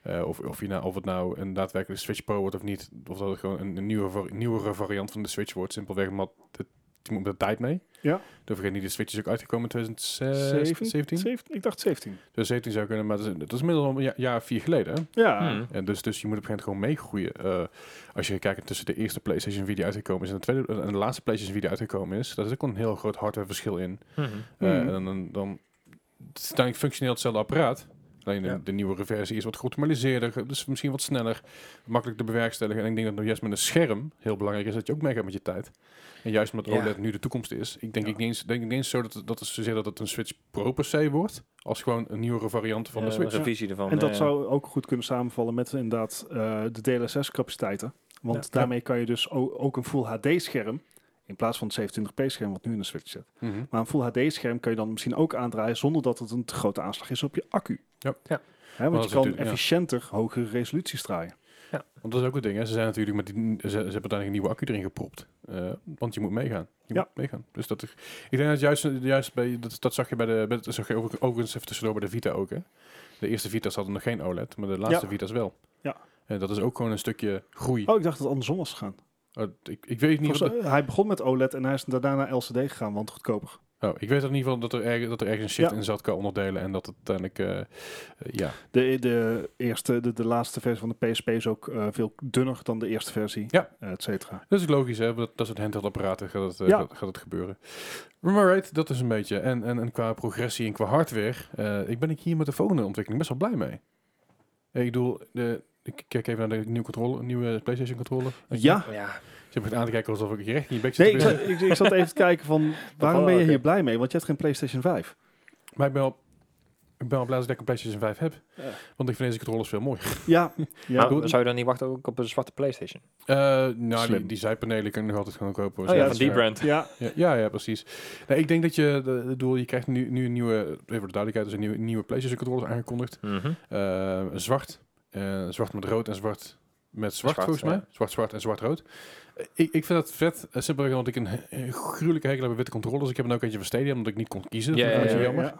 Speaker 1: Eh, of, of, je nou, of het nou een daadwerkelijk Switch Pro wordt of niet. Of dat het gewoon een, een nieuwe, var- nieuwere variant van de Switch wordt. Simpelweg omdat het, je moet met de tijd mee.
Speaker 2: Ja.
Speaker 1: Dan vergeet niet, de Switch is ook uitgekomen in eh,
Speaker 2: 17?
Speaker 1: 2017.
Speaker 2: Zeventien? ik dacht 17.
Speaker 1: Dus 17 zou kunnen, maar dat is, dat is inmiddels al een ja- jaar of vier geleden. hè?
Speaker 2: Ja,
Speaker 1: En dus, dus je moet op een gegeven moment gewoon meegroeien. Eh, als je kijkt tussen de eerste PlayStation 4 die uitgekomen is en de, tweede, en de laatste PlayStation 4 die uitgekomen is, daar zit ook wel een heel groot hardwareverschil in. Eh,
Speaker 3: Hmm.
Speaker 2: Mhm.
Speaker 1: En dan, dan het is uiteindelijk functioneel hetzelfde apparaat. Alleen de,
Speaker 3: Ja.
Speaker 1: de nieuwere versie is wat geoptimaliseerder, dus misschien wat sneller, makkelijk te bewerkstelligen. En ik denk dat nog juist met een scherm heel belangrijk is dat je ook meegaat met je tijd. En juist omdat
Speaker 3: Ja.
Speaker 1: OLED nu de toekomst is, ik denk
Speaker 3: Ja.
Speaker 1: ik niet eens, denk ik niet eens zo dat, het- dat het zozeer dat het een Switch Pro per se wordt, als gewoon een nieuwere variant van de
Speaker 3: Eh,
Speaker 1: Switch.
Speaker 3: Een revisie ervan.
Speaker 2: en dat
Speaker 3: eh,
Speaker 2: zou ook goed kunnen samenvallen met inderdaad eh, de DLSS-capaciteiten. Want
Speaker 1: Ja.
Speaker 2: daarmee kan je dus o- ook een Full HD-scherm, in plaats van het 720p-scherm wat nu in de Switch zit.
Speaker 1: Mhm.
Speaker 2: Maar een Full HD-scherm kan je dan misschien ook aandraaien zonder dat het een te grote aanslag is op je accu.
Speaker 1: Ja.
Speaker 3: Ja.
Speaker 2: Hè,
Speaker 1: Maar
Speaker 2: want je
Speaker 1: dat is
Speaker 2: kan
Speaker 1: natuurlijk- ja.
Speaker 2: efficiënter hogere resoluties draaien.
Speaker 1: Want dat is ook het ding. Hè. Ze zijn natuurlijk met die, ze, ze hebben uiteindelijk een nieuwe accu erin gepropt. Eh, want je moet meegaan. Je
Speaker 2: Ja.
Speaker 1: moet meegaan. Dus dat is, ik denk dat juist, juist bij dat, dat zag je bij de bij- dat zag je over- overigens even tussendoor bij de Vita ook. Hè. De eerste Vita's hadden nog geen OLED, maar de laatste
Speaker 2: Ja.
Speaker 1: Vita's wel.
Speaker 2: Ja.
Speaker 1: En dat is ook gewoon een stukje groei.
Speaker 2: Oh, ik dacht dat het andersom was gegaan.
Speaker 1: Oh, ik, ik weet niet. Of dat,
Speaker 2: Volgens- hij begon met OLED en hij is daarna naar LCD gegaan, want goedkoper.
Speaker 1: oh, ik weet in ieder geval dat er, erg- dat er ergens een shift
Speaker 2: Ja.
Speaker 1: in zat qua onderdelen en dat het uiteindelijk eh, eh, ja.
Speaker 2: De, de eerste, de, de laatste versie van de PSP is ook eh, veel dunner dan de eerste versie,
Speaker 1: Ja.
Speaker 2: eh, et cetera.
Speaker 1: Dat is logisch, hè? Dat, dat soort handheldapparaten gaat het, eh,
Speaker 2: Ja.
Speaker 1: gaat, gaat het gebeuren. Maar right, dat is een beetje. En, en, en qua progressie en qua hardware, eh, ik ben ik hier met de volgende ontwikkeling best wel blij mee. Eh, Ik bedoel, de, ik kijk even naar de nieuwe, controller, nieuwe PlayStation controller. Ik-
Speaker 2: Ja,
Speaker 3: Ja.
Speaker 1: Je hebt aan te kijken alsof ik hier echt niet
Speaker 2: nee,
Speaker 1: beetje
Speaker 2: ik, zat- ik, ik zat even te kijken van waarom
Speaker 3: wel,
Speaker 2: ben je
Speaker 3: oké.
Speaker 2: hier blij mee? Want je hebt geen PlayStation 5.
Speaker 1: Maar ik ben wel, ik ben wel blij dat ik een PlayStation 5 heb.
Speaker 2: Ja.
Speaker 1: Want ik vind deze controllers veel mooier.
Speaker 2: Ja, ja.
Speaker 3: Maar
Speaker 1: doe-
Speaker 3: zou je dan niet wachten ook op een zwarte PlayStation?
Speaker 1: Eh, nou, die,
Speaker 2: Slim.
Speaker 1: die zijpanelen kunnen nog altijd gewoon kopen.
Speaker 2: Oh ja,
Speaker 1: Zo,
Speaker 2: van
Speaker 1: dus, eh,
Speaker 4: brand.
Speaker 2: ja.
Speaker 1: Ja, ja, ja precies. Nee, ik denk dat je, de, de doel, je krijgt nu, nu een nieuwe, even voor de duidelijkheid, dus een nieuwe, nieuwe PlayStation controller aangekondigd.
Speaker 2: Mhm.
Speaker 1: Eh, zwart, eh, zwart met rood en zwart met zwart,
Speaker 3: Zwart,
Speaker 1: volgens mij.
Speaker 3: ja.
Speaker 1: Zwart, zwart en zwart-rood. Eh, ik, ik vind dat vet, eh, simpelweg omdat ik een, een gruwelijke hekel heb aan witte controllers. Ik heb er nou ook eentje van Stadia, omdat ik niet kon kiezen.
Speaker 4: Ja,
Speaker 1: Dat
Speaker 4: ja,
Speaker 1: is
Speaker 2: Eh,
Speaker 4: ja,
Speaker 1: jammer.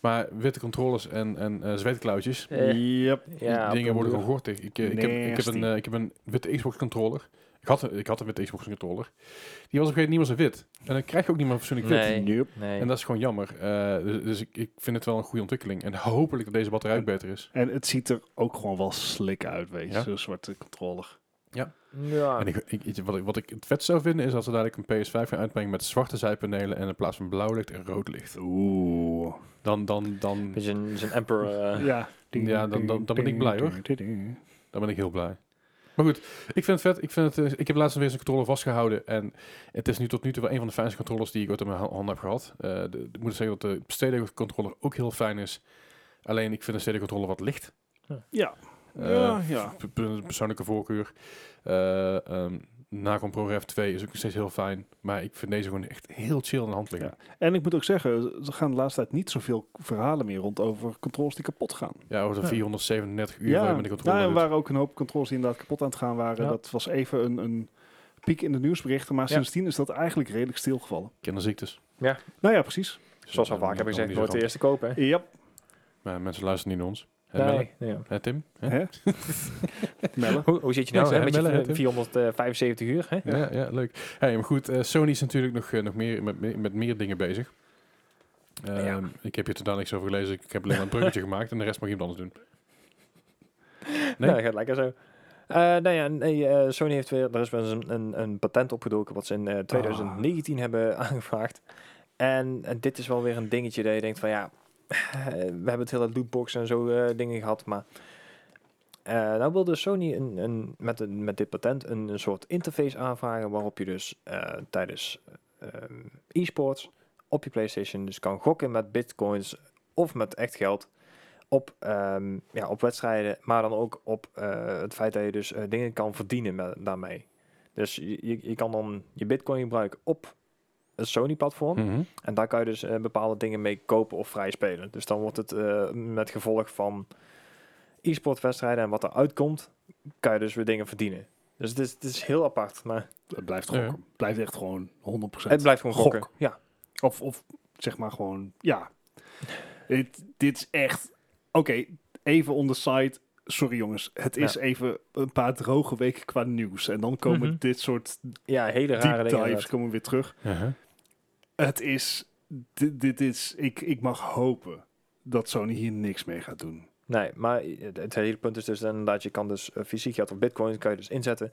Speaker 1: Maar witte controllers en, en eh, zweetklauwtjes,
Speaker 2: Yep.
Speaker 1: die dingen worden gewoon gortig. Ik, eh, ik, heb, ik, heb
Speaker 2: Nasty.
Speaker 1: een, eh, ik heb een witte Xbox controller. Ik had, ik had hem met de Xbox controller. Die was op een gegeven moment niet meer zo wit. En dan krijg je ook niet meer fatsoenlijk wit.
Speaker 5: Nee.
Speaker 2: Nope.
Speaker 5: Nee.
Speaker 1: En dat is gewoon jammer. Eh, dus dus ik, ik vind het wel een goede ontwikkeling. En hopelijk dat deze batterij ook beter is.
Speaker 2: En het ziet er ook gewoon wel slik uit, weet je.
Speaker 1: Ja.
Speaker 2: Zo'n zwarte controller.
Speaker 3: Ja.
Speaker 1: En ik, ik, ik- wat, ik, wat ik het vet zou vinden is dat ze dadelijk een PS5 gaan uitbrengen met zwarte zijpanelen en in plaats van blauw licht en rood licht.
Speaker 2: Oeh.
Speaker 1: Dan, dan, dan,
Speaker 5: Beetje een, zo'n emperor. eh,
Speaker 2: Ja.
Speaker 1: Ja, dan- dan- dan ben ik blij, hoor. dan ben ik heel blij. Maar goed, ik vind het vet. Ik, vind het, eh, ik heb laatst weer eens een controller vastgehouden. En het is nu tot nu toe wel een van de fijnste controllers die ik ooit in mijn ha- handen heb gehad. Eh, de- de- ik moet zeggen dat de stedelijke controller ook heel fijn is. Alleen ik vind de stedelijke controller wat licht.
Speaker 2: Ja.
Speaker 1: Eh,
Speaker 2: ja, ja.
Speaker 1: p- p- persoonlijke voorkeur. Eh ehm Nacon ProRef 2 is ook nog steeds heel fijn. Maar ik vind deze gewoon echt heel chill in de hand liggen.
Speaker 2: En ik moet ook zeggen, ze gaan de laatste tijd niet zoveel verhalen meer rond over controles die kapot gaan.
Speaker 1: Ja, over de
Speaker 3: Ja.
Speaker 1: 437 uur waar
Speaker 2: Ja,
Speaker 1: je met de controller
Speaker 2: nou, er
Speaker 1: doet.
Speaker 2: waren ook een hoop controles die inderdaad kapot aan het gaan waren.
Speaker 3: Ja.
Speaker 2: Dat was even een, een piek in de nieuwsberichten, maar
Speaker 3: Ja.
Speaker 2: sindsdien is dat eigenlijk redelijk stilgevallen.
Speaker 1: Kinderziektes.
Speaker 2: Nou ja, precies.
Speaker 3: Zoals al vaak heb ik gezegd, nooit de eerste kopen. hè.
Speaker 2: Ja.
Speaker 1: Maar mensen luisteren niet naar ons. Hè, Melle?
Speaker 3: Nee. Ja.
Speaker 1: Hè, Tim? Hè?
Speaker 2: Hè? Mellen.
Speaker 3: Hoe, hoe zit je
Speaker 1: Ja, ik
Speaker 3: nou
Speaker 1: zei
Speaker 3: hè, met je
Speaker 1: bellen, hè,
Speaker 3: v-
Speaker 1: Tim?
Speaker 3: 475 uur? Hè?
Speaker 1: Ja, ja, leuk. Hey, maar goed, eh, Sony is natuurlijk nog, eh, nog meer, met, meer- met meer dingen bezig. Ehm, Ik heb hier totaal niks over gelezen. Ik heb alleen maar een bruggetje gemaakt en de rest mag iemand anders doen. Nee?
Speaker 3: Nee, Nou, dat gaat lekker zo. Eh nou ja, nee, eh, Sony heeft weer, er is wel eens een, een, een patent opgedoken wat ze in eh, 2019 hebben aangevraagd. En, en dit is wel weer een dingetje dat je denkt van ja, eh, we hebben het hele lootbox en zo eh, dingen gehad, maar eh nou wilde Sony een, een, met, een, met dit patent een, een soort interface aanvragen waarop je dus eh, tijdens ehm, e-sports op je PlayStation dus kan gokken met bitcoins of met echt geld op, ehm, ja, op wedstrijden, maar dan ook op eh, het feit dat je dus eh, dingen kan verdienen met, daarmee. Dus je, je- je kan dan je bitcoin gebruiken op het
Speaker 2: Hm.
Speaker 3: Sony-platform.
Speaker 1: Mhm.
Speaker 3: En daar kan je dus eh, bepaalde dingen mee kopen of vrij spelen. Dus dan wordt het eh, met gevolg van e-sportwedstrijden en wat eruit komt, kan je dus weer dingen verdienen. Dus het is, het is heel apart, maar
Speaker 2: Het blijft
Speaker 1: Ja.
Speaker 2: gokken. Het blijft echt gewoon 100%.
Speaker 3: het blijft gewoon
Speaker 2: Gok.
Speaker 3: gokken. Ja.
Speaker 2: Of, of zeg maar gewoon, ja. dit, dit is echt... Oké, even on the side. Sorry jongens, het is even een paar droge weken qua nieuws. En dan komen
Speaker 3: Mhm.
Speaker 2: dit soort
Speaker 3: ja, hele rare
Speaker 2: deep
Speaker 3: dingen.
Speaker 2: dives
Speaker 3: inderdaad.
Speaker 2: komen weer terug.
Speaker 1: Uh-huh.
Speaker 2: Het is... Dit, dit is... Ik, ik mag hopen dat Sony hier niks mee gaat doen.
Speaker 3: Nee, maar het, het hele punt is dus inderdaad, je kan dus eh, fysiek geld of bitcoin kan je dus inzetten.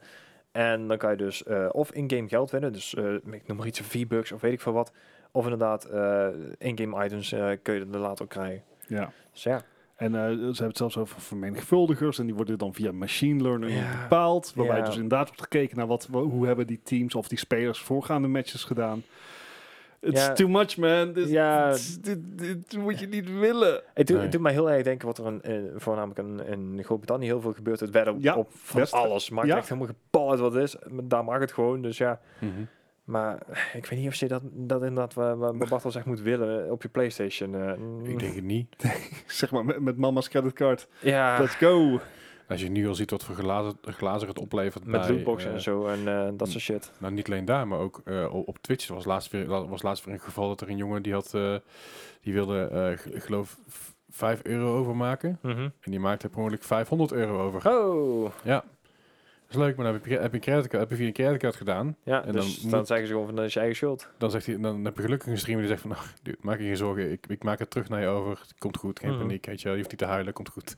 Speaker 3: En dan kan je dus eh, of in-game geld winnen, dus eh, ik noem maar iets, V-bucks of weet ik veel wat. Of inderdaad, eh, in-game items eh, kun je er later ook krijgen.
Speaker 2: Ja.
Speaker 3: Dus ja,
Speaker 2: En eh, ze hebben het zelfs over vermenigvuldigers. En die worden dan via machine learning
Speaker 3: Ja.
Speaker 2: bepaald. Waarbij
Speaker 3: Ja.
Speaker 2: dus inderdaad wordt gekeken naar wat, wa- hoe hebben die teams of die spelers voorgaande matches gedaan. It's
Speaker 3: Ja.
Speaker 2: too much, man. Dit,
Speaker 3: Ja.
Speaker 2: dit, dit- dit moet je niet willen.
Speaker 3: Het doet,
Speaker 1: Nee.
Speaker 3: het doet mij heel erg denken wat er een, eh, voornamelijk in, in Groot-Brittannië heel veel gebeurt. Het wedden
Speaker 2: Ja,
Speaker 3: op van
Speaker 2: best.
Speaker 3: alles. Maakt
Speaker 2: Ja.
Speaker 3: echt helemaal gepal uit wat het is. Maar Daar mag het gewoon, dus ja.
Speaker 1: Mhm.
Speaker 3: Maar eh, ik weet niet of je dat, dat inderdaad waar, waar Bart al zegt moet willen eh, op je Playstation. eh.
Speaker 1: Ik denk het niet.
Speaker 2: Zeg maar met, met mama's creditcard.
Speaker 3: Ja,
Speaker 2: Let's go.
Speaker 1: Als je nu al ziet wat voor glazen, glazen het oplevert.
Speaker 3: met
Speaker 1: bij,
Speaker 3: lootboxen
Speaker 1: eh,
Speaker 3: en zo en eh, dat soort shit.
Speaker 1: Nou, niet alleen daar, maar ook eh, op op Twitch. Er was laatst, weer, la- was laatst weer een geval dat er een jongen die had... eh, die wilde, eh, g- ik geloof, v- 5 euro overmaken. En die maakte per ongeluk 500 euro over.
Speaker 3: Oh,
Speaker 1: Dat is leuk, maar dan heb je, heb je, een creditcard, heb je via een creditcard gedaan.
Speaker 3: ja,
Speaker 1: En
Speaker 3: dus
Speaker 1: dan
Speaker 3: dan,
Speaker 1: moet-
Speaker 3: zeggen ze gewoon van dat is je eigen schuld.
Speaker 1: Dan, zegt hij, dan heb je gelukkig een streamer die zegt van... Nou, dude, maak je geen zorgen, ik, ik maak het terug naar je over. Het komt goed, geen
Speaker 3: Mhm.
Speaker 1: paniek. Weet je, wel. je hoeft niet te huilen, komt goed.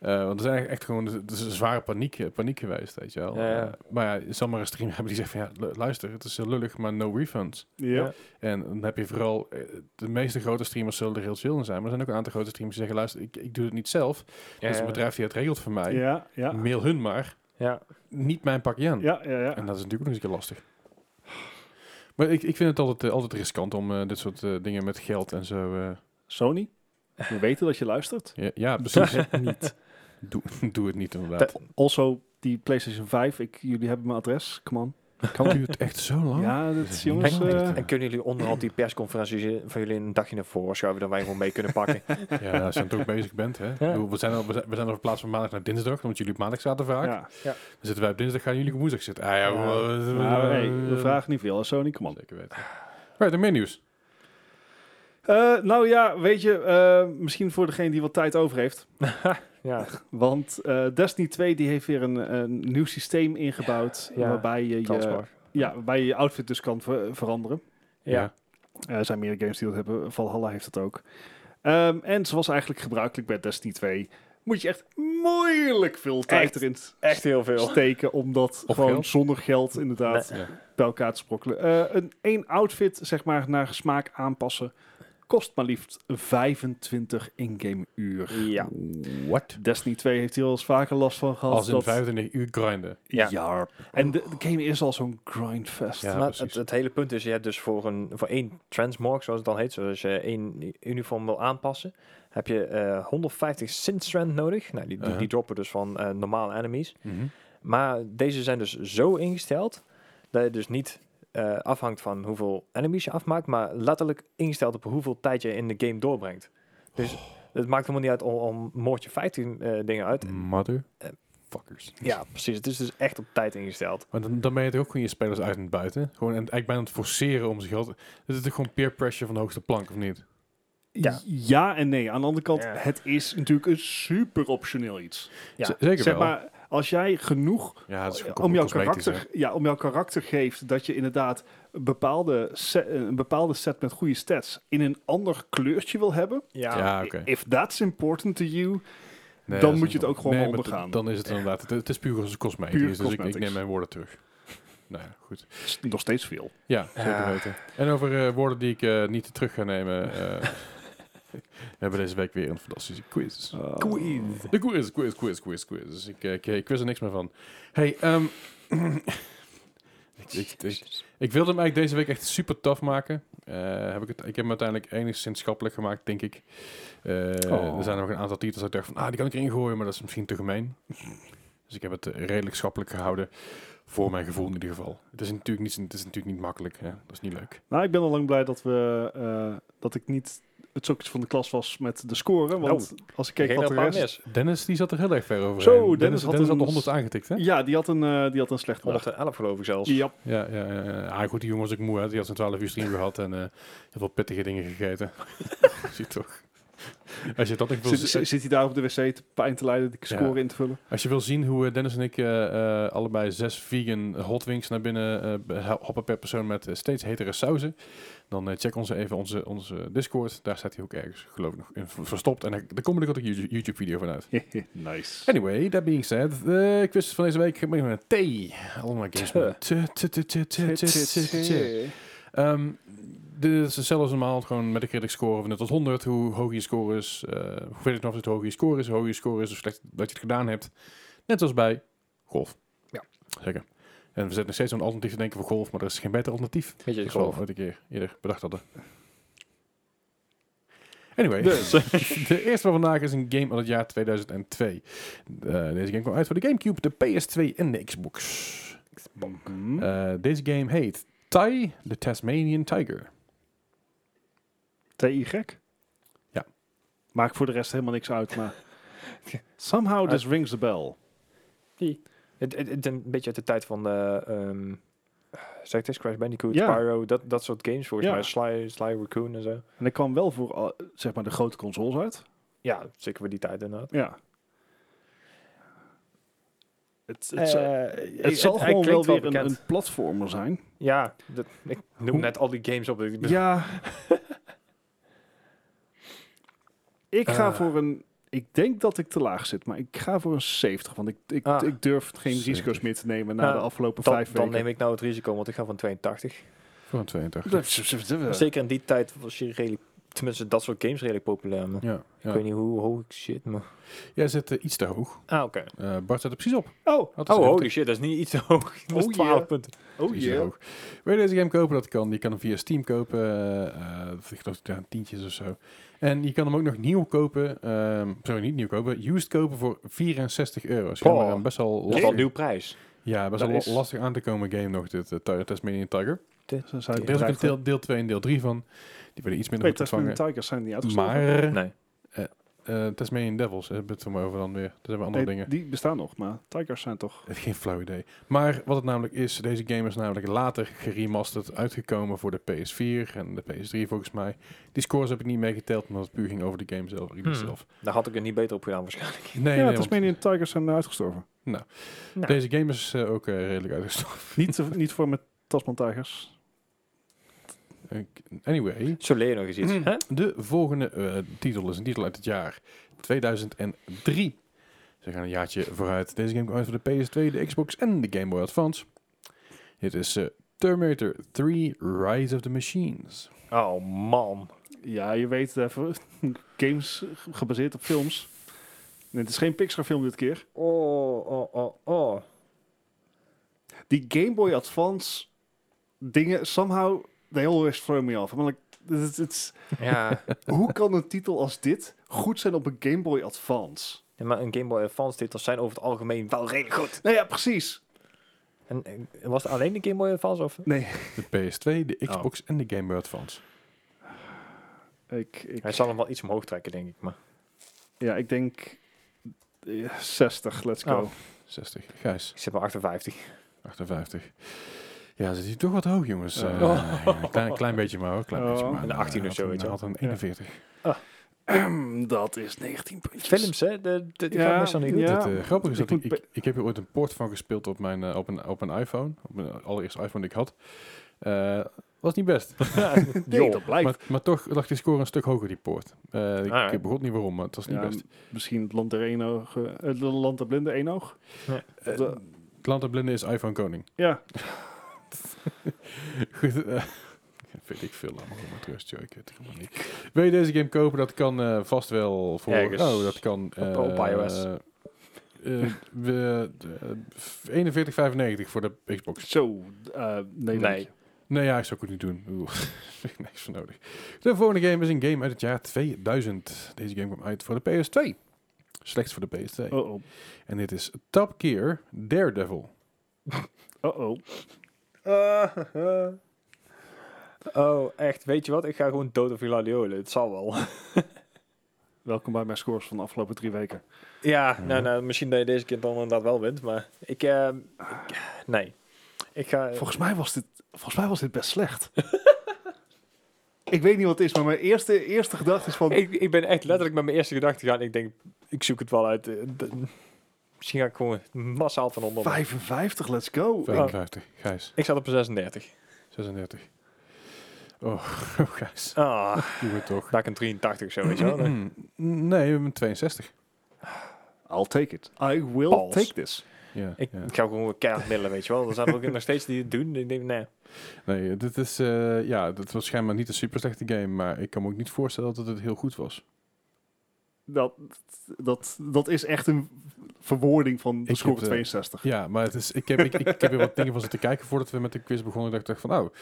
Speaker 1: Eh, want er is eigenlijk echt gewoon het is een zware paniek, eh, paniek geweest, weet je wel.
Speaker 3: Ja, ja.
Speaker 1: Eh, maar ja, je zal maar een streamer hebben die zegt van... Ja, lu- luister, het is eh, lullig, maar no refunds.
Speaker 2: Ja.
Speaker 1: En dan heb je vooral, eh, de meeste grote streamers zullen er heel chill in zijn. Maar er zijn ook een aantal grote streamers die zeggen, luister, ik, ik doe het niet zelf.
Speaker 3: Ja,
Speaker 1: dus een
Speaker 3: ja.
Speaker 1: bedrijf die het regelt voor mij,
Speaker 2: Ja, ja.
Speaker 1: mail hun maar.
Speaker 3: Ja,
Speaker 1: Niet mijn pakje aan.
Speaker 2: Ja, ja, ja.
Speaker 1: En dat is natuurlijk ook nog eens een keer lastig. Maar ik, ik vind het altijd, eh, altijd riskant om eh, dit soort eh, dingen met geld en zo... eh,
Speaker 2: Sony, we weten dat je luistert.
Speaker 1: ja, ja, precies.
Speaker 2: niet.
Speaker 1: doe, doe het niet inderdaad.
Speaker 2: Also, die PlayStation 5. Ik, jullie hebben mijn adres. Come on.
Speaker 1: Kan duurt echt zo lang?
Speaker 2: Ja, dat is jongens...
Speaker 1: niet
Speaker 3: en,
Speaker 1: normaal.
Speaker 2: eh,
Speaker 3: dus, en kunnen jullie onderhand die persconferentie van jullie een dagje naar voren schuiven, dat wij gewoon mee kunnen pakken?
Speaker 1: Ja, als je dan toch bezig bent. Hè? Ik bedoel, We zijn al, we zijn, we zijn al verplaatst van maandag naar dinsdag, omdat jullie op maandag zaten vaak.
Speaker 2: ja.
Speaker 1: Dan zitten wij op dinsdag, gaan jullie op woensdag zitten. Ah ja, Nou,
Speaker 3: Ja.
Speaker 1: we-
Speaker 2: Maar, Nou, hey, we vragen niet veel. hè, Sony, come on.
Speaker 1: Zeker weten. Right, en meer nieuws.
Speaker 2: Eh, nou ja, weet je, eh, misschien voor degene die wat tijd over heeft.
Speaker 4: Ja,
Speaker 2: Want eh, Destiny 2 die heeft weer een, een nieuw systeem ingebouwd.
Speaker 4: Ja,
Speaker 2: waarbij, je
Speaker 1: eh,
Speaker 2: je,
Speaker 3: Transmog.
Speaker 2: ja, waarbij je je outfit dus kan ver- veranderen.
Speaker 4: ja.
Speaker 2: Eh, Er zijn meer games die dat hebben. Valhalla heeft dat ook. Ehm, en zoals eigenlijk gebruikelijk bij Destiny 2, moet je echt moeilijk veel tijd
Speaker 3: Echt,
Speaker 2: erin
Speaker 3: Echt heel veel.
Speaker 2: steken. Om dat
Speaker 1: Of
Speaker 2: gewoon
Speaker 1: geld.
Speaker 2: zonder geld inderdaad
Speaker 1: Ja.
Speaker 2: bij elkaar te sprokkelen. Eh, een één outfit, zeg maar, naar smaak aanpassen. Kost maar liefst 25 in-game uur.
Speaker 4: Ja.
Speaker 1: What?
Speaker 2: Destiny 2 heeft hier al eens vaker last van gehad.
Speaker 1: Als in
Speaker 2: dat-
Speaker 1: 25 uur grinden.
Speaker 2: Ja.
Speaker 4: Ja.
Speaker 2: En de, de game is al zo'n grindfest.
Speaker 1: Ja,
Speaker 3: maar
Speaker 1: precies.
Speaker 3: het, het hele punt is, je hebt dus voor, een, voor één transmog, zoals het dan heet, zoals je één uniform wil aanpassen, heb je eh, 150 synth strand nodig. Nou, die, die,
Speaker 1: Uh-huh.
Speaker 3: die droppen dus van eh, normale enemies.
Speaker 1: Mhm.
Speaker 3: Maar deze zijn dus zo ingesteld dat je dus niet eh, afhangt van hoeveel enemies je afmaakt, maar letterlijk ingesteld op hoeveel tijd je in de game doorbrengt. Dus
Speaker 2: Oh.
Speaker 3: het maakt helemaal niet uit om, om moord je 15 eh, dingen uit.
Speaker 2: Mm.
Speaker 1: Mother.
Speaker 3: Eh,
Speaker 1: Fuckers.
Speaker 3: Ja, precies. Het is dus echt op tijd ingesteld.
Speaker 1: Maar dan, dan ben je toch ook gewoon je spelers uit en buiten. Gewoon en, ik ben aan het forceren om zich geld. Het is toch gewoon peer pressure van de hoogste plank, of niet?
Speaker 2: Ja.
Speaker 3: Ja.
Speaker 2: en nee. Aan de andere kant,
Speaker 3: Ja.
Speaker 2: het is natuurlijk een super optioneel iets.
Speaker 3: Ja,
Speaker 1: Z- zeker
Speaker 2: zeg
Speaker 1: wel.
Speaker 2: maar, als jij genoeg
Speaker 1: ja, het is gewoon
Speaker 2: om jouw,
Speaker 1: cosmetisch, hè.
Speaker 2: karakter, ja, om jouw karakter geeft dat je inderdaad een bepaalde, set, een bepaalde set met goede stats in een ander kleurtje wil hebben.
Speaker 1: Ja, Ah, oké.
Speaker 2: If that's important to you.
Speaker 1: Nee,
Speaker 2: Dan
Speaker 1: dat
Speaker 2: moet
Speaker 1: is
Speaker 2: je het
Speaker 1: een-
Speaker 2: ook gewoon
Speaker 1: nee, maar
Speaker 2: ondergaan.
Speaker 1: d- Dan is het inderdaad. Het, het is puur als cosmetisch.
Speaker 2: Puur
Speaker 1: dus ik- ik,
Speaker 2: cosmetics.
Speaker 1: neem mijn woorden terug. Nou ja, goed.
Speaker 2: is Nog steeds veel.
Speaker 1: Ja, zeker
Speaker 3: Ja.
Speaker 1: weten. En over eh, woorden die ik eh, niet terug ga nemen. eh, we hebben deze week weer een fantastische quiz.
Speaker 2: Eh,
Speaker 1: De quiz, quiz, quiz, quiz, quiz. Dus ik, eh, ik, ik wist er niks meer van. Hey, ehm, ik, ik, ik, ik wilde hem eigenlijk deze week echt super tof maken. Eh, heb ik, het, ik heb hem uiteindelijk enigszins schappelijk gemaakt, denk ik. Eh,
Speaker 2: Oh.
Speaker 1: Er zijn nog een aantal titels dat ik dacht van, ah, die kan ik erin gooien, maar dat is misschien te gemeen. Dus ik heb het eh, redelijk schappelijk gehouden. Voor mijn gevoel in ieder geval. Het is natuurlijk niet, het is natuurlijk niet makkelijk. Hè? Dat is niet leuk.
Speaker 2: Nou, ik ben al lang blij dat, we, eh, dat ik niet het sokje van de klas was met de
Speaker 1: Oh.
Speaker 2: score. Want als ik keek
Speaker 3: Geen
Speaker 2: wat
Speaker 3: dat
Speaker 2: de
Speaker 3: paar
Speaker 2: rest...
Speaker 3: mis.
Speaker 1: Dennis, die zat er heel erg ver over.
Speaker 2: Zo, Dennis had
Speaker 1: had de
Speaker 2: een-
Speaker 1: 100 aangetikt, hè?
Speaker 2: Ja, die had een, eh, die had een slechte dag.
Speaker 3: 111 geloof ik zelfs.
Speaker 2: Ja,
Speaker 1: Ja, ja, ja, ja. Ah, goed, die jongen was ook moe. Hè? Die had zijn 12 uur stream gehad en eh heel veel pittige dingen gegeten. Zie je toch? Als je, dat nog wil,
Speaker 2: Zit,
Speaker 1: zi-
Speaker 2: zit- zit hij daar op de wc te pijn te leiden, de score
Speaker 1: Ja.
Speaker 2: in te vullen?
Speaker 1: als je wil zien hoe eh, Dennis en ik eh, eh, allebei zes vegan hot wings naar binnen eh, be- hoppen per persoon met eh, steeds hetere sauzen, dan eh, check onze even onze, onze Discord. Daar staat hij ook ergens, geloof ik, nog in ver- verstopt. En daar daar komt ook een YouTube- YouTube-video van uit.
Speaker 2: nice.
Speaker 1: Anyway, that being said, de quiz van deze week begint met een T. Allemaal games met T, T, T, T, T, T, T, T, T.
Speaker 4: Eh,
Speaker 1: Ehm, Dit is zelfs normaal gewoon met een critic score van 0 tot 100. Hoe hoog je score is, eh, hoe weet ik nog of het hoog je score is, hoe hoog je score is, hoe slecht dat je het gedaan hebt. Net als bij golf.
Speaker 3: Ja.
Speaker 1: Zeker. En we zitten nog steeds aan een alternatief te denken voor golf, maar er is geen beter alternatief.
Speaker 4: Weet je, ik
Speaker 1: Dat we
Speaker 4: geloof.
Speaker 1: ooit een keer eerder bedacht hadden. Anyway,
Speaker 2: Dus.
Speaker 1: de eerste van vandaag is een game uit het jaar 2002. Eh, deze game kwam uit voor de Gamecube, de PS2 en de Xbox.
Speaker 2: Mhm. Hm?
Speaker 1: Eh, deze game heet Ty the Tasmanian Tiger.
Speaker 2: TI gek?
Speaker 1: Ja.
Speaker 2: Maakt voor de rest helemaal niks uit, maar... Somehow this rings the bell.
Speaker 3: Het, het, het een beetje uit de tijd van de... ehm zeg het eens, Crash Bandicoot,
Speaker 2: Ja.
Speaker 3: Spyro, dat, dat soort games volgens
Speaker 2: Ja.
Speaker 3: mij. Sly, Sly Raccoon en zo.
Speaker 2: En ik kwam wel voor, al- zeg maar, de grote consoles uit.
Speaker 3: Ja, zeker voor die tijd inderdaad.
Speaker 2: Ja. Het,
Speaker 3: Eh,
Speaker 2: het, zal-
Speaker 3: ik-
Speaker 2: het zal
Speaker 3: hij
Speaker 2: gewoon wel
Speaker 3: klinkt
Speaker 2: weer een,
Speaker 3: bekend.
Speaker 2: een platformer zijn.
Speaker 3: Ja, dat, ik noem
Speaker 2: Hoe-
Speaker 3: net al die games op. Ik ben-
Speaker 2: Ja. ik ga
Speaker 3: Eh.
Speaker 2: voor een. Ik denk dat ik te laag zit, maar ik ga voor een 70. Want ik, ik,
Speaker 3: Ah.
Speaker 2: ik durf geen
Speaker 1: 70.
Speaker 2: risico's meer te nemen na
Speaker 3: Nou,
Speaker 2: de afgelopen
Speaker 3: Dan,
Speaker 2: vijf
Speaker 3: dan
Speaker 2: weken.
Speaker 3: neem ik nou het risico, want ik ga van 82.
Speaker 1: Voor een 82.
Speaker 3: Zeker in die tijd was je redelijk... Tenminste, dat soort games redelijk populair. maar
Speaker 1: Ja,
Speaker 3: Ik
Speaker 1: ja.
Speaker 3: weet niet hoe hoog ik zit, maar...
Speaker 1: Jij zit eh, iets te hoog.
Speaker 3: Ah, oké.
Speaker 1: Eh, Bart zit er precies op.
Speaker 2: Oh,
Speaker 1: Had dus
Speaker 3: Oh,
Speaker 1: even
Speaker 3: holy shit, dat is niet iets te hoog. Dat is
Speaker 2: Oh,
Speaker 3: 12
Speaker 2: yeah.
Speaker 3: punten.
Speaker 2: oh
Speaker 1: Is heel
Speaker 2: yeah.
Speaker 1: hoog. Wil je deze game kopen? Dat kan. Je kan hem via Steam kopen. eh, eh, ik geloof ja, tientjes of zo. En je kan hem ook nog nieuw kopen. ehm sorry, niet nieuw kopen. Used kopen voor 64 euro. Dus
Speaker 3: Boah.
Speaker 1: ja, maar een best wel
Speaker 3: Dat is wel
Speaker 1: lastig,
Speaker 3: een nieuw prijs.
Speaker 1: ja, best wel
Speaker 3: Dat
Speaker 1: la-
Speaker 3: is-
Speaker 1: lastig aan te komen game nog. Dit eh, Ti- Tasmanian Tiger.
Speaker 2: Zo zou eh, ik
Speaker 1: Er is ook een
Speaker 2: het
Speaker 1: deel, deel 2 en deel 3 van. Die werden iets minder
Speaker 2: Wait,
Speaker 1: goed
Speaker 2: Tasmanian
Speaker 1: ontvangen.
Speaker 2: Tigers zijn die
Speaker 1: Maar
Speaker 2: uitgesloten.
Speaker 3: Nee.
Speaker 1: eh Tasmanian Devils hebben we het er maar over dan weer. Dat hebben we andere
Speaker 2: Nee,
Speaker 1: dingen.
Speaker 2: Die bestaan nog, maar Tigers zijn toch...
Speaker 1: Het Geen flauw idee. Maar wat het namelijk is, deze game is namelijk later geremasterd uitgekomen voor de PS4 en de PS3 volgens mij. Die scores heb ik niet meegeteld, omdat het puur ging over de game zelf. release
Speaker 4: Hmm.
Speaker 1: zelf.
Speaker 3: Daar had ik het niet beter op gedaan waarschijnlijk.
Speaker 1: Nee, nee,
Speaker 2: ja,
Speaker 1: want
Speaker 2: Tasmanian Tigers zijn uitgestorven.
Speaker 4: Nou,
Speaker 1: deze game is eh, ook eh, redelijk uitgestorven.
Speaker 2: niet, te- niet voor met Tasman Tigers.
Speaker 1: Anyway,
Speaker 3: Zo leer je nog eens
Speaker 2: Mm.
Speaker 3: iets.
Speaker 4: hè?
Speaker 1: de volgende eh, titel is een titel uit het jaar 2003. Ze gaan een jaartje vooruit. Deze game kwam uit voor de PS2, de Xbox en de Game Boy Advance. Dit is eh, Terminator 3 Rise of the Machines.
Speaker 3: Oh man.
Speaker 2: Ja, je weet, eh, voor- games ge- gebaseerd op films. En het is geen Pixar film dit keer.
Speaker 3: Oh, oh, oh, oh.
Speaker 2: die Game Boy Advance dingen, somehow, they always throw me off. I'm like, this is- it's-
Speaker 4: ja.
Speaker 2: hoe kan een titel als dit goed zijn op een Game Boy Advance?
Speaker 3: Ja, maar een Game Boy Advance titels zijn over het algemeen wel redelijk goed.
Speaker 2: Nou ja, precies.
Speaker 3: En, eh, was het alleen de Game Boy Advance of?
Speaker 2: Nee,
Speaker 1: De PS2, de Xbox en de Game Boy Advance.
Speaker 2: ik, ik,
Speaker 3: Hij zal hem wel iets omhoog trekken denk ik, maar...
Speaker 2: ja, ik denk eh, 60, let's go.
Speaker 3: Oh.
Speaker 1: 60. Gijs,
Speaker 3: Ik zit bij 58.
Speaker 1: 58. Ja, zit hier toch wat hoog, jongens.
Speaker 2: Ja.
Speaker 1: Eh, ja, klein, klein beetje maar hoor. Klein beetje
Speaker 2: Oh.
Speaker 1: maar.
Speaker 3: Een 18
Speaker 1: Hij had
Speaker 3: of zo,
Speaker 1: een-
Speaker 3: weet je
Speaker 1: hij had een 41.
Speaker 2: Dat is 19 puntjes.
Speaker 3: Films, hè? De, de, die
Speaker 2: Ja,
Speaker 3: gaan meestal niet goed.
Speaker 2: ja.
Speaker 1: Het eh, grappige is
Speaker 2: Ik
Speaker 1: dat ik,
Speaker 2: moet
Speaker 1: ik, ik heb hier ooit een port van gespeeld op, mijn, eh, op, een, op een iPhone. Op mijn allereerste iPhone die ik had. Eh, was niet best.
Speaker 2: Nee, dat blijkt.
Speaker 1: Maar, maar toch lag die score een stuk hoger, die poort. Eh, ik,
Speaker 3: Ah, ja.
Speaker 1: ik begon niet waarom, maar het was niet
Speaker 2: Ja,
Speaker 1: best.
Speaker 2: m- misschien het land der eenoog, eh, het land der blinden eenoog.
Speaker 1: Eh,
Speaker 2: de-
Speaker 1: het land der blinden is iPhone koning.
Speaker 2: Ja,
Speaker 1: Goed, eh, vind ik veel allemaal maar trust, joh, ik weet het helemaal niet. Wil je deze game kopen? Dat kan eh, vast wel voor.
Speaker 3: Ergens
Speaker 1: oh, dat kan. eh,
Speaker 3: op iOS.
Speaker 1: eh, we- eh, 41,95 voor de Xbox.
Speaker 2: zo. eh, nee,
Speaker 3: Nee.
Speaker 2: nee.
Speaker 1: Nee, ja, ik zou het ook niet doen. Oeh, Daar heb ik niks voor nodig. De volgende game is een game uit het jaar 2000. Deze game kwam uit voor de PS2. Slechts voor de PS2.
Speaker 2: Oh, oh.
Speaker 1: En dit is Top Gear Daredevil.
Speaker 2: Oh, oh.
Speaker 3: Oh, echt. Weet je wat? Ik ga gewoon dood of Hiladiolen. Het zal wel.
Speaker 2: Welkom bij mijn scores van de afgelopen drie weken.
Speaker 3: Ja, nou, nou, misschien dat je deze keer dan inderdaad wel wint, maar ik... eh, ik- nee. Ik ga...
Speaker 2: Volgens mij was dit, volgens mij was dit best slecht. ik weet niet wat het is, maar mijn eerste, eerste gedachte is van...
Speaker 3: Ik, ik ben echt letterlijk met mijn eerste gedachte gegaan. Ik denk, ik zoek het wel uit. eh, d- Misschien ga ik gewoon massaal van onder.
Speaker 2: 55, let's go.
Speaker 3: Oh.
Speaker 1: 55. Gijs.
Speaker 3: Ik zat op een 36.
Speaker 1: 36. Oh, oh Gijs.
Speaker 3: Ah,
Speaker 1: Doe het toch.
Speaker 3: daar ik een 83 zo, weet je wel.
Speaker 1: Mm, Nee, we hebben een 62.
Speaker 2: I'll take it. I will
Speaker 3: Pals.
Speaker 2: take this.
Speaker 1: Ja,
Speaker 3: Ik,
Speaker 1: ja.
Speaker 3: ik ga gewoon weer keihard middelen, weet je wel. Er zijn ook nog steeds die het doen. Ik denk, nee.
Speaker 1: Nee, dit is, eh, ja, dat was schijnbaar niet een super slechte game, maar ik kan me ook niet voorstellen dat het heel goed was.
Speaker 2: Dat, dat, dat is echt een verwoording van de
Speaker 1: Ik
Speaker 2: score
Speaker 1: heb, eh,
Speaker 2: 62.
Speaker 1: Ja, maar het is, ik, heb, ik, ik, ik heb er wat dingen van zitten kijken voordat we met de quiz begonnen. Dat ik dacht van, oh,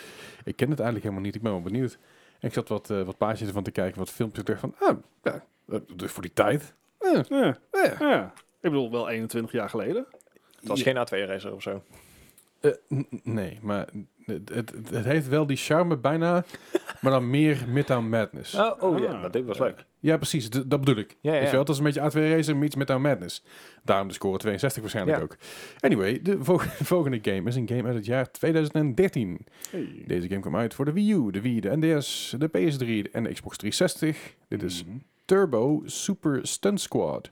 Speaker 1: ik ken het eigenlijk helemaal niet. Ik ben wel benieuwd. En ik zat wat, eh, wat pages ervan te kijken, wat filmpjes. Ik dacht van, oh, ja, eh, dus voor die tijd. eh,
Speaker 2: Ja,
Speaker 1: eh.
Speaker 2: ja. Ik bedoel, wel 21 jaar geleden.
Speaker 3: Het was geen A2-racer of zo.
Speaker 1: Eh, n- n- nee, maar het, het, het heeft wel die charme bijna, maar dan meer Midtown Madness.
Speaker 3: Oh, oh ja,
Speaker 2: Ah.
Speaker 3: maar dit was leuk.
Speaker 1: Ja, precies. D- dat bedoel ik.
Speaker 3: Ja, ja.
Speaker 1: Weet je wel, dat is een beetje A2 Racer meets Midtown Madness. Daarom de score 62 waarschijnlijk
Speaker 3: Ja.
Speaker 1: ook. Anyway, de vol- volgende game is een game uit het jaar 2013.
Speaker 2: Hey.
Speaker 1: Deze game kwam uit voor de Wii U, de Wii, de NDS, de PS3 en de Xbox 360. Dit
Speaker 3: Hmm.
Speaker 1: is
Speaker 2: Mhm.
Speaker 1: Turbo Super Stunt Squad.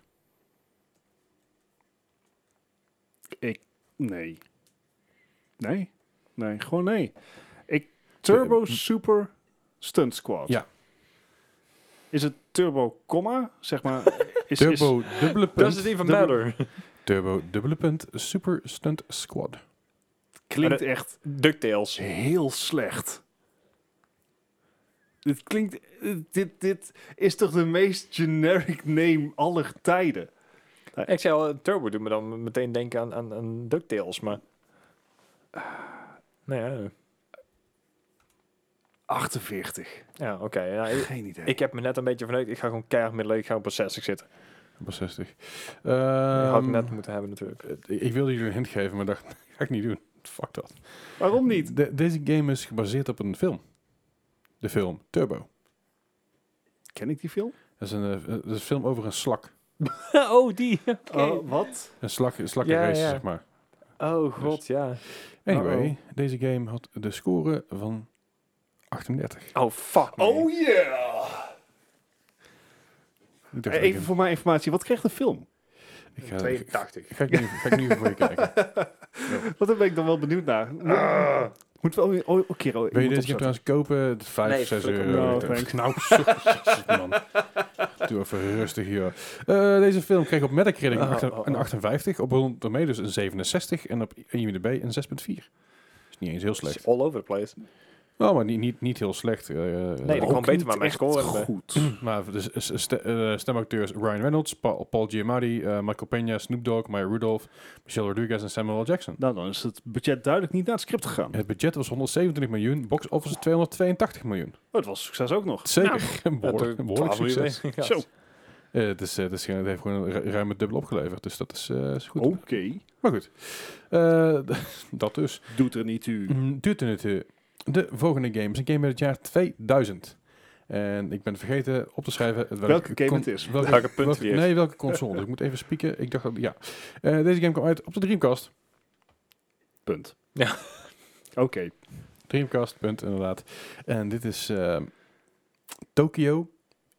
Speaker 2: Ik... Nee. Nee. Nee, gewoon nee. Ik... Turbo
Speaker 1: Eh,
Speaker 2: Super Stunt Squad.
Speaker 1: Ja.
Speaker 2: Is het Turbo, comma? Zeg maar... Is, is-
Speaker 1: Turbo dubbele
Speaker 3: Does
Speaker 1: punt.
Speaker 3: it even
Speaker 2: dubbel-
Speaker 3: matter?
Speaker 1: Turbo dubbele punt Super Stunt Squad.
Speaker 2: Klinkt
Speaker 3: Maar
Speaker 2: echt
Speaker 3: DuckTales.
Speaker 2: heel slecht. Dit klinkt... Dit, dit is toch de meest generic name aller tijden?
Speaker 3: Ik zei al, Turbo doet me dan meteen denken aan, aan, aan DuckTales, maar... Nou ja,
Speaker 2: 48.
Speaker 3: ja oké. ja, ik,
Speaker 2: Geen idee.
Speaker 3: ik heb me net een beetje vanuit. Ik ga gewoon keihard middelen. Ik ga op een 60 zitten.
Speaker 1: Op 60.
Speaker 3: dat had ik
Speaker 1: Ehm,
Speaker 3: net moeten hebben natuurlijk.
Speaker 1: het- ik, ik wilde jullie een hint geven, maar dacht, ga ik niet doen. Fuck dat.
Speaker 2: Waarom niet?
Speaker 1: De- deze game is gebaseerd op een film. De film Turbo.
Speaker 2: Ken ik die film?
Speaker 1: Het Dat is een, eh, dat is een film over een slak.
Speaker 4: oh, die.
Speaker 2: Oh, wat?
Speaker 1: Een slak, een
Speaker 4: Ja,
Speaker 1: slakkenrace,
Speaker 4: ja.
Speaker 1: zeg maar.
Speaker 3: Dus-
Speaker 4: Oh, god, ja.
Speaker 1: Anyway, deze game had de score van 38.
Speaker 4: Oh, fuck. man.
Speaker 2: Oh yeah!
Speaker 1: Ik dacht,
Speaker 2: Even
Speaker 1: Even
Speaker 2: voor mijn informatie, wat kreeg de film?
Speaker 1: ik, ga, ik,
Speaker 3: 82.
Speaker 1: ga ik nu, ga ik nu even voor je kijken.
Speaker 2: Wat daar ben ik dan wel benieuwd naar. Moet-
Speaker 3: Ah.
Speaker 2: Moet wel weer... Oh, oké, oh, ik
Speaker 1: Weet je,
Speaker 2: moet
Speaker 1: dit je
Speaker 2: opzetten.
Speaker 1: trouwens kopen, 5,
Speaker 4: Nee,
Speaker 1: 6
Speaker 4: flikker
Speaker 1: euro.
Speaker 2: me.
Speaker 1: Ik
Speaker 2: No,
Speaker 1: dacht,
Speaker 2: thanks.
Speaker 1: nou, zo, jezus, man. Doe even rustig hier. Eh, deze film kreeg op Metacritic een
Speaker 3: Oh,
Speaker 1: acht-
Speaker 3: oh, oh.
Speaker 1: een 58, op Rotten Tomatoes een 67 en op IMDb een 6.4. Is niet eens heel slecht.
Speaker 3: All over the place.
Speaker 1: Oh, maar niet, niet, niet heel slecht. eh,
Speaker 3: Nee,
Speaker 1: eh,
Speaker 3: dat kwam
Speaker 2: Ook
Speaker 3: beter
Speaker 2: niet
Speaker 3: maar mijn
Speaker 2: echt
Speaker 3: score hebben.
Speaker 2: goed.
Speaker 1: Maar de s- s- ste- eh, stemacteurs Ryan Reynolds, Paul, Paul Giamatti, eh, Michael Peña, Snoop Dogg, Maya Rudolph, Michelle Rodriguez en Samuel L. Jackson.
Speaker 2: Nou, dan is het budget duidelijk niet naar het script gegaan.
Speaker 1: Het budget was 127 miljoen, box office 282 miljoen.
Speaker 2: Oh, Het was succes ook nog.
Speaker 1: Zeker,
Speaker 3: Nou,
Speaker 1: een
Speaker 4: Ja,
Speaker 1: behoor-
Speaker 4: toch,
Speaker 1: een behoorlijk
Speaker 4: 12 miljoen
Speaker 1: succes.
Speaker 4: weg. Ja.
Speaker 2: Zo,
Speaker 1: Eh, het, is, eh, het, is, gewoon- het heeft gewoon ru- ruim het dubbel opgeleverd, dus dat is, eh, is goed.
Speaker 2: oké.
Speaker 1: Maar goed, Eh, dat dus.
Speaker 2: Doet er niet u.
Speaker 1: Mm, Duurt een minuutje. De volgende game is een game uit het jaar 2000. En ik ben vergeten op te schrijven welke,
Speaker 2: Welke game
Speaker 1: con-
Speaker 2: het is.
Speaker 1: Welke,
Speaker 3: Welke punten
Speaker 1: welke-
Speaker 3: die heeft.
Speaker 1: Nee, welke console. dus ik moet even spieken. Ik dacht dat, ja. Eh, deze game kwam uit op de Dreamcast.
Speaker 2: Punt.
Speaker 4: Ja.
Speaker 2: Oké.
Speaker 1: Dreamcast, punt, inderdaad. En dit is ehm Tokyo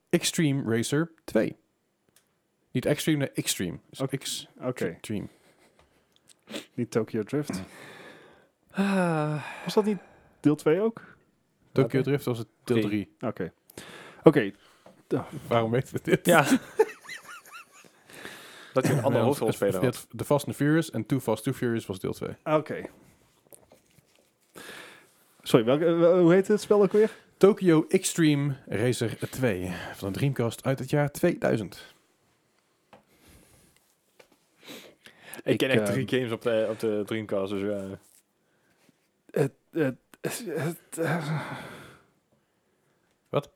Speaker 1: Extreme Racer 2. Niet Extreme, nee, Extreme. Dus
Speaker 2: Oké.
Speaker 1: X-
Speaker 2: Oké,
Speaker 1: Extreme.
Speaker 2: niet Tokyo Drift.
Speaker 4: Ah.
Speaker 2: Was dat niet deel 2 ook?
Speaker 1: Tokyo Drift was het deel
Speaker 4: Drie.
Speaker 1: 3.
Speaker 2: Oké. Oké,
Speaker 1: Waarom weten we dit?
Speaker 4: Ja.
Speaker 3: Dat je een andere
Speaker 1: Ja,
Speaker 3: hoofdrolspeler had.
Speaker 1: The Fast and Furious en Too Fast, Too Furious was deel 2.
Speaker 2: oké. Sorry, welke, eh, hoe heet het spel ook weer?
Speaker 1: Tokyo Extreme Racer 2 van de Dreamcast uit het jaar 2000.
Speaker 3: Ik ken
Speaker 2: Ik,
Speaker 3: echt
Speaker 2: eh,
Speaker 3: drie games op de, op de Dreamcast, dus ja.
Speaker 2: Het, het, het, eh,
Speaker 1: Wat?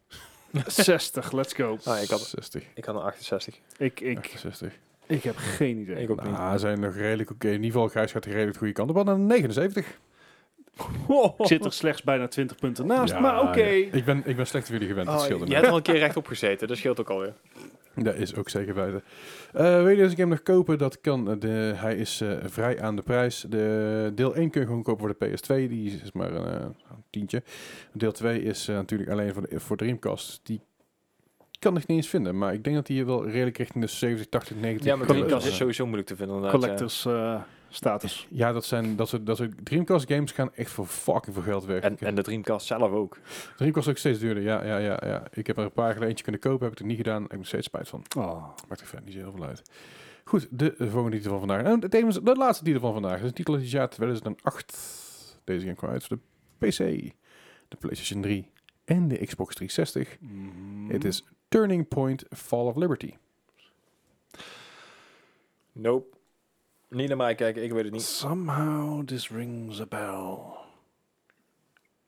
Speaker 2: 60, let's go.
Speaker 3: Ah, ik had,
Speaker 1: 60.
Speaker 3: ik had een 68.
Speaker 2: Ik, ik,
Speaker 1: 68.
Speaker 2: ik heb geen idee.
Speaker 3: Ik ook niet.
Speaker 1: Nou, zijn nog redelijk oké. In ieder geval, Gijs gaat de redelijk de goede kant op. Wat een 79.
Speaker 2: Ik zit er slechts bijna 20 punten naast,
Speaker 1: Ja,
Speaker 2: maar oké.
Speaker 1: ja. Ik, ben, ik ben slecht voor jullie gewend. dat
Speaker 3: Oh,
Speaker 1: scheelde
Speaker 3: je
Speaker 1: mij.
Speaker 3: hebt al een keer rechtop gezeten, dat scheelt ook alweer.
Speaker 1: Dat is ook zeker buiten. Eh wil je deze game nog kopen? Dat kan. Eh, De, hij is eh, vrij aan de prijs. De, deel 1 kun je gewoon kopen voor de PS2. Die is maar een, eh, een tientje. Deel 2 is eh, natuurlijk alleen voor, de, voor Dreamcast. Die kan ik niet eens vinden. Maar ik denk dat die hier wel redelijk richting de 70, 80, 90...
Speaker 3: Ja, maar
Speaker 2: Collectors.
Speaker 1: euro's,
Speaker 3: Dreamcast
Speaker 1: eh,
Speaker 3: is sowieso moeilijk te vinden. inderdaad, ja.
Speaker 2: Collectors eh, status.
Speaker 1: Ja, dat zijn dat soort, dat soort Dreamcast games gaan echt voor fucking veel geld weg.
Speaker 3: En, en de Dreamcast zelf ook.
Speaker 1: Dreamcast is ook steeds duurder. Ja, ja, ja, ja. Ik heb er een paar geleden eentje kunnen kopen, heb ik het niet gedaan. Ik heb er steeds spijt van.
Speaker 2: Oh.
Speaker 1: Maakt er verder niet zo heel veel uit. Goed, de eh, volgende titel van vandaag. En tevens de laatste titel van vandaag. Dat is een titel uit het jaar 2008. Deze game kwam uit voor de PC, de PlayStation 3 en de Xbox 360. Het is Turning Point Fall of Liberty.
Speaker 3: Nope. Niet naar mij kijken, ik weet het niet.
Speaker 2: Somehow this rings a bell.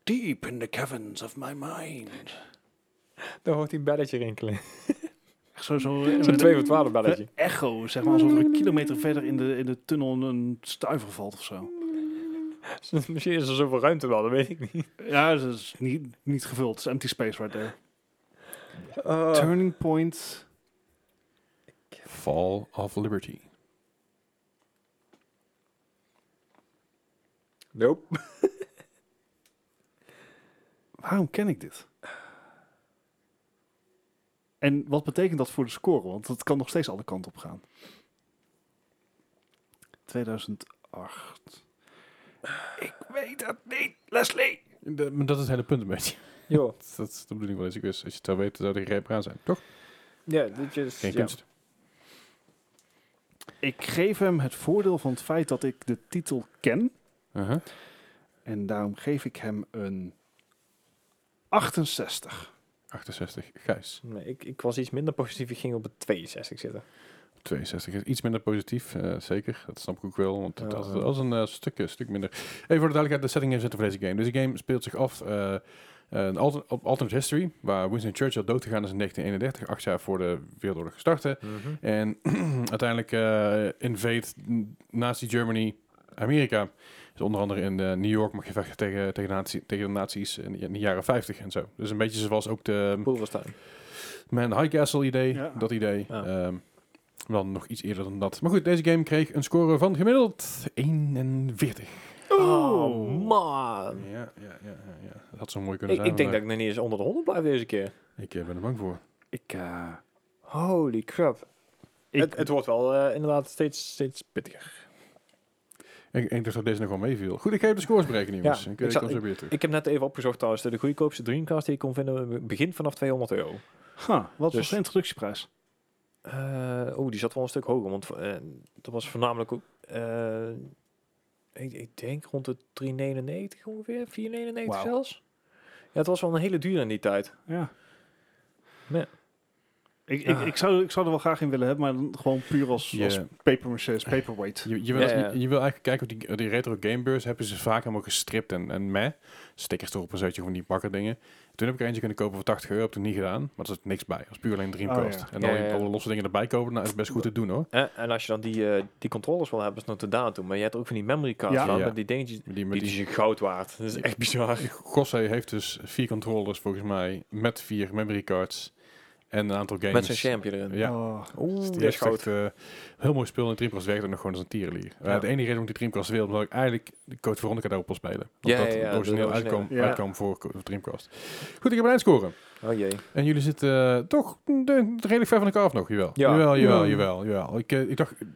Speaker 2: Deep in the caverns of my mind.
Speaker 4: Dan hoort hij een belletje rinkelen.
Speaker 2: Echt zo, zo, eh,
Speaker 4: Zo'n
Speaker 2: een
Speaker 4: 2 voor 12 belletje.
Speaker 2: echo, zeg maar, alsof er een kilometer verder in de, in de tunnel een stuiver valt of zo.
Speaker 3: Dus
Speaker 4: Misschien is er zoveel ruimte wel, dat weet ik niet.
Speaker 2: Ja, dat is niet, niet gevuld. Het is empty space right there.
Speaker 4: Eh.
Speaker 2: Turning point.
Speaker 1: Fall of Liberty.
Speaker 4: nope.
Speaker 2: Waarom ken ik dit? En wat betekent dat voor de score? Want het kan nog steeds alle kanten op gaan. 2008. Ik weet het niet, Leslie.
Speaker 1: De- maar dat is het hele punt een beetje.
Speaker 4: Joh.
Speaker 1: Dat is de bedoeling wel eens. Ik wist, als je het zou weten, zou er geen aan zijn. Toch?
Speaker 4: Ja, dit is...
Speaker 1: Geen
Speaker 4: ja.
Speaker 1: kunst.
Speaker 2: Ik geef hem het voordeel van het feit dat ik de titel ken.
Speaker 1: Uh-huh.
Speaker 2: En daarom geef ik hem een 68.
Speaker 1: 68, Gijs.
Speaker 4: Nee, ik, ik was iets minder positief, ik ging op het 62 zitten.
Speaker 1: 62 is iets minder positief, eh, zeker. Dat snap ik ook wel, want dat
Speaker 4: Ja.
Speaker 1: dat was een eh, stukje, stuk minder. Even voor de duidelijkheid, de setting inzetten voor deze game. Deze game speelt zich af eh, een alter- op alternate history, waar Winston Churchill dood gegaan is in 1931, acht jaar voor de Wereldoorlog startte.
Speaker 3: Mhm.
Speaker 1: En uiteindelijk eh invade nazi Germany Amerika. Dus onder andere in eh, New York mag je vechten tegen, tegen, nazi- tegen de nazi's in, de jaren 50 en zo. Dus een beetje zoals ook de...
Speaker 4: Wolverstein.
Speaker 1: Man High Castle idee,
Speaker 2: Ja.
Speaker 1: dat idee.
Speaker 3: Ja.
Speaker 1: Ehm, dan nog iets eerder dan dat. Maar goed, deze game kreeg een score van gemiddeld 41.
Speaker 3: Oh, man.
Speaker 1: Ja, ja, ja, ja, ja. Dat had zo mooi kunnen
Speaker 3: Ik,
Speaker 1: zijn.
Speaker 3: ik denk dat
Speaker 1: maar
Speaker 3: ik nog niet eens onder de 100 blijf deze keer.
Speaker 1: Ik eh, ben er bang voor.
Speaker 2: Ik, eh,
Speaker 3: Holy crap.
Speaker 2: ik,
Speaker 3: het, het wordt wel eh, inderdaad steeds, steeds pittiger.
Speaker 1: Ik, ik dacht dat deze nog wel meeviel. Goed, ik ga even de scores berekenen, jongens. ik, eh,
Speaker 3: ik
Speaker 1: ik
Speaker 3: zal-
Speaker 1: kom zo weer terug.
Speaker 3: Ik heb net even opgezocht trouwens. De goedkoopste Dreamcast die ik kon vinden begint vanaf 200 euro.
Speaker 2: huh, wat was
Speaker 3: Dus-
Speaker 2: de introductieprijs?
Speaker 3: Eh, oh, die zat wel een stuk hoger. Want eh, dat was voornamelijk ook... eh, ik, ik denk rond de 3,99 ongeveer. 4,99
Speaker 2: Wauw.
Speaker 3: zelfs. Ja, het was wel een hele duur in die tijd.
Speaker 2: Ja.
Speaker 3: Ja.
Speaker 2: Ik, ik, ik, zou, ik zou er wel graag in willen hebben, maar dan gewoon puur als,
Speaker 1: Ja.
Speaker 2: als papermaché, als paperweight.
Speaker 1: Je, je, wil,
Speaker 3: Ja, ja.
Speaker 1: je, je wil eigenlijk kijken of die, die retro gamebeurs hebben ze vaak helemaal gestript en, en meh. Stickers erop en zoetje van die bakker dingen. Toen heb ik er eentje kunnen kopen voor 80 euro, heb ik toen niet gedaan. Maar er zit niks bij. Dat is puur alleen Dreamcast.
Speaker 2: Oh, ja.
Speaker 1: En dan
Speaker 3: Ja, ja, ja.
Speaker 1: alle losse dingen erbij kopen, nou is best goed te doen hoor.
Speaker 3: Eh, en als je dan die, eh, die controllers wil hebben, is het nog te daar toe. Maar je hebt ook van die memory cards
Speaker 2: Ja.
Speaker 3: ja.
Speaker 1: Ja.
Speaker 3: met die dingetjes.
Speaker 1: Met Die, met
Speaker 3: Die is
Speaker 1: die,
Speaker 3: je goud waard. Dat is echt bizar.
Speaker 1: Gosse heeft dus vier controllers volgens mij, met vier memory cards en een aantal games.
Speaker 3: Met zijn champje erin.
Speaker 1: Ja.
Speaker 2: Oh,
Speaker 3: Oeh,
Speaker 1: Die
Speaker 3: dat is
Speaker 1: heeft
Speaker 3: goud.
Speaker 1: echt eh, heel mooi speel en Dreamcast werkt ook nog gewoon als een tierlier. Eh,
Speaker 3: Ja.
Speaker 1: de enige reden waarom ik die Dreamcast wil, omdat ik eigenlijk de Code Veronica daarop wil spelen.
Speaker 3: Ja,
Speaker 1: Omdat
Speaker 3: ja, ja,
Speaker 1: het
Speaker 3: de
Speaker 1: origineel
Speaker 3: originele.
Speaker 1: uitkwam,
Speaker 2: Ja.
Speaker 1: uitkwam voor, voor Dreamcast. Goed, ik heb een eindscore.
Speaker 3: Oh jee.
Speaker 1: En jullie zitten eh, toch mm, de- redelijk ver van elkaar af nog, jawel.
Speaker 3: Ja.
Speaker 1: Jawel, jawel,
Speaker 3: Ja.
Speaker 1: jawel, jawel. Ik, eh, ik dacht, eh,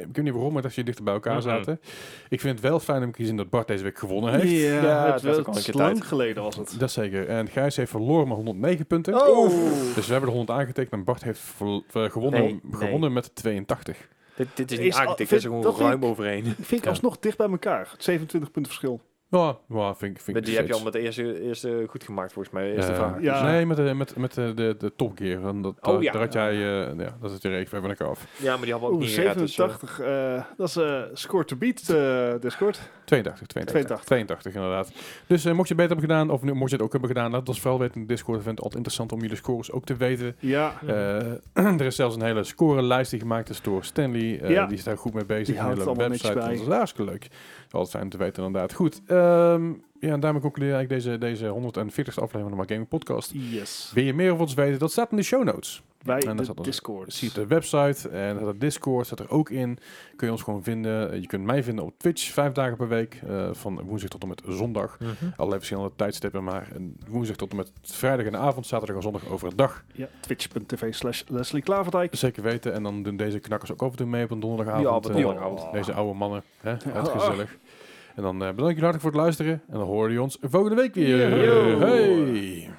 Speaker 1: ik weet niet waarom, maar dat je dichter bij elkaar
Speaker 4: Mhm.
Speaker 1: zaten. Ik vind het wel fijn om te zien dat Bart deze week gewonnen heeft.
Speaker 2: ja,
Speaker 3: het
Speaker 2: het
Speaker 3: was
Speaker 2: was
Speaker 3: ook al een
Speaker 2: het
Speaker 3: keer
Speaker 2: lang
Speaker 3: tijd.
Speaker 2: geleden was het.
Speaker 1: Dat zeker. En Gijs heeft verloren met 109 punten.
Speaker 2: Oh!
Speaker 1: Dus we hebben de 100 aangetekend en Bart heeft verl- eh, gewonnen,
Speaker 3: Nee, nee.
Speaker 1: gewonnen met 82.
Speaker 3: Dit, dit is
Speaker 2: Is
Speaker 3: niet
Speaker 2: al-
Speaker 3: aangetikt. Dit
Speaker 2: vind-
Speaker 3: is gewoon
Speaker 2: dat vind
Speaker 3: ruim
Speaker 2: ik-
Speaker 3: overheen.
Speaker 2: Ik vind ik
Speaker 1: Ja.
Speaker 2: alsnog dicht bij elkaar. 27 punten verschil.
Speaker 1: Ja, ja, vind, ik- vind
Speaker 3: Maar
Speaker 1: ik dus
Speaker 3: die heb je al
Speaker 1: steeds.
Speaker 3: met de eerste, eerste goed gemaakt volgens mij. Eerste
Speaker 1: Eh,
Speaker 3: vraag.
Speaker 2: Ja.
Speaker 1: Nee, met, de- met, met de, de, de Top Gear. Want dat,
Speaker 3: Oh,
Speaker 1: eh,
Speaker 3: ja.
Speaker 1: Daar had jij, eh, ja, dat is je rekening van elkaar af.
Speaker 3: Ja, maar die hadden we ook
Speaker 2: Oeh,
Speaker 3: niet gered. Dus, eh,
Speaker 2: 87. eh, dat is eh, score to beat, eh Discord.
Speaker 1: 82, 82.
Speaker 2: 82.
Speaker 1: 82, inderdaad. Dus eh, mocht je het beter hebben gedaan, of nu- mocht je het ook hebben gedaan, laat het ons vooral weten in de Discord. Ik vind het altijd interessant om jullie scores ook te weten.
Speaker 2: Ja,
Speaker 1: Eh, er is zelfs een hele scorenlijst die gemaakt is door Stanley. Eh,
Speaker 2: Mhm. Ja.
Speaker 1: Die is daar goed mee bezig.
Speaker 2: Die
Speaker 1: Een
Speaker 2: houdt
Speaker 1: hele
Speaker 2: allemaal niks
Speaker 1: website.
Speaker 2: bij.
Speaker 1: Dat is hartstikke leuk. Altijd fijn om te weten, inderdaad. Goed. ehm, ja, en daarmee concludeer ik deze, deze 140ste aflevering van de My Gaming Podcast.
Speaker 2: yes.
Speaker 1: Wil je meer over ons weten? Dat staat in de show notes.
Speaker 2: Bij
Speaker 1: En dat
Speaker 2: de
Speaker 1: zat ons-
Speaker 2: Discord.
Speaker 1: Zie je op de website en de Discord staat er ook in. Kun je ons gewoon vinden. Eh, Je kunt mij vinden op Twitch, vijf dagen per week. eh, van woensdag tot en met zondag.
Speaker 3: mhm.
Speaker 1: Allerlei verschillende tijdstippen, maar eh, woensdag tot en met vrijdag in de avond, zaterdag en zondag overdag.
Speaker 2: Ja, twitch.tv slash Leslie Klaverdijk.
Speaker 1: Zeker weten. En dan doen deze knakkers ook af en toe mee op een
Speaker 3: Ja,
Speaker 1: donderdagavond.
Speaker 3: op een
Speaker 1: Eh,
Speaker 3: donderdagavond.
Speaker 1: Deze oude mannen. Hè? Het
Speaker 2: Ah.
Speaker 1: gezellig. En dan eh, bedank jullie hartelijk voor het luisteren. En dan horen jullie ons volgende week weer.
Speaker 2: Yo.
Speaker 1: Hey.